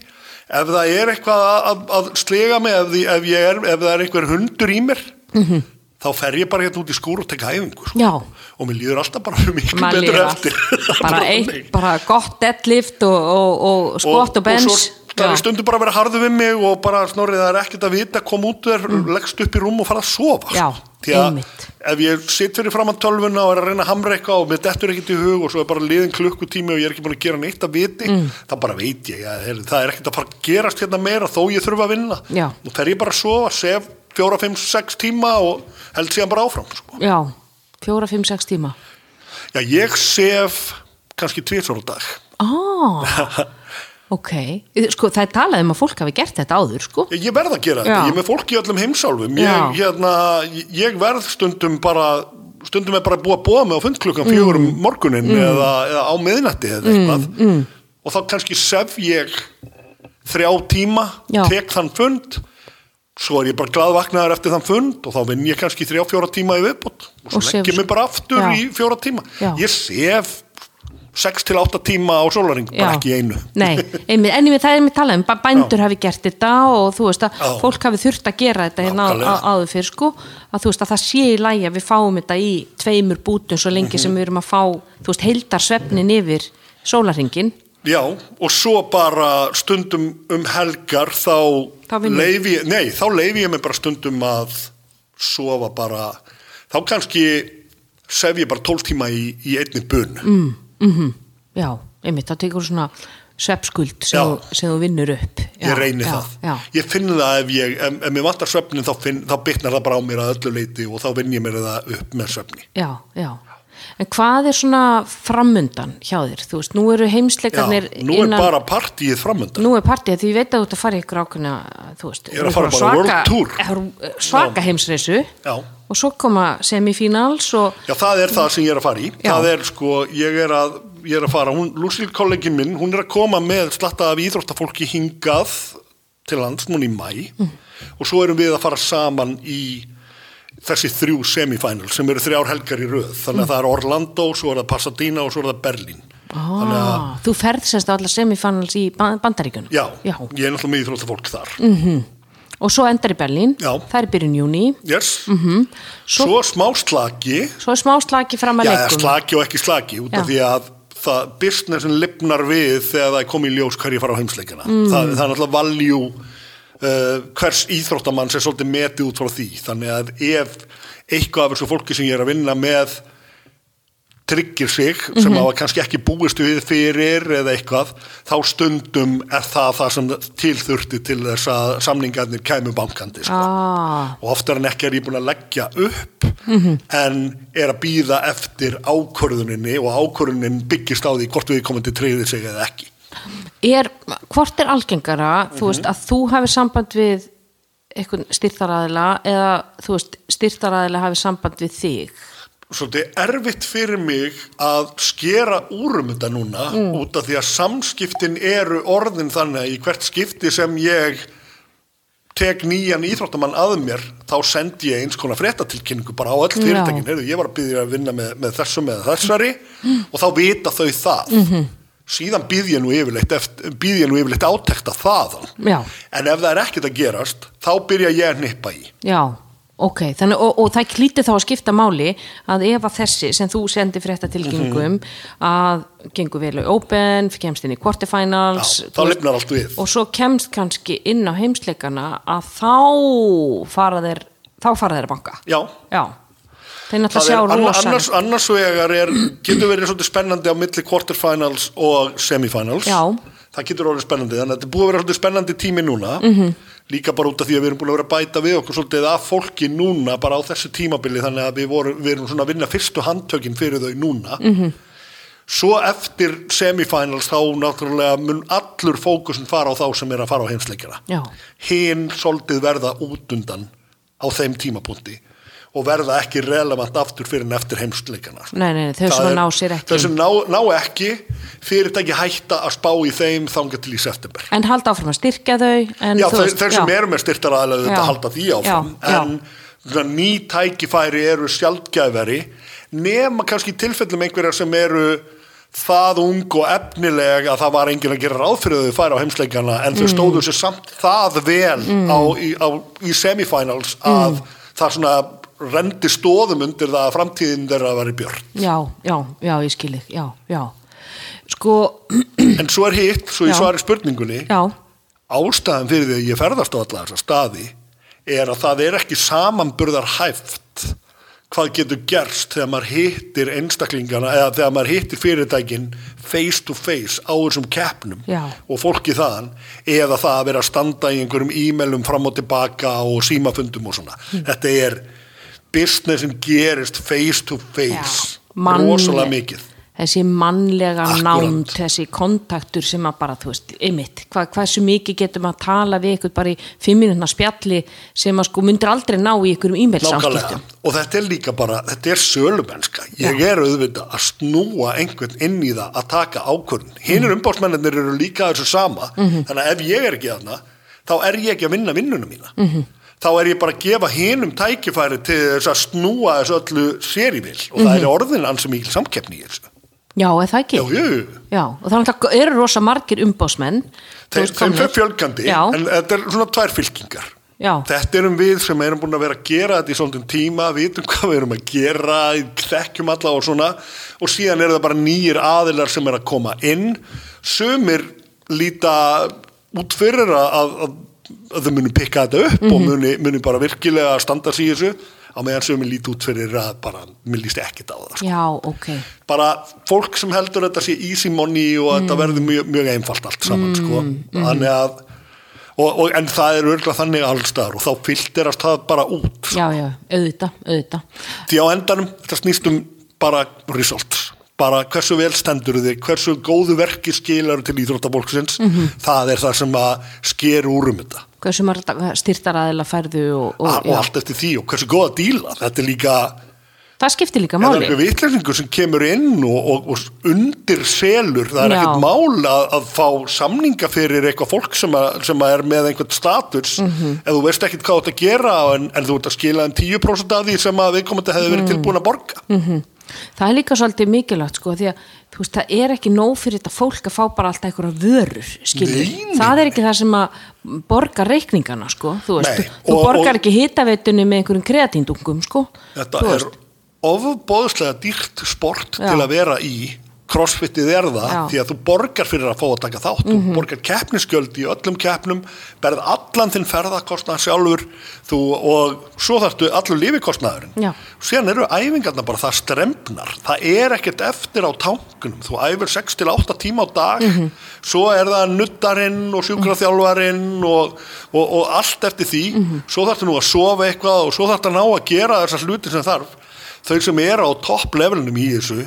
Speaker 2: ef það er eitthvað að, að, að slega mig ef, því, ef, ég er, ef það er einhver hundur í mér -hmm. þá fer ég bara hérna út í skúr og tek æfingu sko.
Speaker 1: Mhm. Já.
Speaker 2: og mér líður alltaf bara mikið
Speaker 1: Maður
Speaker 2: betur
Speaker 1: lifar.
Speaker 2: eftir
Speaker 1: bara, eitt, bara gott deadlift og, og, og skott og,
Speaker 2: og
Speaker 1: bens
Speaker 2: svo það er
Speaker 1: Já.
Speaker 2: stundum bara að vera harðu við mig og bara snorrið það er ekkert að vita kom út þér, leggst upp í rúm og fara að sofa
Speaker 1: Mm. Já,
Speaker 2: því að
Speaker 1: einmitt.
Speaker 2: ef ég sitt fyrir fram að tölvuna og er að reyna að hamra eitthvað og mér dettur ekkert í hug og svo er bara liðin klukkutími og ég er ekki búin að gera neitt að viti
Speaker 1: Mm.
Speaker 2: þá bara veit ég, að heyrðu, það er ekkert að fara að gerast hérna meira þó ég þurfa að vinna
Speaker 1: Já.
Speaker 2: og þegar ég bara að sofa, sef fjóra, fimm, sex tíma og held síðan bara áfram sko.
Speaker 1: já, fjóra, fimm, sex tíma
Speaker 2: Já, ég sef kannski tvisvar á dag
Speaker 1: ah, ok sko það er talað um að fólk hafi gert þetta áður sko
Speaker 2: Ég, ég verð að gera þetta,
Speaker 1: Já.
Speaker 2: ég er með fólk í öllum heimsálfum
Speaker 1: Já.
Speaker 2: ég, hérna, ég- ég verð stundum bara stundum er bara búið að búa mig á fundklukkan fjögur um
Speaker 1: Mm.
Speaker 2: morgunin eða, eða á miðnætti eða eitthvað mm. og þá kannski sef ég þrjá tíma,
Speaker 1: Já.
Speaker 2: tek þann fund svo er ég bara glaðvaknaður eftir þann fund og þá vinn ég kannski þrjá fjóra tíma í viðbútt og svo
Speaker 1: Og
Speaker 2: legg
Speaker 1: sefur-
Speaker 2: ég mig bara aftur
Speaker 1: Já.
Speaker 2: í fjóra tíma
Speaker 1: Já.
Speaker 2: ég sef 6 til 8 tíma á sólaring bara ekki í einu
Speaker 1: Nei, einmitt, en einmitt, það er mér talað um bæ- bændur hafi gert þetta og þú veist að
Speaker 2: Já.
Speaker 1: fólk hafi þurft að gera þetta hérna á-
Speaker 2: Nákvæmlega.
Speaker 1: á- áður fyrir sko að þú veist að það sé í lagi að við fáum þetta í tveimur bútum svo lengi
Speaker 2: Mhm.
Speaker 1: sem við erum að fá þú veist heildarsvefnin yfir sólarringin
Speaker 2: Já, og svo bara stundum um helgar þá,
Speaker 1: Þá vinnur.
Speaker 2: leifi ég, nei, þá leifi ég mig bara stundum að sofa bara, þá kannski sef ég bara 12 tíma í, í einni bun. Mm.
Speaker 1: Já, einmitt, þá tekur þú svona svefskuld sem,
Speaker 2: Já.
Speaker 1: þú- sem þú vinnur upp já,
Speaker 2: Ég reyni
Speaker 1: já,
Speaker 2: það.
Speaker 1: Já,
Speaker 2: Ég finn það ef ég, ef, ef mér vantar svefnin þá, finn, þá bitnar það bara á mér að öllu leiti og þá vinn ég mér það upp með svefni.
Speaker 1: já, já En hvað er svona framundan hjá þér? Þú veist, nú eru
Speaker 2: Já,
Speaker 1: heimsleikarnir
Speaker 2: nú er bara partíið framöndan.
Speaker 1: Nú er partíð, því ég veit að þú ert að fara í ykkur ákveðna, þú veist,
Speaker 2: Ég er að fara bara world tour.
Speaker 1: tour. eh, svaka heimsreysu
Speaker 2: Já.
Speaker 1: og svo koma semifínals og
Speaker 2: Já, það er það sem ég er að fara í.
Speaker 1: Já.
Speaker 2: Það er sko, ég er að, ég er að fara, hún, Lucille kollegin minn, hún er að koma með slatta af íþróttafólki hingað til lands núna í mæ og svo erum við að fara saman í þessi þrjú semifinal sem eru þrjár helgar í röð þannig að það er Orlando, svo er það Pasadena og svo er það Berlín Þannig að-
Speaker 1: Ah, þú ferð sérst á alla semifinals í Ban- bandaríkjunum
Speaker 2: Já, ég er náttúrulega með íþróttafólk þar
Speaker 1: og svo endar í Berlín
Speaker 2: Já.
Speaker 1: það er byrjun júni
Speaker 2: yes. svo, smá slaki
Speaker 1: svo er smá slagi fram að
Speaker 2: Já, eða
Speaker 1: leikum
Speaker 2: slaki og ekki slaki út
Speaker 1: Já.
Speaker 2: af því að það businessin lifnar við þegar það er komið í ljós hverju fara á heimsleikina
Speaker 1: Mm.
Speaker 2: það, það er náttúrulega valjú uh, hvers íþróttamann sem svolítið metið út frá því þannig að ef eitthvað af þessu fólki sem ég er að vinna með tryggir sig sem
Speaker 1: Mhm.
Speaker 2: mm hafa kannski ekki búist við fyrir eða eitthvað þá stundum er það það sem tilþurfti til þess að samningarnir kæmu bankandi sko
Speaker 1: ah,
Speaker 2: og oftar en ekki er ég búin að leggja upp en er að býða eftir ákvörðuninni og ákvörðunin byggist á því hvort við komandi treyðir sig eða ekki.
Speaker 1: er, hvort er algengara þú
Speaker 2: Mhm.
Speaker 1: veist að þú hafi samband við einhvern styrtaraðila eða þú veist styrtaraðila hafi samband við þig
Speaker 2: Svolítið erfitt fyrir mig að skera úr um þetta núna út af því að samskiptin eru orðin þannig að í hvert skipti sem ég tek nýjan íþróttamann að mér þá sendi ég eins konar fréttatilkynningu bara á öll fyrirtækin, heyrðu, ég var að byggja að vinna með, með þessum eða þessari og þá vita þau það síðan býð ég nú yfirleitt, eftir- býð ég nú yfirleitt átekta þaðan
Speaker 1: Já.
Speaker 2: en ef það er ekkert að gerast þá byrja ég að nippa í
Speaker 1: já, ok Þannig, og, og það klíti þá að skipta máli að ef að þessi sem þú sendir fyrir þetta tilgengum
Speaker 2: Mhm.
Speaker 1: að gengur vel á open, kemst inn í
Speaker 2: Já,
Speaker 1: quarterfinals
Speaker 2: þá
Speaker 1: þú veist,
Speaker 2: lifnar allt við
Speaker 1: og svo kemst kannski inn á heimsleikana að þá fara þeir þá fara þeir að banka
Speaker 2: Já,
Speaker 1: já, þeir náttúrulega
Speaker 2: Það
Speaker 1: sjá
Speaker 2: er anna-
Speaker 1: rosa
Speaker 2: annars, annars vegar er, getur verið svolítið spennandi á milli quarterfinals og semifinals
Speaker 1: Já.
Speaker 2: það getur orðið spennandi þannig að þetta er búið að vera svolítið spennandi tími núna
Speaker 1: Mhm.
Speaker 2: -hmm. líka bara út af því að við erum búin að vera að bæta við okkur svolítið af fólki núna bara á þessu tímabili þannig að við, voru, við erum svona að vinna fyrstu handtökin fyrir þau núna
Speaker 1: Mhm.
Speaker 2: -hmm. svo eftir semifinals þá náttúrulega mun allur fókusin fara á þá sem er að fara á heimsleikina
Speaker 1: Já.
Speaker 2: hinn svolítið verða út undan á þeim tímapunkti og verða ekki relevant aftur fyrir en eftir heimsleikana. sko.
Speaker 1: nei, nei, nei, þau
Speaker 2: Það
Speaker 1: sem að
Speaker 2: er-
Speaker 1: ná sér ekki
Speaker 2: Þau sem ná, ná ekki, fyrirtæki hætta að spá í þeim þangað til í september.
Speaker 1: en halda áfram að styrkja þau en
Speaker 2: Já,
Speaker 1: þú
Speaker 2: þau,
Speaker 1: veist,
Speaker 2: þau sem eru með styrtaraðlega
Speaker 1: Já.
Speaker 2: þetta halda því áfram,
Speaker 1: Já, já.
Speaker 2: en svona, ný tækifæri eru sjaldgæfari nema kannski í tilfellum einhverja sem eru það ung og efnileg að það var enginn að gera ráð fyrir að þau færa á heimsleikana en
Speaker 1: Mm.
Speaker 2: þau stóðu sér samt það vel á, í, á, í semifinals
Speaker 1: Mm.
Speaker 2: að það svona rendi stóðum undir það að framtíðin þeirra að vera björn.
Speaker 1: já, já, já, ég skil þig já, já, sko
Speaker 2: En svo er hitt, svo
Speaker 1: Já.
Speaker 2: ég svari spurningunni,
Speaker 1: já,
Speaker 2: ástæðan fyrir því að ég ferðast á alla þessa staði er að það er ekki samanburðar hæft hvað getur gerst þegar maður hittir einstaklingana eða þegar maður hittir fyrirtækin face to face á þessum keppnum
Speaker 1: Já.
Speaker 2: og fólki þaðan eða það að vera að standa í einhverjum e-mailum fram og tilbaka og símafundum og svona þetta er business sem gerist face to face
Speaker 1: já mann-
Speaker 2: rosalega mikið
Speaker 1: þessi mannlega
Speaker 2: Akkúrat.
Speaker 1: nánd, þessi kontaktur sem að bara, þú veist, ymmit hva, hversu mikið getum að tala við ykkur bara í fimm minútna spjalli sem að sko myndir aldrei ná í um ykkurum e-mail
Speaker 2: Nákvæmlega,
Speaker 1: samskiptum
Speaker 2: og þetta er líka bara, þetta er sölumennska. Ég er auðvitað að snúa einhvern inn í það að taka ákvörðun. Hinn
Speaker 1: Mhm.
Speaker 2: er umbásmennir eru líka þessu sama, þannig að ef ég er ekki þarna, þá er ég ekki að vinna vinnuna mína.
Speaker 1: Mhm.
Speaker 2: Þá er ég bara að gefa hinum tækifæri til þess að snúa þessu öllu sér í vil og það
Speaker 1: Mhm.
Speaker 2: er orðin ansi mikil samkeppni í þessu.
Speaker 1: Já, er það ekki?
Speaker 2: Já, jú, jú.
Speaker 1: Já, og það er náttúrulega- eru rosa margir umbásmenn
Speaker 2: Þeim, þeim fer fjölgandi,
Speaker 1: Já,
Speaker 2: en þetta er svona tvær fylkingar.
Speaker 1: Já.
Speaker 2: Þetta erum við sem erum búin að vera að gera þetta í svolítið tíma, vitum hvað við erum að gera, þekkjum alla og svona og síðan eru það bara nýjir aðilar sem er að koma inn. Sumir líta út fyrir að, að, að þau muni pikka þetta upp og muni, muni bara virkilega standa sig í þessu á meðan sumir líti út fyrir að bara, mér líst ekkit á það. sko.
Speaker 1: já, ok
Speaker 2: Bara fólk sem heldur þetta sé easy money og þetta verður mjög, mjög einfalt allt saman, sko. Þannig að, og, og, en það er örgulega þannig allstaðar og þá filterast það bara út
Speaker 1: Já, já, auðvita, auðvita
Speaker 2: því á endanum þetta snýst um bara results bara hversu vel stendur þig, hversu góðu verki skilar til íþróttafólksins það er það sem að sker úr um þetta
Speaker 1: Hversu margir styrtaraðila færðu og, og,
Speaker 2: Ah, og, og allt eftir því og hversu góða díla þetta er líka
Speaker 1: það skiptir líka
Speaker 2: En það er
Speaker 1: máli
Speaker 2: einhver vitlefningur sem kemur inn og, og, og undir selur, það er
Speaker 1: Já.
Speaker 2: ekkert mál að, að fá samninga fyrir eitthvað fólk sem, að, sem að er með einhvern status
Speaker 1: Mhm.
Speaker 2: ef þú veist ekkert hvað þú ert að gera en, en þú ert að skila um 10% af því sem að viðkomandi hefði
Speaker 1: Mhm.
Speaker 2: verið tilbúin að borga
Speaker 1: Mm. það er líka svolítið mikilvægt sko því að þú veist það er ekki nóg fyrir þetta fólk að fá bara alltaf einhverja vörur skilur,
Speaker 2: Nei, nei,
Speaker 1: það er ekki það sem að borga reikningana sko, þú veist
Speaker 2: Nei,
Speaker 1: þú, þú
Speaker 2: og-
Speaker 1: borgar
Speaker 2: og-
Speaker 1: ekki hitaveitunni með einhverjum kreatíndungum sko
Speaker 2: Þetta
Speaker 1: Þú
Speaker 2: er ofbóðslega dýrt sport
Speaker 1: Já.
Speaker 2: til að vera í crossfitið er það
Speaker 1: Já. Mhm.
Speaker 2: því að þú borgar fyrir að fá að taka þátt þú borgar keppnisgjöld í öllum keppnum berð allan þinn ferðakostnað sjálfur þú, og svo þarftu allur lífikostnaðurinn
Speaker 1: Já.
Speaker 2: síðan eru æfingarna bara það strempnar það er ekkert eftir á tankunum þú æfir 6-8 tíma á dag
Speaker 1: Mhm.
Speaker 2: svo er það nuttarinn og
Speaker 1: Mhm.
Speaker 2: sjúkraþjálfarinn og, og, og allt eftir því svo þarftu nú að sofa eitthvað og svo þarftu að ná að gera þessar hluti sem þarf þau sem eru á topplevelunum í þessu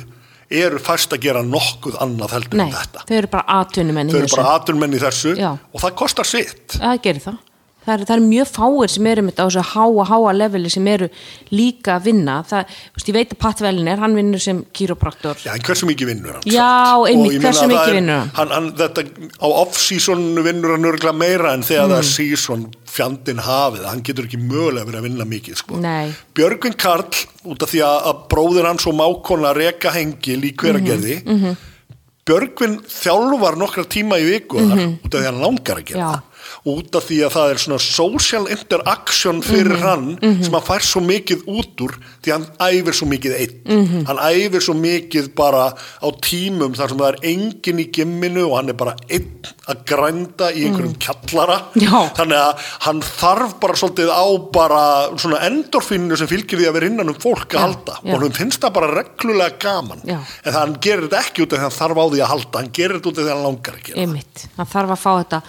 Speaker 2: eru fæst að gera nokkuð annað heldur
Speaker 1: nei,
Speaker 2: en þetta
Speaker 1: þau eru bara atvinnumenn í
Speaker 2: þau eru
Speaker 1: þessu
Speaker 2: bara aturnmenn í þessu
Speaker 1: Já.
Speaker 2: og það kostar sitt
Speaker 1: það gerir það Það eru, það eru mjög fáir sem eru með á þessu háa, háa leveli sem eru líka að vinna. Það, þú veist, ég veit að Pat Velinir, hann vinnur sem kýropraktor.
Speaker 2: Já, en hversu mikið vinnur hann?
Speaker 1: Já,
Speaker 2: samt?
Speaker 1: einmitt,
Speaker 2: Og ég meina
Speaker 1: hversu
Speaker 2: að það
Speaker 1: mikið
Speaker 2: er-
Speaker 1: vinnur hann?
Speaker 2: hann þetta, á off-season vinnur hann örgulega meira en þegar það
Speaker 1: Mm.
Speaker 2: er season fjandin hafið, hann getur ekki mögulega verið að vinna mikið, sko.
Speaker 1: Nei.
Speaker 2: Björgvin Karl, út af því að, að bróðir hans og mákona reka hengil í hveragerði, Björgvin þjálfar nokkra tíma í viku þar, út af því að hann langar að gera
Speaker 1: Já.
Speaker 2: það út af því að það er svona social interaction fyrir hann sem hann fær svo mikið út úr því hann æfir svo mikið einn hann æfir svo mikið bara á tímum þar sem það er engin í gimminu og hann er bara einn að grænda í einhverjum kjallara
Speaker 1: Já.
Speaker 2: þannig að hann þarf bara svolítið á bara svona endorfinu sem fylgir því að vera innan um fólk að halda
Speaker 1: já.
Speaker 2: og hann finnst það bara reglulega gaman
Speaker 1: Já.
Speaker 2: en hann gerir þetta ekki út af því að hann þarf á því að halda hann gerir þetta út af því að hann langar ekki
Speaker 1: Einmitt, hann þarf að fá þetta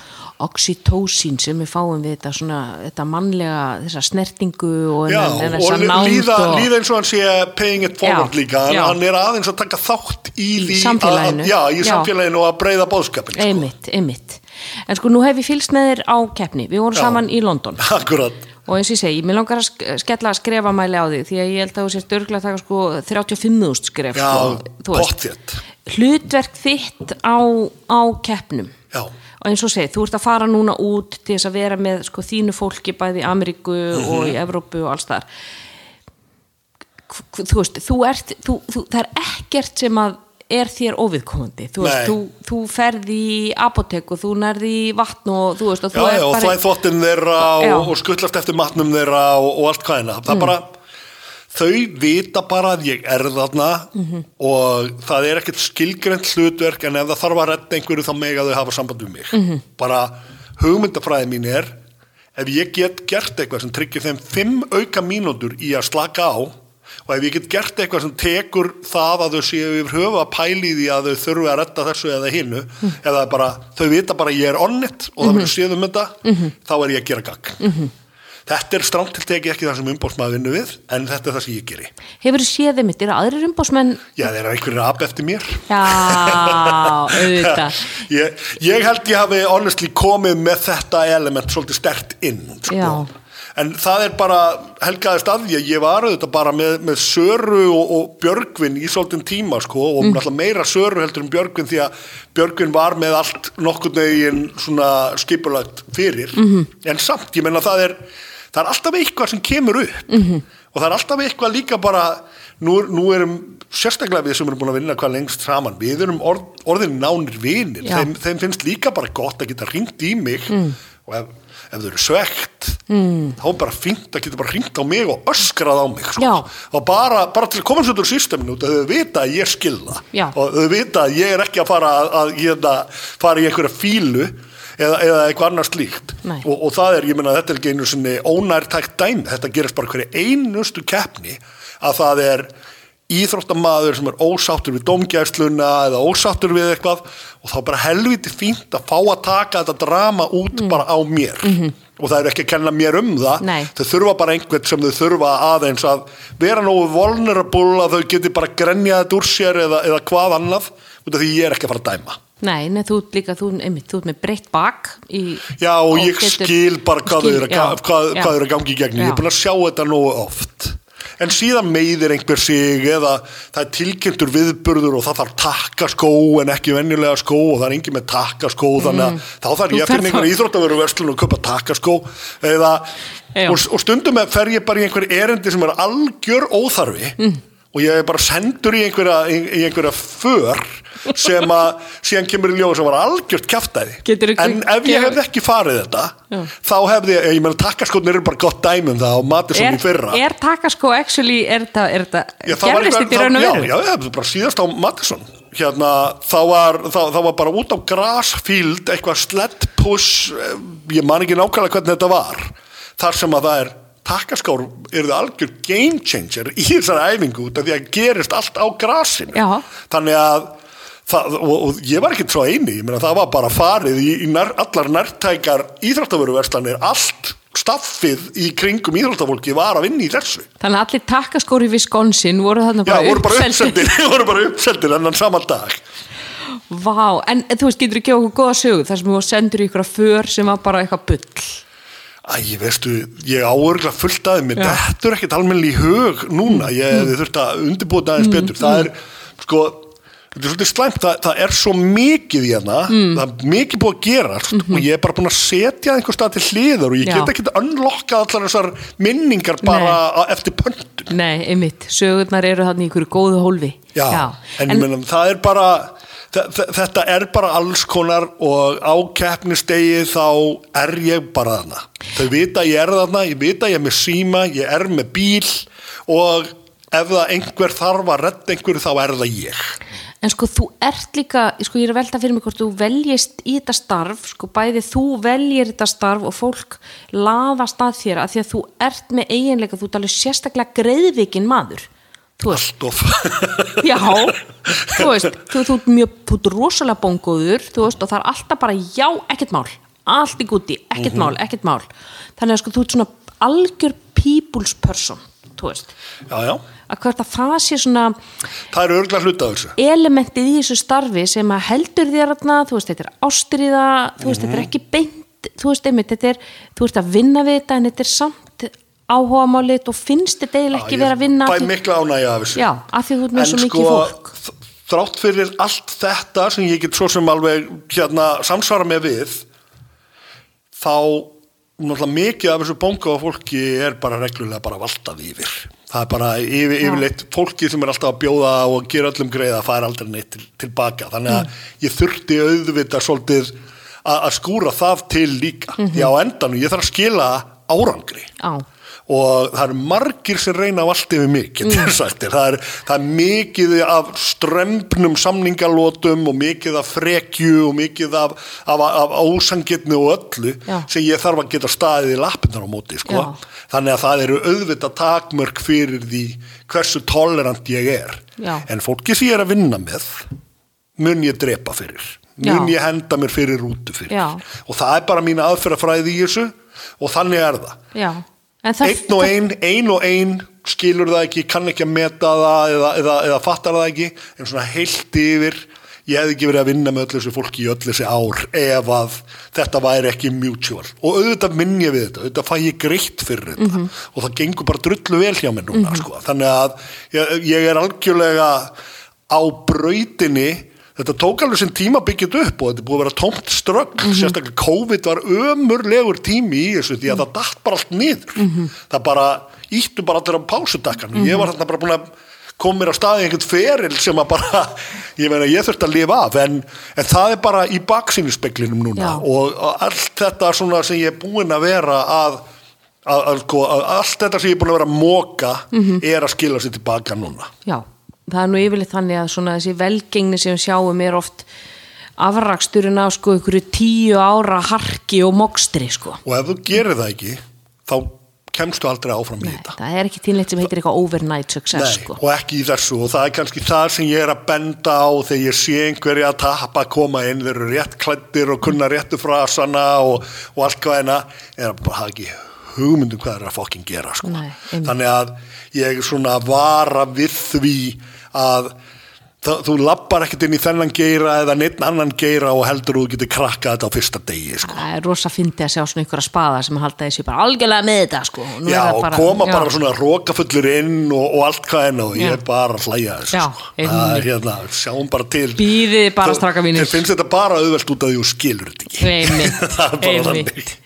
Speaker 1: oxytocin sem við fáum við þetta svona, þetta mannlega, þessa snertingu og,
Speaker 2: Já,
Speaker 1: þennan- þennan
Speaker 2: og
Speaker 1: þessa
Speaker 2: li-
Speaker 1: nánd
Speaker 2: líða,
Speaker 1: og,
Speaker 2: líða eins og hann sé paying it forward
Speaker 1: Já,
Speaker 2: líka, hann,
Speaker 1: já.
Speaker 2: hann er aðeins að taka þátt í, því
Speaker 1: samfélaginu.
Speaker 2: að, já, í
Speaker 1: Já.
Speaker 2: samfélaginu og að breyða bóðskapin sko.
Speaker 1: einmitt, einmitt en sko nú hef ég fylgst með þér á keppni við vorum
Speaker 2: Já.
Speaker 1: saman í London
Speaker 2: Akkurat,
Speaker 1: og eins og ég segi, mér langar að sk- skella að skrefa mæli á þig því að ég held að þú sér dörgla að taka sko 35.000 skref
Speaker 2: já,
Speaker 1: sko, þú veist.
Speaker 2: pottétt
Speaker 1: hlutverk þitt á, á keppnum
Speaker 2: Já.
Speaker 1: og eins og segi, þú ert að fara núna út til þess að vera með sko, þínu fólki bæði í Ameríku og
Speaker 2: Mhm.
Speaker 1: í Evrópu og alls þar K- k- þú veist, þú ert þú, þú, það er ekkert sem að er þér óviðkomandi, þú veist,
Speaker 2: Nei.
Speaker 1: þú, þú ferði í apotek og þú nærði í vatn og þú veist, og
Speaker 2: Já,
Speaker 1: þú
Speaker 2: já, og
Speaker 1: bara
Speaker 2: þvæ þvottin þeirra
Speaker 1: Já. Mm.
Speaker 2: og, og skullast eftir matnum þeirra og, og allt hvaðina það bara, þau vita bara að ég er þarna og það er ekkert skilgrend hlutverk en ef það þarf að redda einhverju þá mega þau hafa samband um mig bara hugmyndafræði mín er ef ég get gert eitthvað sem tryggir þeim fimm auka mínútur í að slaka á og ef ég get gert eitthvað sem tekur það að þau séu yfir höfu að pæli því að þau þurfi að redda þessu eða hinnu eða bara, þau vita bara að ég er onnit og það verður séð um þetta þá er ég að gera gagn Þetta er stramt til tekið ekki það sem umbóðsmaður vinnu við, en þetta er það sem ég geri.
Speaker 1: hefur þú séð þeim mitt, eru aðrir umbásmenn
Speaker 2: Já, þeir eru einhverjir að apa eftir mér.
Speaker 1: já, auðvitað
Speaker 2: ég, ég held ég hafi honestly komið með þetta element svolítið stert inn.
Speaker 1: Já.
Speaker 2: Sko. En það er bara helgaðist að því að ég var auðvitað bara með, með Söru og, og Björgvin í svolítið tíma sko og náttúrulega meira Söru heldur en Björgvin því að Björgvin var með allt nokkurn veginn svona skipulagt fyrir -hmm. en samt, ég meina það er það er alltaf eitthvað sem kemur upp -hmm. og það er alltaf eitthvað líka bara nú, nú erum sérstaklega við sem erum búin að vinna hvað lengst saman við erum orð, orðin nánir vinir
Speaker 1: Já.
Speaker 2: þeim, þeim finnst líka bara gott að geta ringt í mig
Speaker 1: Mm.
Speaker 2: og ef, ef þau eru svegt þá er bara fínt að geta bara ringt á mig og öskrað á mig sko.
Speaker 1: Já.
Speaker 2: og bara, bara til að komast út úr systeminu út að þau vita að ég skilða
Speaker 1: Já.
Speaker 2: og þau vita að ég er ekki að fara að, að, að, að fara í einhverja fílu eða, eða eitthvað annars líkt
Speaker 1: Nei.
Speaker 2: og, og það er, ég meina, þetta er ekki einu sinni ónærtækt dæmi, þetta gerist bara hverju einustu keppni að það er íþróttamaður sem er ósáttur við domgæsluna eða ósáttur við eitthvað og þá er bara helviti fínt að fá að taka þetta drama út bara á mér og það er ekki að kenna mér um það
Speaker 1: Nei.
Speaker 2: þau þurfa bara einhvern sem þau þurfa aðeins að vera nógu vulnerable að þau geti bara grenjað þetta úr sér eða, eða hvað annað út af því ég er ekki að fara að dæma
Speaker 1: Nei, nei, þú ert líka, þú, einmitt, þú ert með breytt bak í,
Speaker 2: Já, og ég
Speaker 1: getur-
Speaker 2: skil bara
Speaker 1: skil-
Speaker 2: hvað þau eru að,
Speaker 1: já,
Speaker 2: hvað,
Speaker 1: já.
Speaker 2: hvað þau eru að gangi í gegn. Ég
Speaker 1: Já.
Speaker 2: er búin að sjá þetta nógu oft. en síðan meiðir einhver sig eða það er tilkynntur viðburður og það þarf takkaskó en ekki venjulega skó og það er engin með takkaskó þannig að þá
Speaker 1: Mm.
Speaker 2: þarf
Speaker 1: Þú
Speaker 2: ég að finna
Speaker 1: ferð
Speaker 2: einhver
Speaker 1: þá-
Speaker 2: íþróttaveruverslun og köpa takkaskó eða,
Speaker 1: Já.
Speaker 2: og, og stundum með fer ég bara í einhver erindi sem er algjör óþarfi
Speaker 1: Mm.
Speaker 2: og ég er bara sendur í einhverja, í, í einhverja för sem að síðan kemur í ljóð sem var algjört kjaftaði
Speaker 1: Geturðu
Speaker 2: en ef ég
Speaker 1: gefið-
Speaker 2: hefði ekki farið þetta
Speaker 1: Já.
Speaker 2: þá hefði, ég meina takkaskotnir eru bara gott dæmi um það og Matisson
Speaker 1: er,
Speaker 2: í fyrra
Speaker 1: er takaskó actually, er þetta, er þetta
Speaker 2: Já, það var
Speaker 1: gerðist
Speaker 2: eitthvað-
Speaker 1: þetta í raun og
Speaker 2: já,
Speaker 1: veru
Speaker 2: Já, já, það var bara síðast á Matisson hérna, þá var, þá, þá var bara út á grasfíld eitthvað sleddpuss eh, ég man ekki nákvæmlega hvernig þetta var þar sem að það er takkaskár eru það algjör game changer í þessari æfingu út af því að gerist allt á grasinu
Speaker 1: Já.
Speaker 2: þannig að það, og, og ég var ekki svo eini ég meina, það var bara farið í, í nær, allar nærtækar íþróttavöruverslanir allt staffið í kringum íþróttafólki var að vinna í þessu
Speaker 1: þannig að allir takaskóri í Wisconsin voru þarna
Speaker 2: Já,
Speaker 1: bara
Speaker 2: voru bara
Speaker 1: uppseldir.
Speaker 2: uppseldir, voru bara uppseldir ennan sama dag.
Speaker 1: Vá, en þú veist, getur þú gefa okkur góða sögu þar sem þú sendur í ykkur að för sem var bara eitthvað bull
Speaker 2: Æ, veistu, ég áurgla fullt aðeins, mér
Speaker 1: Já. Mm.
Speaker 2: dettur ekkert almennilega í hug núna, ég hefði þurft að undirbúið aðeins betur. Það er, sko, þetta er svolítið slæmt, það, það er svo mikið í hana,
Speaker 1: Mm.
Speaker 2: það er mikið búið að gerast og ég er bara búin að setja einhver stað til hliðar og ég
Speaker 1: Mhm. Já.
Speaker 2: get ekkert unlockað allar þessar minningar bara að- eftir pöntun.
Speaker 1: Nei, einmitt, sögurnar eru þarna í ykkur góðu hólfi
Speaker 2: Já, en, en menn, það er bara þe- þe- þetta er bara alls konar og á keppnistegi þá er ég bara þarna þau vita að ég er þarna, ég vita að ég er með síma ég er með bíl og ef það einhver þarf að redda einhverju þá er það ég
Speaker 1: En sko þú ert líka, sko ég er að velta fyrir mig hvort þú veljist í þetta starf, sko bæði þú veljir þetta starf og fólk laðast að þér að því að þú ert með eiginlega, þú ert alveg sérstaklega greiðvikinn maður. Þú veist,
Speaker 2: Stoff.
Speaker 1: já, þú veist, þú, þú ert mjög, þú ert rosalega bóngóður, þú veist, og það er alltaf bara já, ekkert mál, allt í gúti,
Speaker 2: Mhm.
Speaker 1: ekkert mál, ekkert mál. Þannig að sko þú ert svona algjör people's person, þú veist,
Speaker 2: já, já,
Speaker 1: að hvert að það sé svona,
Speaker 2: það er örgla hluta af þessu
Speaker 1: elementið í þessu starfi sem að heldur þér þarna, þú veist, þetta er ástriða, þú veist,
Speaker 2: Mhm.
Speaker 1: þetta er ekki beint, þú veist, einmitt, þetta er, þú ert að vinna við þetta en þetta er samt áhugamálið og finnst þetta eiginlega ekki
Speaker 2: Já, ég
Speaker 1: vera að vinna
Speaker 2: fæ
Speaker 1: af því-
Speaker 2: mikla ánægja af þessu sko,
Speaker 1: Já, af því þú ert með svo mikið fólk.
Speaker 2: þ- þrátt fyrir allt þetta sem ég get svo sem alveg hérna samsvara með við þá náttúrulega mikið af þessu bónga og fólki er bara reglulega bara valtað yfir það er bara yfir, yfirleitt fólki sem er alltaf að bjóða og gera öllum greiða fær aldrei neitt til, tilbaka þannig
Speaker 1: Mm.
Speaker 2: að ég þurfti auðvitað svolítið að að skúra það til líka
Speaker 1: Mhm.
Speaker 2: mm -hmm. því á endanum ég þarf að skila árangri
Speaker 1: Já,
Speaker 2: og það eru margir sem reyna á allt yfir mig, getur mm. sagt þér það er, það er mikið af strömbnum samningalótum og mikið af frekju og mikið af, af, af ósangirni og öllu
Speaker 1: Já.
Speaker 2: sem ég þarf að geta staðið í lappinnar á móti sko.
Speaker 1: Já.
Speaker 2: þannig að það eru auðvitað takmörk fyrir því hversu tolerant ég er
Speaker 1: Já.
Speaker 2: en fólki sem ég er að vinna með mun ég drepa fyrir
Speaker 1: Já.
Speaker 2: mun ég henda mér fyrir rútu fyrir
Speaker 1: Já.
Speaker 2: og það er bara mín aðferðafræði í þessu og þannig er það
Speaker 1: já. En það,
Speaker 2: einn og einn, einn og einn skilur það ekki, kann ekki að meta það eða, eða, eða fattar það ekki en svona heilt yfir ég hefði ekki verið að vinna með öllu þessu fólki í öllu þessi ár ef að þetta væri ekki mutual og auðvitað minn ég við þetta auðvitað fæ ég greitt fyrir þetta
Speaker 1: Mhm.
Speaker 2: og það gengur bara drullu vel hjá mér núna sko. þannig að ég, ég er algjörlega á brautinni þetta tók alveg sem tíma byggjit upp og þetta er búið að vera tómt strögg sérstaklega COVID var ömurlegur tími í þessu því að það datt bara allt niður það bara, íttu bara allir á pásudakkan ég var þarna bara búin að kom mér á staði einhvern feril sem að bara ég meina ég þurfti að lifa af en, en það er bara í baksýnisspeklinum núna
Speaker 1: Já.
Speaker 2: og, og allt þetta svona sem ég er búin að vera að Að, að, sko, að allt þetta sem ég er búin að vera að móka er að skila sér tilbaka núna
Speaker 1: já, það er nú yfirleitt þannig að svona þessi velgengni sem við sjáum er oft afraksturinn af sko ykkur tíu ára harki og mokstri sko.
Speaker 2: og ef þú gerir það ekki þá kemstu aldrei áfram í
Speaker 1: Nei,
Speaker 2: þetta
Speaker 1: það er ekki tínleitt sem heitir eitthvað overnight success sko.
Speaker 2: og ekki í þessu og það er kannski það sem ég er að benda á þegar ég sé einhverja að tappa koma inn, þeir eru rétt klættir og kunna réttu frasana og, og allt hvað hana er að bara hafa ekki hugmyndum hvað er að fokkin gera sko.
Speaker 1: Nei, einmitt.
Speaker 2: þannig að ég svona vara við því að það, þú lappar ekkert inn í þennan geira eða neitt annan geira og heldur að þú getur krakkað þetta á fyrsta degi sko.
Speaker 1: Það er rosa fyndi að sjá svona ykkur að spaða sem halda þessi bara algjörlega með þetta sko. Nú er
Speaker 2: já,
Speaker 1: það
Speaker 2: og koma
Speaker 1: já.
Speaker 2: bara svona rókafullur inn og, og allt hvað enn og ég er bara að hlæja þessu
Speaker 1: Já,
Speaker 2: sko. Það er hérna, sjáum bara til
Speaker 1: Bíðið bara,
Speaker 2: Þú-
Speaker 1: strákar mínir.
Speaker 2: þér finnst þetta bara auðvelt út af því og skilur þetta ekki
Speaker 1: Einmitt,
Speaker 2: það er bara
Speaker 1: einmitt.
Speaker 2: þannig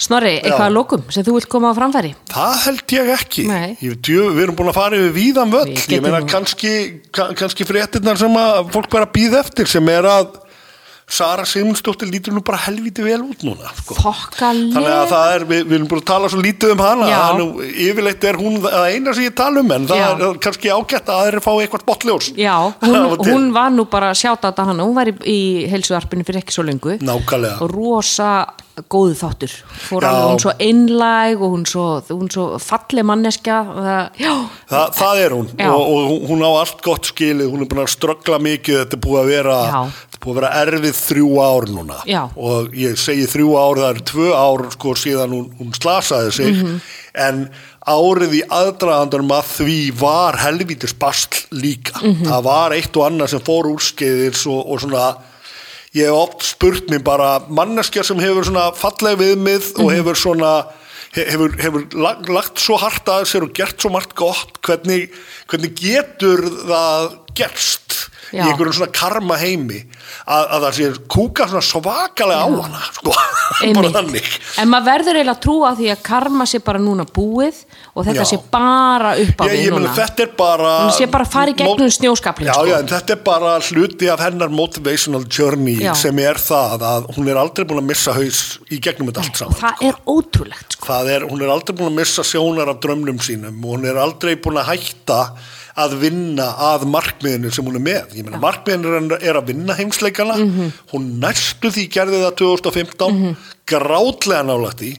Speaker 1: Snorri, eitthvað
Speaker 2: Já.
Speaker 1: að lokum sem þú vilt koma á framfæri
Speaker 2: Það held ég ekki.
Speaker 1: Nei.
Speaker 2: Ég, djö, við erum búin að fara yfir víðan völl.
Speaker 1: Við
Speaker 2: Ég
Speaker 1: getum
Speaker 2: meina
Speaker 1: nú-
Speaker 2: kannski, ka- kannski fréttinnar sem að fólk bara býð eftir sem er að Sara Sigmundsdóttir lítur nú bara helviti vel út núna. Sko.
Speaker 1: Fokkalega
Speaker 2: Þannig að það er, við, við erum búin að tala svo lítið um hana.
Speaker 1: Já.
Speaker 2: Það er Nú, yfirleitt er hún að eina sem ég tala um en það
Speaker 1: Já.
Speaker 2: er kannski ágætt að þeir fá eitthvað botljós.
Speaker 1: Já,
Speaker 2: Af
Speaker 1: hún,
Speaker 2: og til.
Speaker 1: hún var nú bara að sjáta þetta hana, hún var í, í helsuarpinu fyrir ekki svo lengu
Speaker 2: Nákvæmlega.
Speaker 1: og rosa góðu þáttur Fór
Speaker 2: Já.
Speaker 1: alveg, hún svo einlæg og hún svo, hún svo falleg manneskja og það, já,
Speaker 2: Þa, það er hún
Speaker 1: Já.
Speaker 2: og, og hún á allt gott skilið, hún er búin að ströggla mikið, þetta er búið að vera,
Speaker 1: Já.
Speaker 2: þetta er búið að vera erfið þrjú ár núna
Speaker 1: Já.
Speaker 2: og ég segi þrjú ár, það er tvö ár sko síðan hún, hún slasaði sig
Speaker 1: Mhm.
Speaker 2: en árið í aðdraðandanum að því var helvítis basl líka,
Speaker 1: Mhm.
Speaker 2: það var eitt og annað sem fór úrskeiðis og, og svona ég hef oft spurt mér bara manneskja sem hefur svona falleg viðmið
Speaker 1: Mhm.
Speaker 2: og hefur svona he- hefur, hefur lagt, lagt svo hart að sér og gert svo margt gott hvernig, hvernig getur það gerst
Speaker 1: Já.
Speaker 2: í einhverjum svona karma heimi að, að það sé kúka svona svakalega á hana sko, bara
Speaker 1: einmitt.
Speaker 2: þannig
Speaker 1: En maður verður eiginlega að trúa því að karma sé bara núna búið og þetta
Speaker 2: Já.
Speaker 1: sé bara upp á
Speaker 2: Ég,
Speaker 1: við
Speaker 2: ég
Speaker 1: núna
Speaker 2: meni, þetta er bara
Speaker 1: Hún sé bara að fara í gegnum
Speaker 2: mót-
Speaker 1: snjóskaflinn,
Speaker 2: já,
Speaker 1: sko.
Speaker 2: já, en þetta er bara hluti af hennar motivational journey
Speaker 1: Já.
Speaker 2: sem er það að hún er aldrei búin að missa haus í gegnum þetta allt saman
Speaker 1: og það er ótrúlegt sko.
Speaker 2: það er, hún er aldrei búin að missa sjónar af drömnum sínum og hún er aldrei búin að hætta að vinna að markmiðinu sem hún er með ég meina markmiðinu hennar er að vinna heimsleikana hún næstu því gerði það 2015 grátlega nálægt því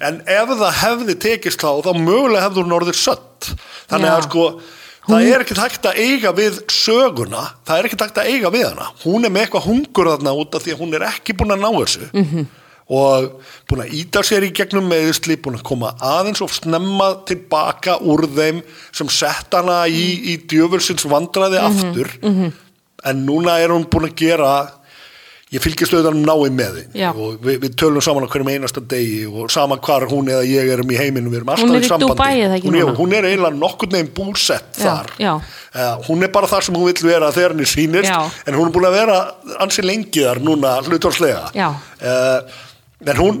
Speaker 2: en ef það hefði tekist þá þá mögulega hefði hún orðið sött þannig
Speaker 1: Já.
Speaker 2: að sko Það er ekkert hægt að eiga við söguna, það er ekkert hægt að eiga við hana. Hún er með eitthvað hungur þarna út af því að hún er ekki búin að ná þessu
Speaker 1: Mhm.
Speaker 2: og búin að íta sér í gegnum meðusli, búin að koma aðeins og snemma tilbaka úr þeim sem sett hana í, í djöfulsins vandraði
Speaker 1: Mhm,
Speaker 2: aftur en núna er hún búin að gera ég fylgist auðvitað um nái með þið
Speaker 1: Já.
Speaker 2: og við, við tölum saman á hverjum einasta degi og sama hvar hún eða ég erum í heiminum við erum alltaf
Speaker 1: Hún er í
Speaker 2: sambandi
Speaker 1: Dubai eða ekki
Speaker 2: hún, er,
Speaker 1: núna?
Speaker 2: hún er eiginlega nokkurn veginn búsett
Speaker 1: Já,
Speaker 2: þar
Speaker 1: já.
Speaker 2: Eh, hún er bara þar sem hún vill vera þegar henni sýnist
Speaker 1: Já.
Speaker 2: en hún er búin að vera ansi lengi þar núna hlutorslega
Speaker 1: Já.
Speaker 2: uh, en hún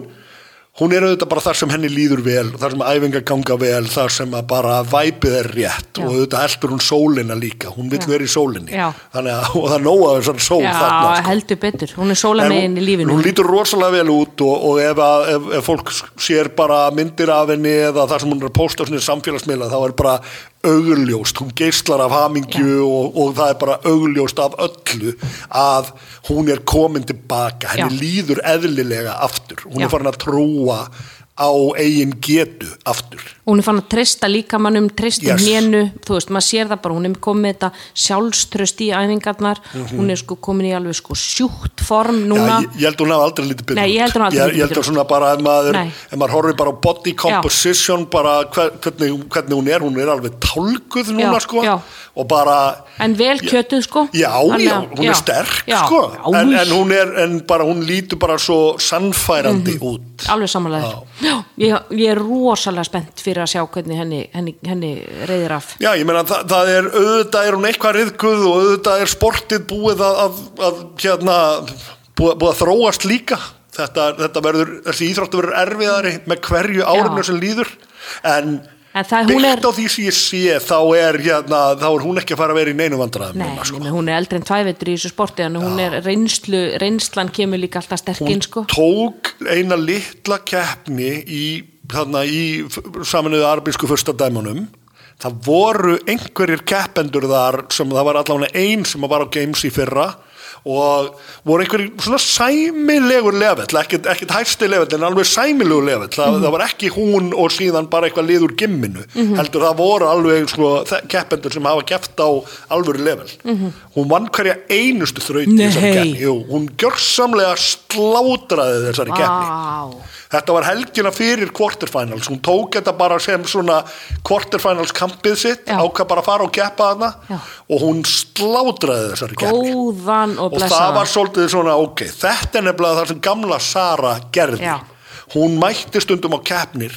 Speaker 2: hún er auðvitað bara þar sem henni líður vel þar sem æfingar ganga vel þar sem að bara væpið er rétt
Speaker 1: Já.
Speaker 2: og auðvitað eldur hún sólina líka hún vil
Speaker 1: Já.
Speaker 2: vera í sólinni
Speaker 1: Já.
Speaker 2: Þannig að, og það er nóg af þessar sól
Speaker 1: já,
Speaker 2: þarna sko.
Speaker 1: heldur betur, hún er
Speaker 2: En
Speaker 1: sólamegin í
Speaker 2: hún,
Speaker 1: lífinu
Speaker 2: hún lítur rosalega vel út og, og ef, að, ef, ef fólk sér bara myndir af henni eða það sem hún er að posta á sinni samfélagsmiðla þá er bara augljóst, hún geislar af hamingju og, og það er bara augljóst af öllu að hún er komin tilbaka, henni
Speaker 1: Já.
Speaker 2: líður eðlilega aftur, hún
Speaker 1: Já.
Speaker 2: er farin að trúa á eigin getu aftur
Speaker 1: hún er fann að treysta líkamannum, treysta
Speaker 2: Yes.
Speaker 1: yes. hnénu þú veist, maður sér það bara, hún er komið með þetta sjálfströst í æfingarnar hún er sko komin í alveg sko sjúkt form núna,
Speaker 2: Mhm. Já, ég, ég held hún hafa aldrei lítið betur
Speaker 1: Nei, ég held hún hafi aldrei
Speaker 2: út.
Speaker 1: litið
Speaker 2: Ég held
Speaker 1: betur
Speaker 2: hún svona bara ef maður,
Speaker 1: Nei.
Speaker 2: ef maður horfir bara á body composition, bara hver, hvernig, hvernig hún er, hún er alveg tálguð núna,
Speaker 1: Já,
Speaker 2: sko,
Speaker 1: já.
Speaker 2: og bara...
Speaker 1: en vel kjötuð sko
Speaker 2: Já,
Speaker 1: Þannig
Speaker 2: já,
Speaker 1: að-
Speaker 2: hún er sterk,
Speaker 1: já,
Speaker 2: sko,
Speaker 1: já,
Speaker 2: en, en hún er, en bara hún lítur bara svo sannfærandi
Speaker 1: Mhm.
Speaker 2: út.
Speaker 1: alveg samanlega ég, ég er rosalega spennt fyrir að sjá hvernig henni, henni, henni reyðir af
Speaker 2: Já, ég meina, það, það er, auðvitað er hún eitthvað riðguð og auðvitað er sportið búið að, að, að hérna, búið, búið að þróast líka. Þetta, þetta verður, þessi íþróttu verður erfiðari með hverju árinu
Speaker 1: Já.
Speaker 2: sem líður, en,
Speaker 1: En það- hún
Speaker 2: byggt
Speaker 1: er-
Speaker 2: á því sem ég sé, þá er, hérna, þá er hún ekki að fara að vera í neinu vandræðum.
Speaker 1: Nei,
Speaker 2: núna,
Speaker 1: sko.
Speaker 2: sko.
Speaker 1: hún er eldri en tvæveitur í þessu sporti en hún er reynslu, reynslan kemur líka alltaf sterkinn sko
Speaker 2: tók eina litla keppni í, þarna, í f- saminuðu arbísku fyrsta dæmunum það voru einhverjir keppendur þar sem það var allavega einn sem var á games í fyrra og voru einhverjir svona sæmilegur lefell, ekkert, ekkert hæsti lefell en alveg sæmilegur lefell það,
Speaker 1: Mhm.
Speaker 2: það var ekki hún og síðan bara eitthvað liður gimminu, heldur það voru alveg sko, þe- keppendur sem hafa keppt á alvöru lefell hún vann hverja einustu þraut í
Speaker 1: Mhm.
Speaker 2: þessari
Speaker 1: Nei.
Speaker 2: keppni, jú, hún gjörsamlega slátraði þessari keppni
Speaker 1: Vá.
Speaker 2: Þetta var helgina fyrir quarterfinals, hún tók þetta bara sem svona quarterfinals kampið sitt,
Speaker 1: Já.
Speaker 2: ákvað bara að fara og keppa hana
Speaker 1: Já.
Speaker 2: og hún slátraði þessari keppni.
Speaker 1: Góðan og
Speaker 2: Og það
Speaker 1: blessaðan
Speaker 2: var svolítið svona, ok, þetta er nefnilega það sem gamla Sara gerði.
Speaker 1: Já.
Speaker 2: Hún mætti stundum á keppnir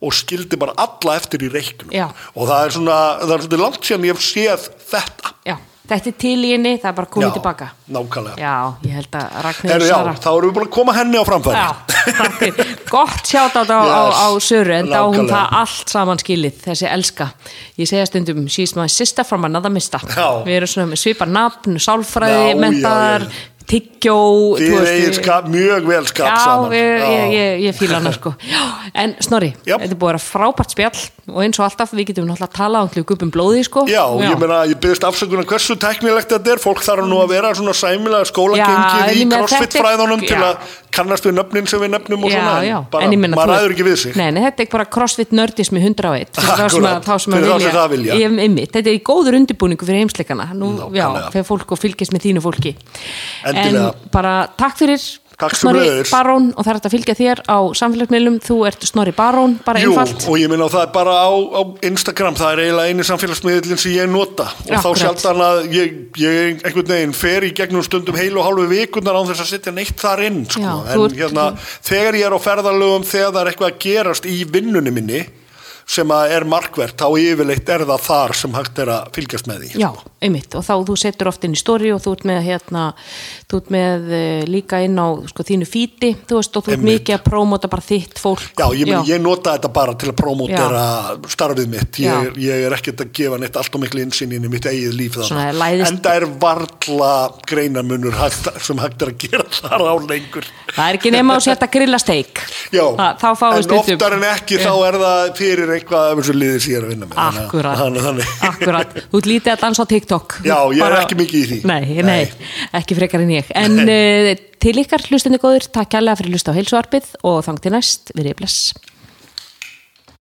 Speaker 2: og skildi bara alla eftir í reiknum.
Speaker 1: Já.
Speaker 2: Og það er svona, það er svolítið langt síðan ég hef séð þetta.
Speaker 1: Já, þetta er til í henni, það er bara komið tilbaka
Speaker 2: Nákvæmlega.
Speaker 1: Já, ég held að Ragnhildur
Speaker 2: Herru, já,
Speaker 1: Sara
Speaker 2: þá erum við búin að koma henni á framfæri.
Speaker 1: Já, takk fyrir. Gott sjátt á, á, á
Speaker 2: Yes,
Speaker 1: Söru en þá hún
Speaker 2: nákvæmlega.
Speaker 1: það allt saman skilið þessi elska. Ég segja stundum she's my sister from another mista
Speaker 2: Já.
Speaker 1: Við erum svona með svipa nafn, sálfræði
Speaker 2: Já,
Speaker 1: mentaðar,
Speaker 2: já,
Speaker 1: tyggjó
Speaker 2: Þið
Speaker 1: þú veist,
Speaker 2: eigið skap, mjög vel skap
Speaker 1: Já,
Speaker 2: saman.
Speaker 1: ég, ég, ég, ég fíla hana sko já, En Snorri,
Speaker 2: Já.
Speaker 1: þetta er búið að vera frábært spjall og eins og alltaf, við getum náttúrulega að tala um hljúkupum blóði sko
Speaker 2: Já, ég meina, ég byggðist afsökunar hversu teknilegt þetta er, fólk þarf nú að vera svona
Speaker 1: Já,
Speaker 2: sæmilega
Speaker 1: en
Speaker 2: skólagengið í
Speaker 1: ég meina,
Speaker 2: crossfit
Speaker 1: þetta er-
Speaker 2: fræðunum til
Speaker 1: já.
Speaker 2: að kannast við nöfnin sem við nöfnum og
Speaker 1: já,
Speaker 2: svona,
Speaker 1: já.
Speaker 2: en bara,
Speaker 1: En ég meina,
Speaker 2: maður
Speaker 1: þú-
Speaker 2: ræður ekki við sig.
Speaker 1: nei, nei, þetta er bara crossfit nördismi 101 fyrir þá sem að,
Speaker 2: Akkúrat,
Speaker 1: þá sem að
Speaker 2: fyrir þá sem það vilja.
Speaker 1: Ég, einmitt, þetta er í góður undirbúningu fyrir heimsleikana nú, já,
Speaker 2: Nákvæmlega.
Speaker 1: fyrir fólk og fylgjast með þínu fólki
Speaker 2: Endilega.
Speaker 1: en bara takk fyrir
Speaker 2: Takk
Speaker 1: Snorri
Speaker 2: sömuleiðis.
Speaker 1: Barón og það er hægt að fylgja þér á samfélagsmiðlum þú ert Snorri Barón, bara
Speaker 2: Jú,
Speaker 1: einfalt
Speaker 2: og ég meina, það er bara á, á Instagram, það er eiginlega einu samfélagsmiðlinn sem ég nota og
Speaker 1: Akkúrat.
Speaker 2: þá sjaldan að ég, ég einhvern veginn fer í gegnum stundum heil og hálfu vikundar án þess að setja neitt þar inn, sko,
Speaker 1: Já, þú
Speaker 2: en
Speaker 1: ert-
Speaker 2: hérna, þegar ég er á ferðalögum, þegar það er eitthvað að gerast í vinnunni minni, sem að er markvert, þá yfirleitt er það þar sem hægt er að fylgjast með því. sko.
Speaker 1: Já, einmitt, og þá þú setur oft inn í stóri og þú ert með, hérna, þú ert með eh, líka inn á sko, þínu fíti, þú veist, og þú ert
Speaker 2: Einmitt.
Speaker 1: mikið að prómóta bara þitt fólk.
Speaker 2: Já, ég, meni, ég nota þetta bara til að promotera starfið mitt. Ég,
Speaker 1: Já.
Speaker 2: ég er ekkert að gefa neitt allt og miklu innsýn inn í mitt eigið líf
Speaker 1: Svona
Speaker 2: þannig.
Speaker 1: læðist-
Speaker 2: En það er varla greinamunur hægt, sem hægt er að gera þar á lengur.
Speaker 1: Það er ekki nema að setja grillasteik.
Speaker 2: Já,
Speaker 1: Þa- þá fáum við
Speaker 2: en
Speaker 1: stundum.
Speaker 2: oftar en ekki
Speaker 1: Já.
Speaker 2: þá er það fyrir eitthvað af þessu liði sem ég er að vinna með. Þannig að-
Speaker 1: Akkurat,
Speaker 2: þannig- þannig.
Speaker 1: akkurat, þú ert lítið að dansa á TikTok
Speaker 2: Já, ég er ekki mikið í því.
Speaker 1: Nei, nei,
Speaker 2: Nei.
Speaker 1: ekki frekar en ég En eh, uh, til ykkar hlustandi góður, takk kærlega fyrir að hlusta á heilsuarpið og þang til næst, við erum bless